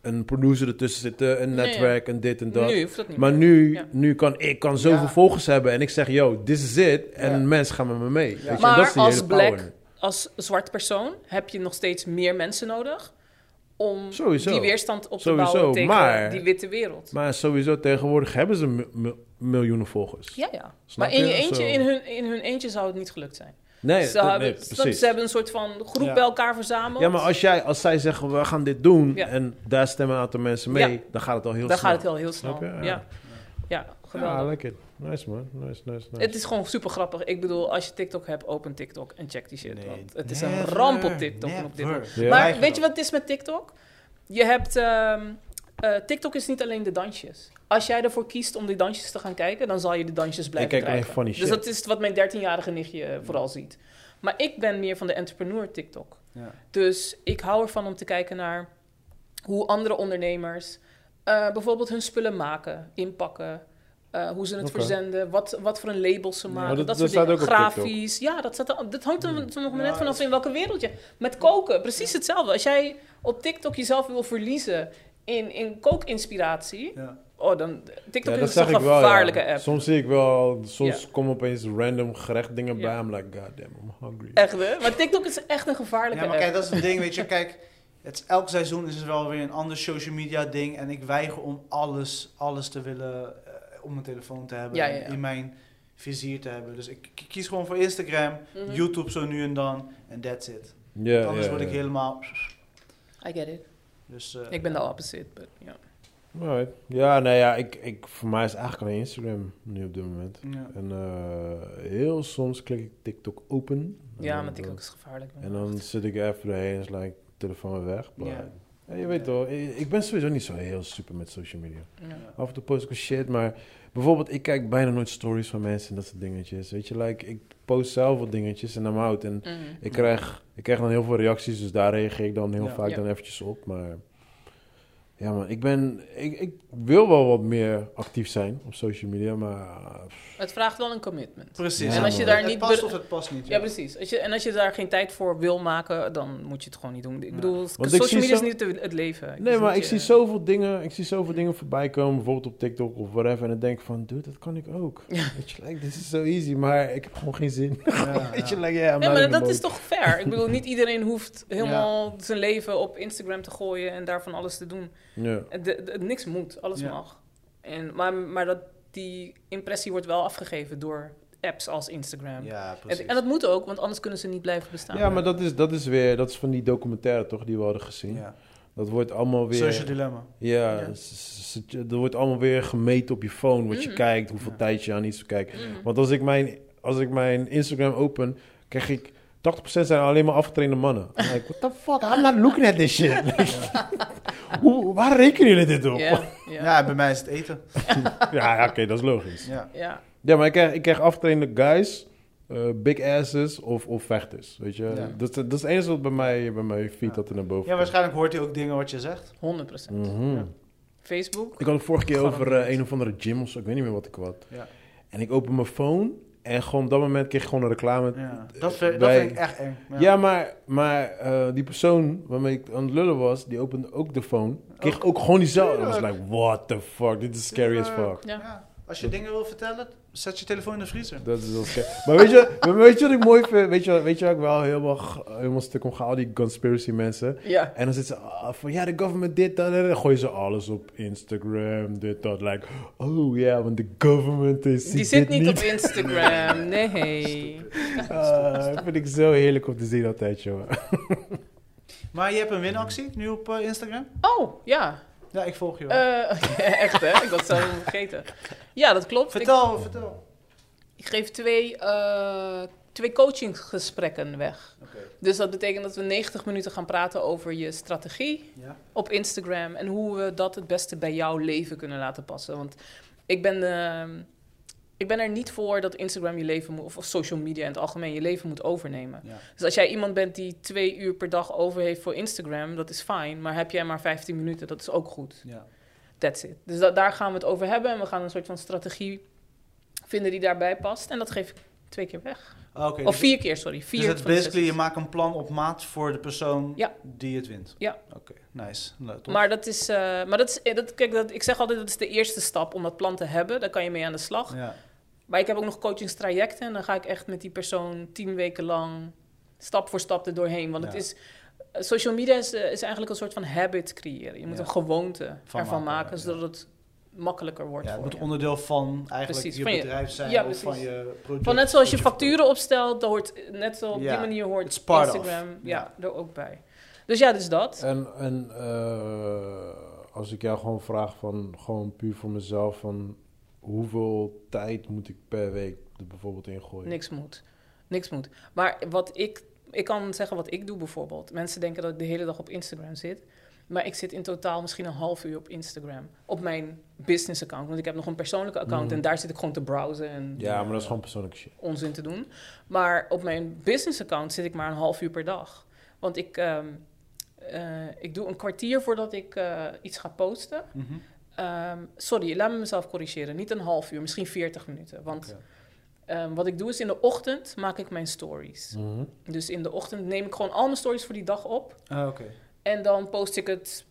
Speaker 3: een producer ertussen zitten, een
Speaker 1: Nee,
Speaker 3: netwerk en dit en dat.
Speaker 1: Nu hoeft dat niet
Speaker 3: maar
Speaker 1: meer.
Speaker 3: nu,
Speaker 1: Ja.
Speaker 3: nu kan ik kan zoveel
Speaker 4: Ja.
Speaker 3: volgers hebben en ik zeg, yo, this is it. En
Speaker 4: Ja.
Speaker 3: mensen gaan met me mee. Weet je, en
Speaker 1: Maar
Speaker 3: dat is die
Speaker 1: als
Speaker 3: hele
Speaker 1: black-
Speaker 3: power.
Speaker 1: Als zwart persoon heb je nog steeds meer mensen nodig... om
Speaker 3: Sowieso.
Speaker 1: die weerstand op te
Speaker 3: Sowieso,
Speaker 1: bouwen tegen
Speaker 3: maar-
Speaker 1: die witte wereld.
Speaker 3: Maar sowieso tegenwoordig hebben ze mi- mi- miljoenen volgers.
Speaker 1: ja, ja.
Speaker 3: Snap
Speaker 1: Maar in,
Speaker 3: je?
Speaker 1: je eentje,
Speaker 3: Zo.
Speaker 1: in, hun, in hun eentje zou het niet gelukt zijn.
Speaker 3: Nee,
Speaker 1: ze,
Speaker 3: dat-
Speaker 1: hebben,
Speaker 3: nee,
Speaker 1: snap je,
Speaker 3: precies.
Speaker 1: ze hebben een soort van groep
Speaker 4: Ja.
Speaker 1: bij elkaar verzameld.
Speaker 3: Ja, maar als, jij, als zij zeggen, we gaan dit doen...
Speaker 1: Ja.
Speaker 3: en daar stemmen een aantal mensen mee...
Speaker 1: Ja.
Speaker 3: dan gaat het al heel
Speaker 1: Dan
Speaker 3: snel.
Speaker 1: gaat het wel heel snel.
Speaker 3: Snap je?
Speaker 1: Ja,
Speaker 3: Ja.
Speaker 1: ja. geweldig.
Speaker 3: Ja, I like it. Nice man, nice, nice, nice.
Speaker 1: Het is gewoon super grappig. Ik bedoel, als je TikTok hebt, open TikTok en check die shit.
Speaker 4: Nee,
Speaker 1: want het is een
Speaker 4: never,
Speaker 1: ramp op TikTok. en op dit
Speaker 4: never.
Speaker 1: moment.
Speaker 3: Ja.
Speaker 1: Maar
Speaker 4: Eigenlijk
Speaker 1: weet je
Speaker 4: wel.
Speaker 1: wat het is met TikTok? Je hebt. ehm, eh, TikTok is niet alleen de dansjes. Als jij ervoor kiest om die dansjes te gaan kijken, dan zal je de dansjes blijven
Speaker 3: kijk alleen
Speaker 1: krijgen.
Speaker 3: funny
Speaker 1: dus
Speaker 3: shit.
Speaker 1: dat is wat mijn 13-jarige nichtje eh, vooral ziet. Maar ik ben meer van de entrepreneur TikTok.
Speaker 4: Ja.
Speaker 1: Dus ik hou ervan om te kijken naar hoe andere ondernemers eh, bijvoorbeeld hun spullen maken, inpakken, eh, hoe ze het
Speaker 3: Oké.
Speaker 1: verzenden, wat, wat voor een label ze maken,
Speaker 3: dat-
Speaker 1: dat,
Speaker 3: dat
Speaker 1: soort
Speaker 3: staat
Speaker 1: dingen.
Speaker 3: ook op TikTok. Hmm.
Speaker 1: Grafisch, ja, dat, staat, er- dat hangt er nog maar
Speaker 4: Ja,
Speaker 1: net vanaf in welke wereld je. Met koken, precies hetzelfde. Als jij op TikTok jezelf wil verliezen in, in kookinspiratie,
Speaker 4: Ja.
Speaker 1: oh dan TikTok
Speaker 3: Ja,
Speaker 1: is een gevaarlijke
Speaker 3: ja.
Speaker 1: app.
Speaker 3: Soms zie ik wel, soms
Speaker 1: Ja.
Speaker 3: komen opeens random gerechtdingen bij.
Speaker 1: Ja.
Speaker 3: I'm like, goddamn, I'm hungry.
Speaker 1: Echt, hè? Maar TikTok is echt een gevaarlijke
Speaker 4: Ja, maar
Speaker 1: app.
Speaker 4: kijk, dat is het ding, weet je. Kijk, het is, elk seizoen is er wel weer een ander social media ding. En ik weiger om alles, alles te willen, eh, op mijn telefoon te hebben.
Speaker 1: Ja,
Speaker 4: en
Speaker 1: ja, ja.
Speaker 4: In mijn vizier te hebben. Dus ik k- kies gewoon voor Instagram,
Speaker 1: Mhm.
Speaker 4: YouTube zo nu en dan. En that's it.
Speaker 3: Ja, ja,
Speaker 4: Anders word
Speaker 3: ja.
Speaker 4: ik helemaal...
Speaker 1: I get it.
Speaker 4: Dus, eh,
Speaker 1: Ik ben de opposite, but ja.
Speaker 3: Alright. Ja, nee, ja, ik, ik, voor mij is het eigenlijk alleen Instagram nu op dit moment.
Speaker 4: Ja.
Speaker 3: En eh, heel soms klik ik TikTok open. En
Speaker 1: Ja,
Speaker 3: dan-
Speaker 1: maar TikTok is gevaarlijk. man.
Speaker 3: En dan zit ik er even doorheen en is like, telefoon weer weg. Maar,
Speaker 4: Ja.
Speaker 3: Ja, je weet
Speaker 4: Ja.
Speaker 3: wel, ik ik ben sowieso niet zo heel super met social media.
Speaker 1: Ja.
Speaker 3: Af en toe post ik wel shit, maar bijvoorbeeld, ik kijk bijna nooit stories van mensen en dat soort dingetjes. Weet je, like, ik post zelf wat dingetjes en dan out. En
Speaker 1: Mhm.
Speaker 3: ik krijg, ik krijg dan heel veel reacties, dus daar reageer ik dan heel
Speaker 4: Ja.
Speaker 3: vaak
Speaker 1: Ja.
Speaker 3: dan eventjes op. Maar ja, man, ik ben, ik, ik wil wel wat meer actief zijn op social media, maar
Speaker 1: Het vraagt wel een commitment.
Speaker 4: Precies.
Speaker 3: Ja, En als je man.
Speaker 1: daar
Speaker 4: Het
Speaker 1: niet
Speaker 4: past
Speaker 1: be-
Speaker 4: of het past niet.
Speaker 1: Ja, precies. Als je, en als je daar geen tijd voor wil maken, dan moet je het gewoon niet doen. Ik bedoel,
Speaker 3: Want ik
Speaker 1: social
Speaker 3: zie
Speaker 1: media
Speaker 3: zo-
Speaker 1: is niet het- het leven.
Speaker 3: Nee,
Speaker 1: Dus
Speaker 3: maar
Speaker 1: moet
Speaker 3: ik
Speaker 1: je-
Speaker 3: zie zoveel dingen, ik zie zoveel dingen voorbij komen, bijvoorbeeld op TikTok of whatever, en dan denk ik van, dude, dat kan ik ook. Weet je, like, this is so easy, maar ik heb gewoon geen zin.
Speaker 4: Ja,
Speaker 3: Weet je,
Speaker 4: ja.
Speaker 3: like, yeah, I'm
Speaker 1: Nee,
Speaker 3: not in
Speaker 1: maar
Speaker 3: the
Speaker 1: dat is
Speaker 3: mode.
Speaker 1: toch fair? Ik bedoel, niet iedereen hoeft helemaal zijn leven op Instagram te gooien en daarvan alles te doen.
Speaker 3: Ja.
Speaker 1: Het- het- het- niks moet, alles
Speaker 4: Ja.
Speaker 1: mag. En, maar maar dat, die impressie wordt wel afgegeven door apps als Instagram.
Speaker 4: Ja,
Speaker 1: en,
Speaker 4: precies.
Speaker 1: en dat moet ook, want anders kunnen ze niet blijven bestaan.
Speaker 3: Ja, maar dat is, dat is weer, dat is van die documentaire toch, die we hadden gezien.
Speaker 4: Ja.
Speaker 3: Dat wordt allemaal weer...
Speaker 4: Social dilemma.
Speaker 3: Ja,
Speaker 1: Ja.
Speaker 3: s- s- dat wordt allemaal weer gemeten op je phone, wat je
Speaker 1: Mm.
Speaker 3: kijkt, hoeveel
Speaker 4: Ja.
Speaker 3: tijd je aan iets kijkt.
Speaker 1: Mm.
Speaker 3: Want als ik mijn, als ik mijn Instagram open, krijg ik 80% zijn alleen maar afgetrainde mannen. I'm like, what the fuck, I'm not looking at this shit. Hoe, waar rekenen jullie dit op? Ja,
Speaker 1: Ja,
Speaker 4: Ja.
Speaker 1: ja,
Speaker 4: bij mij is het eten.
Speaker 3: ja oké, dat is logisch.
Speaker 4: Ja.
Speaker 1: ja.
Speaker 3: Ja, maar ik krijg, ik krijg afgetrainde guys, eh, big asses of, of vechters, weet je.
Speaker 4: Ja.
Speaker 3: Dat, is- dat is het enige wat bij mij, bij mij feed dat er naar boven
Speaker 4: ja,
Speaker 3: komt.
Speaker 4: waarschijnlijk hoort hij ook dingen wat je zegt.
Speaker 1: 100%.
Speaker 3: Mhm.
Speaker 4: Ja.
Speaker 1: Facebook?
Speaker 3: Ik had het vorige keer over
Speaker 1: Garandeerd.
Speaker 3: eh, een of andere gym of zo. Ik weet niet meer wat ik had.
Speaker 4: Ja.
Speaker 3: En ik open mijn phone en gewoon op dat moment kreeg ik gewoon een reclame.
Speaker 4: Ja. Dat, vind, dat
Speaker 3: eh, Bij-
Speaker 4: vind ik echt eng.
Speaker 3: Ja, maar, maar eh, die persoon waarmee ik aan het lullen was, die opende ook de phone. Kreeg ook, gewoon diezelfde. Ik was
Speaker 4: Tuurlijk.
Speaker 3: like, what the fuck, dit is scary as fuck.
Speaker 1: Ja.
Speaker 4: Als je dingen wil vertellen, zet je telefoon in de vriezer.
Speaker 3: Dat is wel scary. Maar weet je, maar weet je wat ik mooi vind? Weet je, weet je waar ik wel helemaal, g- helemaal stuk om ga? Al die conspiracy mensen.
Speaker 1: Ja.
Speaker 3: En dan zitten ze ah, van, ja, de government dit, dat, dat. Dan gooien ze alles op Instagram, dit, dat. Like, oh ja, want de government is
Speaker 1: Die zit niet op Instagram, nee.
Speaker 3: Dat Ah, vind ik zo heerlijk om te zien altijd, joh.
Speaker 4: Maar je hebt een winactie nu op eh, Instagram?
Speaker 1: Oh, ja.
Speaker 4: Ja, ik volg je wel.
Speaker 1: Eh, echt hè, ik had het zelf vergeten. Ja, dat klopt.
Speaker 4: vertel, vertel.
Speaker 1: Ik, ik geef twee, eh, twee coachinggesprekken weg.
Speaker 4: Oké.
Speaker 1: Dus dat betekent dat we 90 minuten gaan praten over je strategie
Speaker 4: Ja.
Speaker 1: op Instagram en hoe we dat het beste bij jouw leven kunnen laten passen. Want ik ben, eh, ik ben er niet voor dat Instagram je leven moet, of, of social media in het algemeen je leven moet overnemen.
Speaker 4: Ja.
Speaker 1: Dus als jij iemand bent die twee uur per dag over heeft voor Instagram, dat is fijn. Maar heb jij maar 15 minuten, dat is ook goed.
Speaker 4: Ja.
Speaker 1: That's it. Dus da- daar gaan we het over hebben. En we gaan een soort van strategie vinden die daarbij past. En dat geef ik twee keer weg.
Speaker 4: Ah, oké,
Speaker 1: Of
Speaker 4: dus-
Speaker 1: vier keer, sorry. Vier
Speaker 4: Dus het
Speaker 1: van
Speaker 4: is
Speaker 1: de zes.
Speaker 4: basically, je maakt een plan op maat voor de persoon
Speaker 1: Ja.
Speaker 4: die het wint.
Speaker 1: Ja.
Speaker 4: Oké, nice. Nou, tof.
Speaker 1: Maar dat is, eh, maar dat is eh, dat, kijk, dat, ik zeg altijd dat is de eerste stap om dat plan te hebben. Daar kan je mee aan de slag.
Speaker 4: ja.
Speaker 1: Maar ik heb ook nog coachingstrajecten. En dan ga ik echt met die persoon tien weken lang stap voor stap er doorheen. Want het
Speaker 4: Ja.
Speaker 1: is. eh, Social media is, eh, is eigenlijk een soort van habit creëren. Je moet
Speaker 4: Ja.
Speaker 1: een gewoonte
Speaker 4: Van
Speaker 1: ervan
Speaker 4: maken,
Speaker 1: maken,
Speaker 4: ja.
Speaker 1: zodat het makkelijker wordt.
Speaker 4: ja, het
Speaker 1: voor
Speaker 4: moet
Speaker 1: je.
Speaker 4: onderdeel van eigenlijk
Speaker 1: Precies,
Speaker 4: je
Speaker 1: van je-
Speaker 4: bedrijf zijn
Speaker 1: ja,
Speaker 4: of van
Speaker 1: precies.
Speaker 4: je product.
Speaker 1: Van net zoals je
Speaker 4: wat
Speaker 1: facturen opstelt, dat hoort net zo op
Speaker 4: Ja,
Speaker 1: die manier hoort
Speaker 4: it's part of.
Speaker 1: Instagram
Speaker 4: Ja.
Speaker 1: ja, er ook bij. Dus ja, dus dat.
Speaker 3: En, en eh, als ik jou gewoon vraag van, gewoon puur voor mezelf, van hoeveel tijd moet ik per week er bijvoorbeeld in gooien?
Speaker 1: Niks moet. Niks moet. Maar wat ik, ik kan zeggen wat ik doe bijvoorbeeld. Mensen denken dat ik de hele dag op Instagram zit. Maar ik zit in totaal misschien een half uur op Instagram. Op mijn business account. Want ik heb nog een persoonlijke account.
Speaker 3: Mhm.
Speaker 1: En daar zit ik gewoon te browsen en
Speaker 3: Ja, maar dat is gewoon persoonlijk shit.
Speaker 1: onzin te doen. Maar op mijn business account zit ik maar een half uur per dag. Want ik, ehm, eh, ik doe een kwartier voordat ik eh, iets ga posten.
Speaker 4: Mhm.
Speaker 1: Ehm, sorry, laat me mezelf corrigeren. Niet een half uur, misschien 40 minuten. Want ehm, wat ik doe is in de ochtend maak ik mijn stories.
Speaker 3: Mhm.
Speaker 1: Dus in de ochtend neem ik gewoon al mijn stories voor die dag op.
Speaker 4: Ah, oké.
Speaker 1: En dan post ik het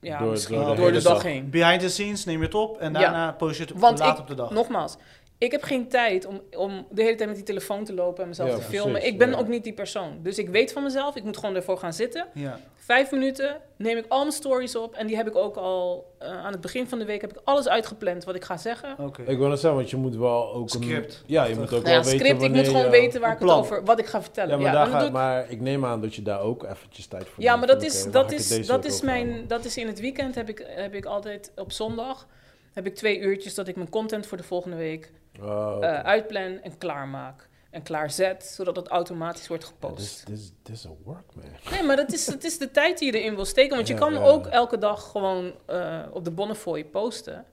Speaker 1: ja,
Speaker 3: Door-
Speaker 1: misschien
Speaker 4: door
Speaker 1: door
Speaker 4: de
Speaker 1: de,
Speaker 4: hele
Speaker 1: dag,
Speaker 3: dag.
Speaker 1: heen.
Speaker 4: Behind the scenes neem je het op en
Speaker 1: Ja.
Speaker 4: daarna post je het
Speaker 1: Want
Speaker 4: laat
Speaker 1: ik-
Speaker 4: op de dag.
Speaker 1: Nogmaals, ik heb geen tijd om, om de hele tijd met die telefoon te lopen en mezelf
Speaker 3: Ja,
Speaker 1: te filmen.
Speaker 3: precies,
Speaker 1: ik ben
Speaker 3: ja.
Speaker 1: ook niet die persoon. Dus ik weet van mezelf, ik moet gewoon ervoor gaan zitten.
Speaker 4: Ja.
Speaker 1: Vijf minuten neem ik al mijn stories op. En die heb ik ook al eh, aan het begin van de week heb ik alles uitgepland wat ik ga zeggen.
Speaker 4: Oké.
Speaker 3: Ik wil net zeggen, want je moet wel ook een...
Speaker 4: Script.
Speaker 3: Ja, je moet ook
Speaker 1: Nou
Speaker 3: wel
Speaker 1: ja,
Speaker 3: weten
Speaker 1: script, ik
Speaker 3: wanneer
Speaker 1: moet gewoon
Speaker 3: je-
Speaker 1: weten waar
Speaker 4: een
Speaker 1: ik het
Speaker 4: plan.
Speaker 1: over, wat ik ga vertellen.
Speaker 3: Ja, maar,
Speaker 1: Ja,
Speaker 3: daar
Speaker 1: dan
Speaker 3: ga,
Speaker 1: doe ik-
Speaker 3: maar ik neem aan dat je daar ook eventjes tijd voor
Speaker 1: ja,
Speaker 3: neemt
Speaker 1: maar
Speaker 3: van,
Speaker 1: dat is,
Speaker 3: oké,
Speaker 1: dat
Speaker 3: waar ga ik het
Speaker 1: is,
Speaker 3: deze
Speaker 1: dat
Speaker 3: week
Speaker 1: is
Speaker 3: over hebben?
Speaker 1: mijn, dat is in het weekend heb ik, heb ik altijd op zondag heb ik twee uurtjes dat ik mijn content voor de volgende week
Speaker 3: Oh, oké.
Speaker 1: eh, uitplan en klaarmaak. En klaarzet, zodat het automatisch wordt
Speaker 3: Ja, dus Dit is-
Speaker 1: gepost.
Speaker 3: dit is- dit is een work, man.
Speaker 1: Nee, maar dat is, dat is de tijd die je erin wil steken. Want je
Speaker 3: Ja,
Speaker 1: kan
Speaker 3: ja.
Speaker 1: ook elke dag gewoon eh, op de Bonnefoy posten.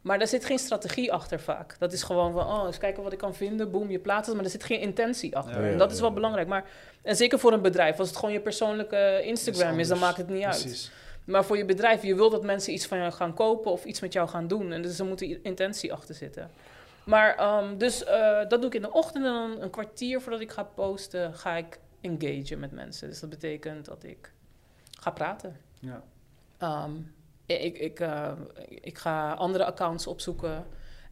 Speaker 1: Maar daar zit geen strategie achter vaak. Dat is gewoon van, oh, eens kijken wat ik kan vinden. Boom, je plaatst het. Maar er zit geen intentie achter.
Speaker 4: Ja,
Speaker 1: en
Speaker 3: ja,
Speaker 1: dat is wel
Speaker 3: ja.
Speaker 1: belangrijk. Maar, en zeker voor een bedrijf. Als het gewoon je persoonlijke Instagram is, dan
Speaker 4: anders.
Speaker 1: maakt het niet uit.
Speaker 4: Precies.
Speaker 1: Maar voor je bedrijf, je wil dat mensen iets van jou gaan kopen of iets met jou gaan doen. En dus er moet een intentie achter zitten. Maar ehm, dus eh, dat doe ik in de ochtend en dan een kwartier voordat ik ga posten, ga ik engagen met mensen. Dus dat betekent dat ik ga praten.
Speaker 4: Ja.
Speaker 1: Ehm, ik, ik, eh, ik ga andere accounts opzoeken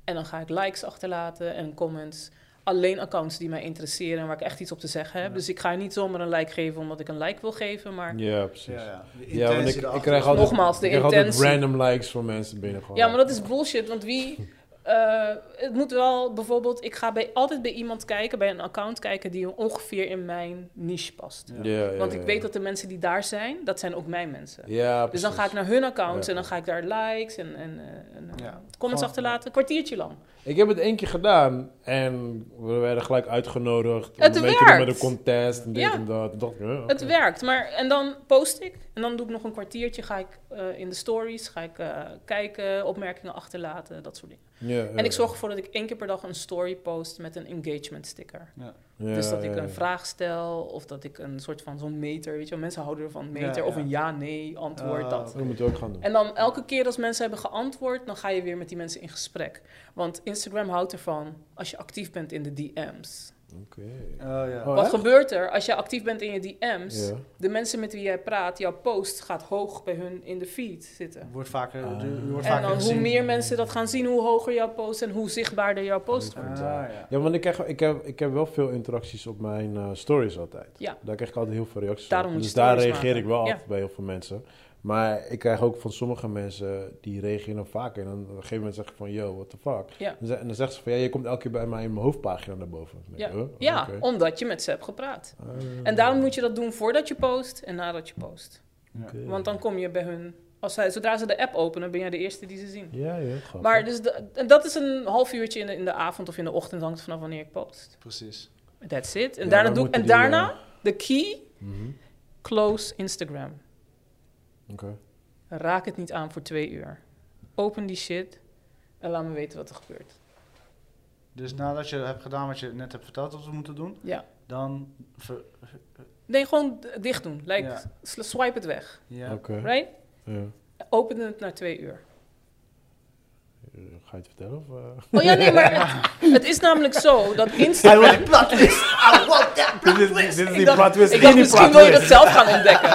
Speaker 1: en dan ga ik likes achterlaten en comments. Alleen accounts die mij interesseren en waar ik echt iets op te zeggen heb.
Speaker 4: Ja.
Speaker 1: Dus ik ga niet zomaar een like geven omdat ik een like wil geven, maar
Speaker 3: Ja, precies.
Speaker 4: Ja, ja. De
Speaker 3: Ja, want
Speaker 4: intentie
Speaker 3: ik, ik
Speaker 4: erachter.
Speaker 3: krijg altijd,
Speaker 1: Nogmaals, de
Speaker 3: ik krijg altijd
Speaker 1: intentie.
Speaker 3: random likes van mensen binnen. Gewoon.
Speaker 1: Ja, maar dat is bullshit, want wie... eh, het moet wel bijvoorbeeld... Ik ga bij, altijd bij iemand kijken, bij een account kijken... die ongeveer in mijn niche past.
Speaker 4: Ja.
Speaker 3: Ja, ja,
Speaker 1: Want
Speaker 3: ja,
Speaker 1: ik
Speaker 3: ja.
Speaker 1: weet dat de mensen die daar zijn, dat zijn ook mijn mensen.
Speaker 3: Eh. Ja,
Speaker 1: Dus dan
Speaker 3: precies.
Speaker 1: ga ik naar hun accounts
Speaker 3: Ja.
Speaker 1: en dan ga ik daar likes en, en, eh, en eh,
Speaker 4: Ja. Gewoon-
Speaker 1: comments achterlaten. Een kwartiertje lang.
Speaker 3: Ik heb het één keer gedaan en we werden gelijk uitgenodigd. om
Speaker 1: Het
Speaker 3: een beetje te doen met een
Speaker 1: werkt.
Speaker 3: contest en dit
Speaker 1: Ja.
Speaker 3: en dat. En dat ja, oké.
Speaker 1: Het werkt, maar en dan post ik en dan doe ik nog een kwartiertje. Ga ik eh, in de stories, ga ik eh, kijken, opmerkingen achterlaten, dat soort dingen.
Speaker 3: Ja, ja.
Speaker 1: En ik zorg ervoor dat ik één keer per dag een story post met een engagement sticker.
Speaker 3: Ja,
Speaker 1: dus dat ik
Speaker 3: ja,
Speaker 1: een
Speaker 3: ja.
Speaker 1: vraag stel of dat ik een soort van zo'n meter, weet je wel, mensen houden ervan meter
Speaker 4: Ja,
Speaker 1: of
Speaker 4: ja.
Speaker 1: een ja-nee antwoord.
Speaker 4: Ah,
Speaker 1: dat.
Speaker 3: Dat moeten we ook gaan doen.
Speaker 1: En dan elke keer als mensen hebben geantwoord, dan ga je weer met die mensen in gesprek. Want Instagram houdt ervan als je actief bent in de DM's.
Speaker 3: Oké.
Speaker 1: Ehm,
Speaker 4: Oh, ja.
Speaker 3: Oh,
Speaker 1: Wat
Speaker 3: echt?
Speaker 1: gebeurt er als je actief bent in je DM's?
Speaker 3: Ja.
Speaker 1: De mensen met wie jij praat, jouw post gaat hoog bij hun in de feed zitten.
Speaker 4: Wordt vaker,
Speaker 3: Ah.
Speaker 4: je wordt
Speaker 1: En
Speaker 4: vaker
Speaker 1: dan hoe
Speaker 4: gezien.
Speaker 1: meer mensen dat gaan zien, hoe hoger jouw post en hoe zichtbaarder jouw post
Speaker 3: Ah.
Speaker 1: wordt.
Speaker 4: Ah, ja.
Speaker 3: Ja, want ik, krijg, ik, heb, ik heb wel veel interacties op mijn eh, stories altijd.
Speaker 1: Ja.
Speaker 3: Daar krijg ik altijd heel veel reacties
Speaker 1: Daarom
Speaker 3: op.
Speaker 1: moet je
Speaker 3: Dus daar
Speaker 1: stories
Speaker 3: reageer
Speaker 1: maken.
Speaker 3: ik wel
Speaker 1: Ja.
Speaker 3: altijd bij heel veel mensen. Maar ik krijg ook van sommige mensen, die reageren dan vaker. En dan op een gegeven moment zeggen van, yo, what the fuck.
Speaker 1: Ja.
Speaker 3: En ze- En dan zeggen ze van, ja, je komt elke keer bij mij in mijn hoofdpagina naar boven. Dan denk
Speaker 1: Ja,
Speaker 3: ik, huh?
Speaker 1: ja
Speaker 3: Oké.
Speaker 1: omdat je met ze hebt gepraat.
Speaker 3: Ah,
Speaker 1: En daarom moet je dat doen voordat je post en nadat je post.
Speaker 3: oké.
Speaker 1: Want dan kom je bij hun. Als zij, zodra ze de app openen, ben jij de eerste die ze zien.
Speaker 3: Ja, ja, grappig.
Speaker 1: Maar dus de- en dat is een half uurtje in de, in de avond of in de ochtend, hangt vanaf wanneer ik post.
Speaker 4: Precies.
Speaker 1: That's it. dus- En
Speaker 3: Ja,
Speaker 1: daarna,
Speaker 3: dan
Speaker 1: doe ik,
Speaker 3: moeten
Speaker 1: en
Speaker 3: die, eh,
Speaker 1: daarna de key,
Speaker 3: Mhm.
Speaker 1: close Instagram.
Speaker 3: Oké.
Speaker 1: Raak het niet aan voor twee uur. Open die shit. En laat me weten wat er gebeurt.
Speaker 4: Dus nadat je hebt gedaan wat je net hebt verteld dat we moeten doen,
Speaker 1: Ja.
Speaker 4: dan. ver-
Speaker 1: Nee, gewoon d- dicht doen. Like,
Speaker 4: Ja.
Speaker 1: sl- Swipe het weg.
Speaker 4: ja.
Speaker 3: Oké.
Speaker 1: Right?
Speaker 3: Ja.
Speaker 1: Open het na twee uur.
Speaker 3: Eh, Ga je het vertellen? Of, eh?
Speaker 1: Oh ja, nee, maar het, het is namelijk zo dat
Speaker 3: Hij
Speaker 1: Instagram...
Speaker 3: wil die plot twist. I want that plot twist. Dit is, dit is
Speaker 1: Ik
Speaker 3: die
Speaker 1: dacht-
Speaker 3: plot twist.
Speaker 1: Ik
Speaker 3: Dit
Speaker 1: dacht,
Speaker 3: is die
Speaker 1: misschien
Speaker 3: plot
Speaker 1: wil je dat
Speaker 3: twist.
Speaker 1: zelf gaan ontdekken.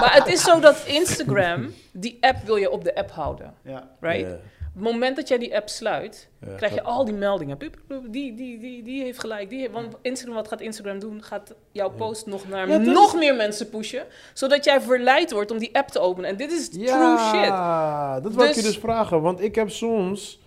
Speaker 1: Maar het is zo dat Instagram, die app wil je op de app houden.
Speaker 4: ja.
Speaker 1: Right?
Speaker 3: Ja,
Speaker 1: Op het moment dat jij die app sluit,
Speaker 3: ja,
Speaker 1: krijg je
Speaker 3: dat-
Speaker 1: al die meldingen. Piep, piep, piep, Die, die, die, die heeft gelijk. Die heeft- want Instagram, wat gaat Instagram doen? Gaat jouw
Speaker 3: Ja.
Speaker 1: post nog naar
Speaker 3: Ja, dat
Speaker 1: nog meer mensen pushen. Zodat jij verleid wordt om die app te openen. En dit is true shit.
Speaker 3: Ja, dat wil ik je
Speaker 1: Dus-
Speaker 3: dus vragen. Want ik heb soms...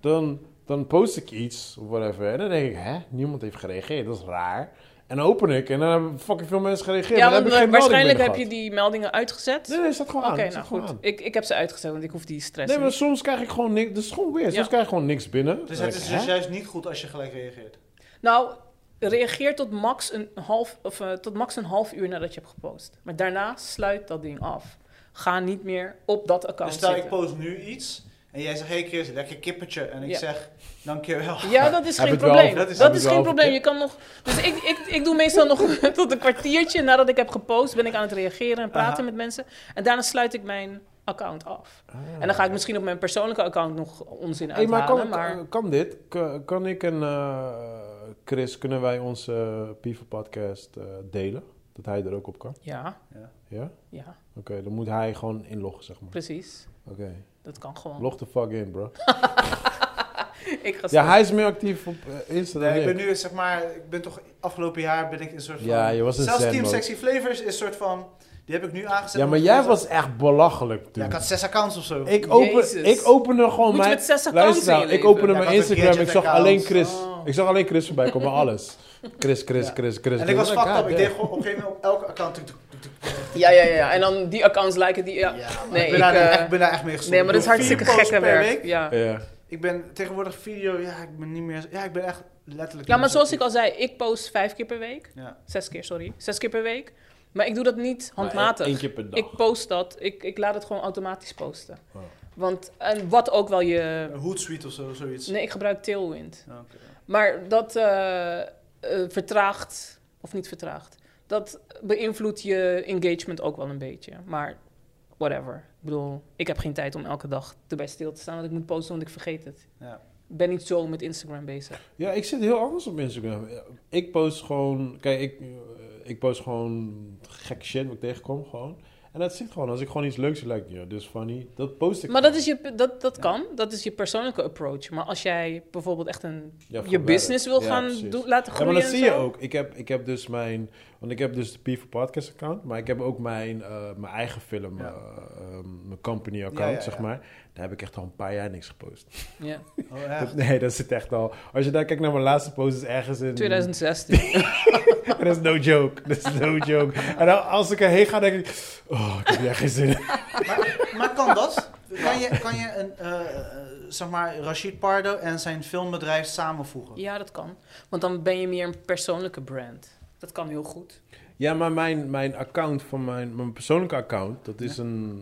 Speaker 3: Dan, dan post ik iets of whatever. En dan denk ik, hè? Niemand heeft gereageerd. Dat is raar. En dan open ik en dan hebben fucking veel mensen gereageerd.
Speaker 1: Ja,
Speaker 3: maar dan
Speaker 1: want
Speaker 3: heb ik geen melding
Speaker 1: waarschijnlijk heb je
Speaker 3: binnen
Speaker 1: die meldingen uitgezet.
Speaker 3: gehad. Nee, nee, staat gewoon
Speaker 1: Oké,
Speaker 3: aan. Staat
Speaker 1: nou
Speaker 3: gewoon
Speaker 1: goed.
Speaker 3: aan.
Speaker 1: Ik, ik heb ze uitgezet, want ik hoef die stress
Speaker 3: Nee, maar
Speaker 1: niet.
Speaker 3: soms krijg ik gewoon niks. Dat is gewoon weer. Soms
Speaker 1: Ja.
Speaker 3: krijg ik gewoon niks binnen.
Speaker 4: Dus
Speaker 3: Dan
Speaker 4: het
Speaker 3: denk
Speaker 4: is
Speaker 3: ik,
Speaker 4: dus
Speaker 3: hè?
Speaker 4: juist niet goed als je gelijk reageert.
Speaker 1: Nou, reageer tot max, een half, of, eh, tot max een half uur nadat je hebt gepost. Maar daarna sluit dat ding af. Ga niet meer op dat account
Speaker 4: dus stel, ik
Speaker 1: zitten.
Speaker 4: post nu iets en jij zegt: hey, Chris, lekker kippetje. En ik
Speaker 1: Ja.
Speaker 4: zeg: dankjewel.
Speaker 1: Ja, dat is
Speaker 3: Heb
Speaker 1: geen
Speaker 3: het wel
Speaker 1: probleem.
Speaker 3: over-
Speaker 1: Dat is,
Speaker 3: heb het wel
Speaker 1: geen
Speaker 3: over-
Speaker 1: probleem. Je kan nog... Dus ik, ik, ik doe meestal nog tot een kwartiertje nadat ik heb gepost... ben ik aan het reageren en praten
Speaker 4: Aha.
Speaker 1: met mensen. En daarna sluit ik mijn account af.
Speaker 3: Ah.
Speaker 1: En dan ga ik misschien op mijn persoonlijke account nog onzin
Speaker 3: Hey,
Speaker 1: uithalen.
Speaker 3: maar kan, eh,
Speaker 1: maar...
Speaker 3: kan dit? Kan, kan ik en eh, Chris, kunnen wij onze eh, Pieven podcast eh, delen? Dat hij er ook op kan?
Speaker 1: Ja,
Speaker 3: Ja? Oké,
Speaker 1: ja,
Speaker 3: dan moet hij gewoon inloggen, zeg maar.
Speaker 1: precies.
Speaker 3: Oké,
Speaker 1: Dat kan gewoon.
Speaker 3: log the fuck in, bro.
Speaker 1: Ik ga
Speaker 3: Ja, hij is meer actief op eh, Insta dan
Speaker 4: Nee, ik ben
Speaker 3: ik.
Speaker 4: nu, zeg maar, ik ben toch afgelopen jaar ben ik een soort van.
Speaker 3: Ja, je was een
Speaker 4: Zelfs
Speaker 3: zen
Speaker 4: Team
Speaker 3: mode.
Speaker 4: Sexy Flavors is een soort van. Die heb ik nu aangezet.
Speaker 3: Ja, maar
Speaker 4: omdat
Speaker 3: jij
Speaker 4: ik-
Speaker 3: was echt belachelijk,
Speaker 4: Ja, ik
Speaker 3: dude.
Speaker 4: had zes accounts of zo.
Speaker 3: Ik, open,
Speaker 1: Jezus.
Speaker 3: ik opende gewoon
Speaker 1: Moet je
Speaker 3: mijn...
Speaker 1: met zes accounts
Speaker 3: Luister
Speaker 1: in je
Speaker 3: nou, ik
Speaker 1: leven?
Speaker 3: opende
Speaker 4: Ja,
Speaker 3: mijn
Speaker 4: ik had een
Speaker 3: Instagram, ik
Speaker 4: gadget
Speaker 3: zag
Speaker 4: account.
Speaker 3: alleen Chris.
Speaker 1: Oh.
Speaker 3: Ik zag alleen Chris voorbij komen, alles. Chris, Chris, Chris,
Speaker 4: Ja.
Speaker 3: Chris.
Speaker 4: en
Speaker 3: Chris.
Speaker 4: ik was
Speaker 3: Oh,
Speaker 4: fucked up. Ik
Speaker 3: goddamn.
Speaker 4: deed gewoon op een gegeven moment op elke account. tuk, tuk, tuk, tuk.
Speaker 1: Ja, ja, ja, ja. En dan die accounts lijken die... Ja.
Speaker 4: maar
Speaker 1: nee,
Speaker 4: ik ben, daar,
Speaker 1: ik, eh,
Speaker 4: echt- ik ben daar echt mee gestopt.
Speaker 1: nee, maar dat is
Speaker 4: Ik doe
Speaker 1: hartstikke
Speaker 4: vier posts
Speaker 1: gekke
Speaker 4: per
Speaker 1: werk.
Speaker 4: week.
Speaker 1: Ja.
Speaker 3: Ja.
Speaker 4: Ik ben tegenwoordig video, ja, ik ben niet meer. Ja, ik ben echt letterlijk.
Speaker 1: ja, maar
Speaker 4: niet
Speaker 1: zoals
Speaker 4: actief.
Speaker 1: ik al zei, ik post vijf keer per week.
Speaker 4: Ja.
Speaker 1: Zes keer, sorry. Zes keer per week. Maar ik doe dat niet
Speaker 4: e-
Speaker 1: handmatig.
Speaker 3: Maar één keer per dag.
Speaker 1: Ik post dat. Ik, ik laat het gewoon automatisch posten.
Speaker 3: Oh.
Speaker 1: Want, en wat ook wel je...
Speaker 4: Een Hootsuite of zo, zoiets.
Speaker 1: Nee, ik gebruik Tailwind.
Speaker 4: Ja, oké.
Speaker 1: Maar dat eh, eh, vertraagt, of niet vertraagt, dat beïnvloedt je engagement ook wel een beetje. Maar whatever. Ik bedoel, ik heb geen tijd om elke dag erbij stil te staan, want ik moet posten, want ik vergeet het.
Speaker 4: Ja.
Speaker 1: Ik ben niet zo met Instagram bezig.
Speaker 3: Ja, ik zit heel anders op Instagram. Ik post gewoon... Kijk, ik, eh, ik post gewoon gek shit wat ik tegenkom gewoon. En dat zit gewoon. Als ik gewoon iets leuks lijkt, ja, dus funny. Dat post ik
Speaker 1: Maar dat,
Speaker 3: gewoon.
Speaker 1: is je, dat, dat kan, dat is je persoonlijke approach. Maar als jij bijvoorbeeld echt een,
Speaker 3: Ja, voor
Speaker 1: je
Speaker 3: werk.
Speaker 1: business wil
Speaker 3: Ja,
Speaker 1: gaan
Speaker 3: precies.
Speaker 1: doen, laten
Speaker 3: Ja,
Speaker 1: groeien
Speaker 3: maar dat
Speaker 1: en
Speaker 3: zie je
Speaker 1: zo,
Speaker 3: ook. Ik heb, ik heb dus mijn... Want ik heb dus de P4 Podcast account. Maar ik heb ook mijn, eh, mijn eigen film,
Speaker 4: Ja.
Speaker 3: eh, ehm, mijn company account,
Speaker 4: Ja, ja, ja.
Speaker 3: zeg maar. Daar heb ik echt al een paar jaar niks gepost.
Speaker 1: Ja,
Speaker 4: Oh, echt?
Speaker 3: nee, dat zit echt al... Als je daar kijkt naar mijn laatste post, is ergens in...
Speaker 1: 2016.
Speaker 3: Dat is no joke. Dat is no joke. En dan als ik erheen ga, denk ik... Oh, ik heb hier echt geen zin in.
Speaker 4: maar, maar kan dat? Kan je, kan je een, eh, eh, zeg maar, Rashid Pardo en zijn filmbedrijf samenvoegen?
Speaker 1: Ja, dat kan. Want dan ben je meer een persoonlijke brand. Dat kan heel goed.
Speaker 3: Ja, maar mijn, mijn account van mijn, mijn persoonlijke account, dat is een.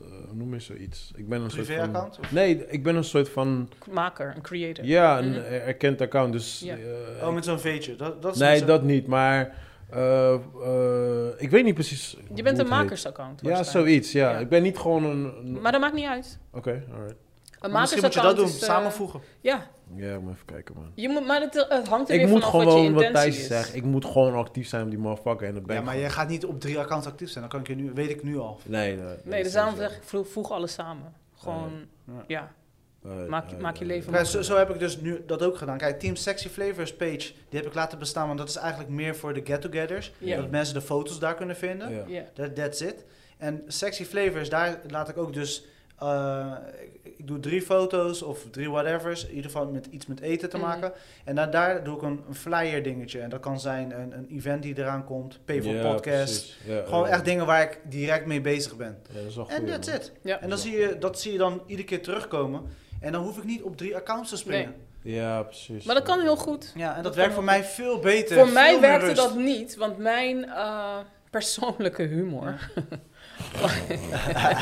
Speaker 3: eh, hoe noem je zoiets? Ik ben een soort van.
Speaker 4: Privé-account? of-
Speaker 3: Nee, ik ben een soort van.
Speaker 1: Maker, een creator.
Speaker 3: Ja, een
Speaker 1: Mhm.
Speaker 3: erkend account. Dus.
Speaker 1: Ja.
Speaker 3: eh,
Speaker 4: Oh, met zo'n veetje. Dat, dat is met
Speaker 3: nee,
Speaker 4: zo'n-
Speaker 3: dat niet. Maar. eh, eh, ik weet niet precies.
Speaker 1: Je
Speaker 3: hoe
Speaker 1: bent
Speaker 3: het
Speaker 1: een
Speaker 3: heet.
Speaker 1: makersaccount.
Speaker 3: Ja,
Speaker 1: waarschijnlijk.
Speaker 3: zoiets. Ja.
Speaker 1: Ja.
Speaker 3: ik ben niet gewoon een. een-
Speaker 1: Maar dat maakt niet uit.
Speaker 3: Oké, alright.
Speaker 1: Een
Speaker 4: Maar Misschien moet je dat doen,
Speaker 1: makersaccount is, eh,
Speaker 4: samenvoegen.
Speaker 1: Ja,
Speaker 3: Ja, ik moet even kijken, man.
Speaker 1: je moet, maar het, eh, het hangt er
Speaker 3: Ik
Speaker 1: weer
Speaker 3: moet
Speaker 1: vanaf wat je
Speaker 3: gewoon, wat,
Speaker 1: intentie
Speaker 3: Thijs
Speaker 1: is.
Speaker 3: zegt, ik moet gewoon actief zijn op die motherfucker. En dat ben
Speaker 4: Ja,
Speaker 3: ik
Speaker 4: maar
Speaker 3: gewoon.
Speaker 4: jij gaat niet op drie accounts actief zijn. Dat kan ik je nu, weet ik nu al.
Speaker 3: Nee, nee.
Speaker 1: Nee, dus daarom zeg ik, vlo- voeg alles samen. Gewoon,
Speaker 4: Ja.
Speaker 1: ja.
Speaker 3: Alright,
Speaker 1: maak je-
Speaker 3: alright,
Speaker 1: maak je
Speaker 3: alright.
Speaker 1: leven
Speaker 4: Maar zo, zo heb ik dus nu dat ook gedaan. Kijk, Team Sexy Flavors page, die heb ik laten bestaan. Want dat is eigenlijk meer voor de get-togethers.
Speaker 1: Ja.
Speaker 4: Dat mensen de foto's daar kunnen vinden.
Speaker 3: Ja.
Speaker 1: ja.
Speaker 4: That, that's it. En Sexy Flavors, daar laat ik ook dus... eh, ik, ik doe drie foto's of drie whatevers. In ieder geval met iets met eten te
Speaker 1: Mhm.
Speaker 4: maken. En daar, daar doe ik een, een flyer dingetje. En dat kan zijn een, een event die eraan komt. Pay for
Speaker 3: Ja,
Speaker 4: podcast.
Speaker 3: precies. Ja,
Speaker 4: Gewoon
Speaker 3: ja.
Speaker 4: echt dingen waar ik direct mee bezig ben.
Speaker 3: Ja, dat is wel
Speaker 4: En
Speaker 3: goeie,
Speaker 4: that's
Speaker 3: man.
Speaker 4: it.
Speaker 1: Ja.
Speaker 4: En dan zie je, dat zie je dan iedere keer terugkomen. En dan hoef ik niet op drie accounts te springen.
Speaker 3: Ja, precies.
Speaker 1: Maar dat kan heel goed.
Speaker 4: Ja, en dat,
Speaker 1: Dat
Speaker 4: werkt
Speaker 1: kan
Speaker 4: voor mij veel beter.
Speaker 1: Voor
Speaker 4: veel
Speaker 1: mij
Speaker 4: meer
Speaker 1: werkte
Speaker 4: rust.
Speaker 1: dat niet, want mijn eh, persoonlijke humor.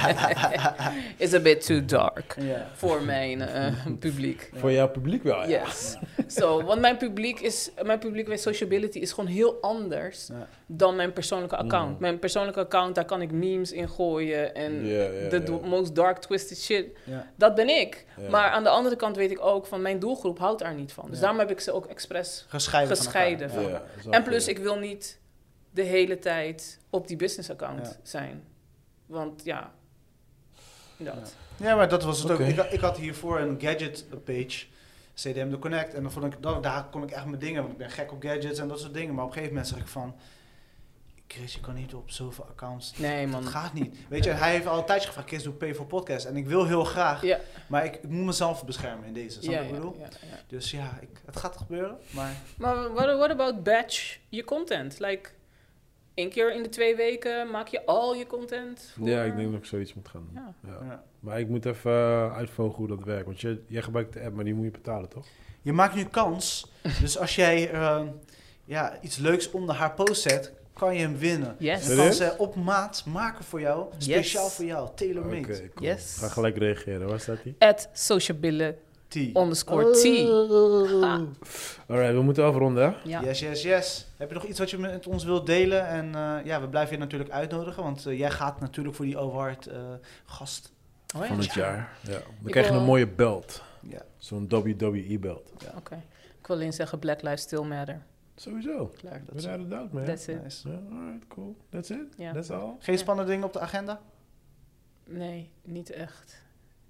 Speaker 1: Is a bit too dark
Speaker 4: Ja.
Speaker 1: voor mijn eh, publiek.
Speaker 3: Voor jouw publiek wel, Oh, ja.
Speaker 1: Yes. So, want mijn publiek, is, mijn publiek bij sociability is gewoon heel anders
Speaker 4: Ja.
Speaker 1: dan mijn persoonlijke account.
Speaker 3: Mm.
Speaker 1: Mijn persoonlijke account, daar kan ik memes in gooien en
Speaker 3: Ja, ja,
Speaker 1: de
Speaker 3: ja.
Speaker 1: d- most dark twisted shit.
Speaker 4: Ja.
Speaker 1: Dat ben ik.
Speaker 3: Ja.
Speaker 1: Maar aan de andere kant weet ik ook van mijn doelgroep houdt daar niet van. Dus
Speaker 4: Ja.
Speaker 1: daarom heb ik ze ook expres.
Speaker 4: Gescheiden. van elkaar.
Speaker 1: Gescheiden
Speaker 3: Ja,
Speaker 1: van.
Speaker 4: Ja.
Speaker 3: dat is wel
Speaker 1: En plus,
Speaker 3: goed.
Speaker 1: ik wil niet de hele tijd op die business account
Speaker 4: Ja.
Speaker 1: zijn. Want ja, dat.
Speaker 4: Ja, maar dat was het
Speaker 3: Oké.
Speaker 4: ook. Ik, had- ik had hiervoor een gadget page, CDM The Connect. En dan vond ik, dat, daar kon ik echt mijn dingen, want ik ben gek op gadgets en dat soort dingen. Maar op een gegeven moment zeg ik van, Chris, je kan niet op zoveel accounts.
Speaker 1: Nee, man.
Speaker 4: Dat gaat niet. Weet je, en hij heeft al een tijdje gevraagd, Chris, doe pay voor podcast. En ik wil heel graag,
Speaker 1: Ja.
Speaker 4: maar ik, ik moet mezelf beschermen in deze. Snap je
Speaker 1: Ja,
Speaker 4: wat ik
Speaker 1: ja,
Speaker 4: bedoel?
Speaker 1: ja, ja.
Speaker 4: Dus ja, ik, het gaat gebeuren, maar...
Speaker 1: Maar what, what about batch je content? Like, één keer in de twee weken maak je al je content? voor- eh,
Speaker 3: Ja, ik denk dat ik zoiets moet gaan doen.
Speaker 1: Ja.
Speaker 3: Ja.
Speaker 4: Ja.
Speaker 3: Maar ik moet even eh, uitvogelen hoe dat werkt. Want je, jij gebruikt de app, maar die moet je betalen, toch?
Speaker 4: Je maakt nu kans. Dus als jij eh, ja, iets leuks onder haar post zet, kan je hem winnen.
Speaker 1: Yes.
Speaker 4: En kan
Speaker 3: Serieus?
Speaker 4: ze op maat maken voor jou.
Speaker 1: Yes.
Speaker 4: Speciaal voor jou.
Speaker 3: Oh,
Speaker 4: Tailor-made.
Speaker 3: cool.
Speaker 1: Yes.
Speaker 3: Ga gelijk reageren. Waar staat die?
Speaker 1: At sociability
Speaker 4: Tea.
Speaker 1: underscore T. Ah.
Speaker 4: Oh.
Speaker 1: Ha.
Speaker 3: Alright, we moeten afronden, hè?
Speaker 1: Ja.
Speaker 4: Yes, yes, yes. Heb je nog iets wat je met ons wilt delen? En eh, ja, we blijven je natuurlijk uitnodigen. Want eh, jij gaat natuurlijk voor die overhard eh, gast.
Speaker 1: Oh, ja.
Speaker 3: Van het jaar. Ja. Dan
Speaker 1: Ik
Speaker 3: krijg je
Speaker 1: wil-
Speaker 3: een mooie belt.
Speaker 4: Ja.
Speaker 3: Zo'n E WWE-belt.
Speaker 1: Oké. Ik wil alleen zeggen, Black Lives Still Matter.
Speaker 3: Sowieso.
Speaker 1: Klaar.
Speaker 4: Dat is-
Speaker 3: Without a doubt, man.
Speaker 1: That's it.
Speaker 4: Nice.
Speaker 3: Ja, alright, cool. That's it?
Speaker 1: Ja.
Speaker 3: That's all?
Speaker 4: Geen spannende dingen op de agenda?
Speaker 1: Nee, niet echt.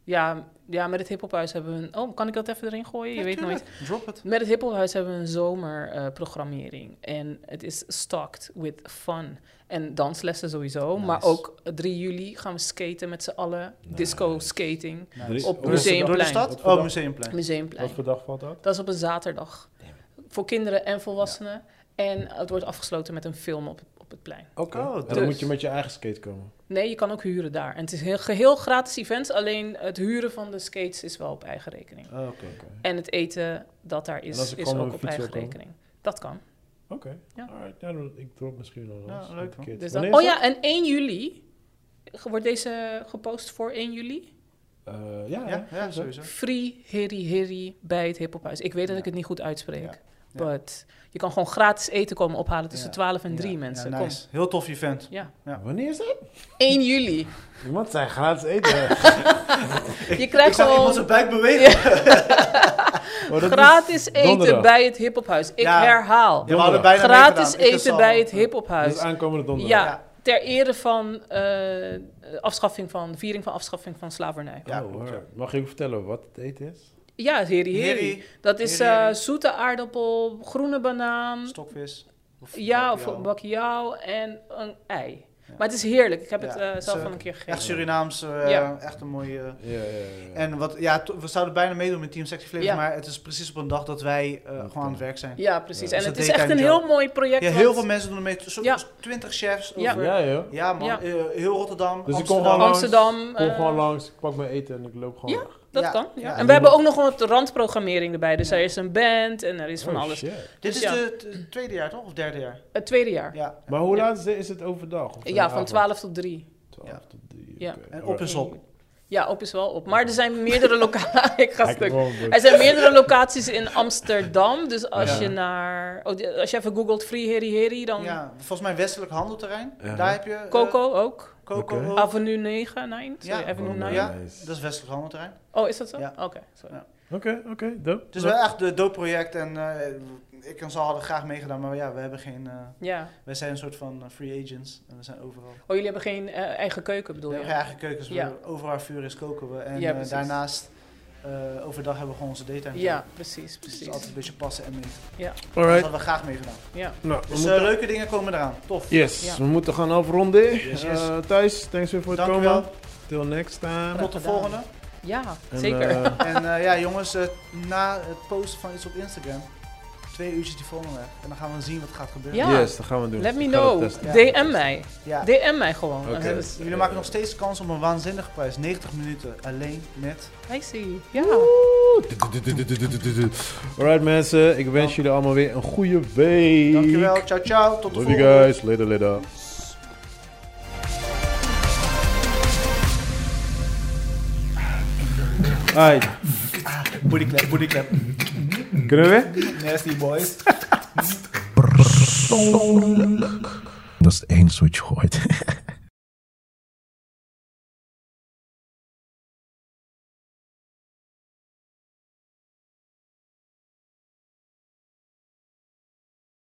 Speaker 1: Ja, ja met het hiphophuis hebben we een... Oh, kan ik dat even erin gooien? Je
Speaker 4: Ja,
Speaker 1: weet nooit.
Speaker 4: tuurlijk. Drop het.
Speaker 1: Met het Hippelhuis hebben we een zomerprogrammering. Eh, en het is stocked with fun. En danslessen sowieso.
Speaker 4: Nice.
Speaker 1: Maar ook 3 juli gaan we skaten met z'n allen.
Speaker 3: Nice.
Speaker 1: Disco skating.
Speaker 4: Nice.
Speaker 1: Op
Speaker 4: Door de-
Speaker 1: Museumplein.
Speaker 4: Door de stad?
Speaker 3: Wat voor
Speaker 4: Oh,
Speaker 3: dag?
Speaker 4: Museumplein.
Speaker 1: Museumplein.
Speaker 3: Wat voor dag valt dat?
Speaker 1: Dat is op een zaterdag. Voor kinderen en volwassenen. En het wordt afgesloten met een film op, op het plein.
Speaker 3: Oké.
Speaker 4: Oh,
Speaker 3: En
Speaker 1: dus-
Speaker 3: dan moet je met je eigen skate komen.
Speaker 1: Nee, je kan ook huren daar. En het is een heel- geheel gratis event. Alleen het huren van de skates is wel op eigen rekening.
Speaker 4: Oh, Oké.
Speaker 3: Oké.
Speaker 1: En het eten dat daar
Speaker 3: En als
Speaker 1: is,
Speaker 3: ik
Speaker 1: is
Speaker 3: gewoon
Speaker 1: ook
Speaker 3: mijn
Speaker 1: op
Speaker 3: fiets wil
Speaker 1: eigen
Speaker 3: komen?
Speaker 1: rekening. Dat kan.
Speaker 3: Oké.
Speaker 1: Ja.
Speaker 3: Alright, ja, dan- ik drop misschien nog wel
Speaker 4: Ja,
Speaker 3: eens
Speaker 4: leuk,
Speaker 3: met de
Speaker 4: man.
Speaker 3: kids.
Speaker 1: Dus dat-
Speaker 3: Wanneer
Speaker 1: oh
Speaker 3: is dat?
Speaker 1: ja, en 1 juli wordt deze gepost voor 1 juli.
Speaker 3: Eh, ja,
Speaker 4: Ja, ja, sowieso.
Speaker 1: Free Heri Heri bij het Hiphophuis. Ik weet dat
Speaker 4: Ja.
Speaker 1: ik het niet goed uitspreek.
Speaker 4: Ja. Ja.
Speaker 1: But je kan gewoon gratis eten komen ophalen tussen
Speaker 4: Ja.
Speaker 1: 12 en 3
Speaker 4: Ja,
Speaker 1: mensen.
Speaker 4: Ja,
Speaker 1: Kom.
Speaker 4: nice. Heel tof event.
Speaker 1: Ja.
Speaker 4: Ja.
Speaker 3: Wanneer is dat?
Speaker 1: 1 juli.
Speaker 4: Oh,
Speaker 3: Iemand zijn gratis eten.
Speaker 1: Je
Speaker 4: Ik
Speaker 1: krijgt
Speaker 4: zag iemand
Speaker 1: gewoon
Speaker 4: zijn buik bewegen.
Speaker 3: Oh, dat is-
Speaker 1: gratis eten
Speaker 3: donderdag.
Speaker 1: bij het Hiphophuis. Ik
Speaker 4: Ja.
Speaker 1: herhaal.
Speaker 4: Ja, we hadden bijna
Speaker 1: Gratis
Speaker 4: meegedaan. Ik dus
Speaker 1: eten
Speaker 4: al.
Speaker 1: bij het
Speaker 3: dat
Speaker 1: Hiphophuis.
Speaker 3: is aankomende
Speaker 1: Ja,
Speaker 3: donderdag.
Speaker 4: Ja.
Speaker 1: ter ere van eh, afschaffing van, viering van afschaffing van slavernij.
Speaker 4: Ja,
Speaker 3: Oh,
Speaker 4: klopt,
Speaker 3: hoor.
Speaker 4: ja.
Speaker 3: Mag ik vertellen wat het eten is?
Speaker 1: Ja, Heri Heri.
Speaker 4: Heri,
Speaker 1: Dat is
Speaker 4: Heri Heri.
Speaker 1: eh, zoete aardappel, groene banaan,
Speaker 4: stokvis. Of
Speaker 1: ja,
Speaker 4: bakkie
Speaker 1: of
Speaker 4: al.
Speaker 1: bakjauw en een ei.
Speaker 4: Ja.
Speaker 1: Maar het is heerlijk. Ik heb
Speaker 4: Ja,
Speaker 1: het eh,
Speaker 4: het is,
Speaker 1: zelf
Speaker 4: eh,
Speaker 1: al een keer
Speaker 4: Echt
Speaker 1: gegeten.
Speaker 4: Surinaams, eh,
Speaker 1: Ja.
Speaker 4: echt een mooie... eh,
Speaker 3: Ja, ja, ja.
Speaker 4: En wat, ja, to- we zouden bijna meedoen met Team Sexy Flavor,
Speaker 1: Ja.
Speaker 4: maar het is precies op een dag dat wij eh, gewoon aan het werk zijn. Ja,
Speaker 1: Ja, precies. En
Speaker 3: Ja.
Speaker 4: Dus
Speaker 1: het
Speaker 4: dat
Speaker 1: is
Speaker 4: deed
Speaker 1: echt
Speaker 4: hij
Speaker 1: een
Speaker 4: niet
Speaker 1: heel mooi project.
Speaker 4: heel
Speaker 1: want-
Speaker 4: veel mensen doen er mee, zo'n
Speaker 1: Ja.
Speaker 4: 20 chefs
Speaker 1: Ja.
Speaker 4: over... Ja,
Speaker 3: ja, joh.
Speaker 4: man,
Speaker 1: Ja.
Speaker 4: eh, heel Rotterdam,
Speaker 3: Dus ik kom
Speaker 4: Amsterdam.
Speaker 3: gewoon-
Speaker 1: Amsterdam.
Speaker 3: Ik kom
Speaker 1: eh,
Speaker 3: gewoon langs, ik pak mijn eten en ik loop gewoon.
Speaker 1: Ja, dat
Speaker 4: Ja.
Speaker 1: kan. Ja.
Speaker 4: Ja.
Speaker 1: En we hebben ook nog wat randprogrammering erbij. Dus
Speaker 4: Ja.
Speaker 1: er is een band en er is van
Speaker 3: Oh,
Speaker 1: alles.
Speaker 3: shit.
Speaker 4: Dit is
Speaker 1: Ja.
Speaker 4: het tweede jaar, toch? Of derde jaar?
Speaker 1: Het tweede jaar. Ja,
Speaker 4: Ja.
Speaker 3: Maar hoe laat is- is het overdag? Of in de
Speaker 1: van
Speaker 3: avond?
Speaker 1: 12 tot 3.
Speaker 3: 12 tot 3.
Speaker 1: Ja.
Speaker 4: En op is op.
Speaker 1: Ja, op is wel op. Maar er zijn meerdere locaties. Ik ga stuk.
Speaker 3: stuk.
Speaker 1: Er zijn meerdere locaties in Amsterdam. Dus als
Speaker 3: Ja.
Speaker 1: je naar. Oh, die- als je even googelt Free Heri Heri, dan.
Speaker 4: Ja, volgens mij westelijk handelterrein.
Speaker 3: Ja.
Speaker 4: Daar heb je... eh,
Speaker 1: Coco ook.
Speaker 4: Coco.
Speaker 3: Oké.
Speaker 4: ook.
Speaker 1: Avenue 9, 9. Sorry,
Speaker 4: Ja.
Speaker 1: Avenue 9.
Speaker 4: Ja.
Speaker 3: Oh, Nice.
Speaker 4: Dat is westelijk handelterrein.
Speaker 1: Oh, is dat zo?
Speaker 4: Ja.
Speaker 1: Oké, sorry.
Speaker 4: Ja.
Speaker 3: Oké, oké, dope. Nou,
Speaker 4: Het is wel echt een dood project en eh, ik en Zal hadden graag meegedaan, maar ja, we hebben geen... eh,
Speaker 1: Ja.
Speaker 4: wij zijn een soort van eh, free agents en we zijn overal.
Speaker 1: Oh, jullie hebben geen eh, eigen keuken, bedoel
Speaker 4: We
Speaker 1: je?
Speaker 4: hebben eigen keukens, we
Speaker 1: Ja.
Speaker 4: hebben overal vuur is koken we. En
Speaker 1: Ja,
Speaker 4: eh,
Speaker 1: precies.
Speaker 4: daarnaast, eh, overdag hebben we gewoon onze daytime.
Speaker 1: Ja, precies,
Speaker 4: Dus het is
Speaker 1: precies.
Speaker 4: altijd een beetje passen en meten. Dat
Speaker 3: Alright.
Speaker 4: hadden we graag meegedaan.
Speaker 1: Ja.
Speaker 3: Nou, we
Speaker 4: Dus eh,
Speaker 3: moeten...
Speaker 4: leuke dingen komen eraan. Tof.
Speaker 3: Yes,
Speaker 1: Ja.
Speaker 3: we moeten gaan afronden.
Speaker 4: yes.
Speaker 3: Eh, Thijs, thanks weer voor het
Speaker 4: Dank u
Speaker 3: komen.
Speaker 4: wel.
Speaker 3: Till next time.
Speaker 4: Tot de
Speaker 1: gedaan.
Speaker 4: volgende.
Speaker 1: Ja,
Speaker 3: En,
Speaker 1: zeker.
Speaker 3: eh,
Speaker 4: En eh, ja, jongens, eh, na het posten van iets op Instagram, twee uurtjes die volgende weg. En dan gaan we zien wat gaat gebeuren.
Speaker 1: Ja.
Speaker 3: Yes, dat gaan we doen.
Speaker 1: Let me
Speaker 3: Ik ga dat
Speaker 1: know.
Speaker 3: testen.
Speaker 4: Ja.
Speaker 1: DM mij.
Speaker 4: Ja.
Speaker 1: DM mij gewoon.
Speaker 3: Oké.
Speaker 1: Okay.
Speaker 4: En jullie maken nog steeds kans op een waanzinnige prijs. 90 minuten alleen met...
Speaker 1: I see. Ja.
Speaker 3: Alright mensen, ik wens jullie allemaal weer een goede week.
Speaker 4: Dankjewel, ciao ciao, tot de
Speaker 3: Love you
Speaker 4: volgende.
Speaker 3: guys. Later, later.
Speaker 4: guys.
Speaker 3: Alright,
Speaker 4: Bodyclap, bodyclap.
Speaker 3: kunnen we weer?
Speaker 4: Nasty boys.
Speaker 2: Persoonlijk. Dat is het enige wat je hoort.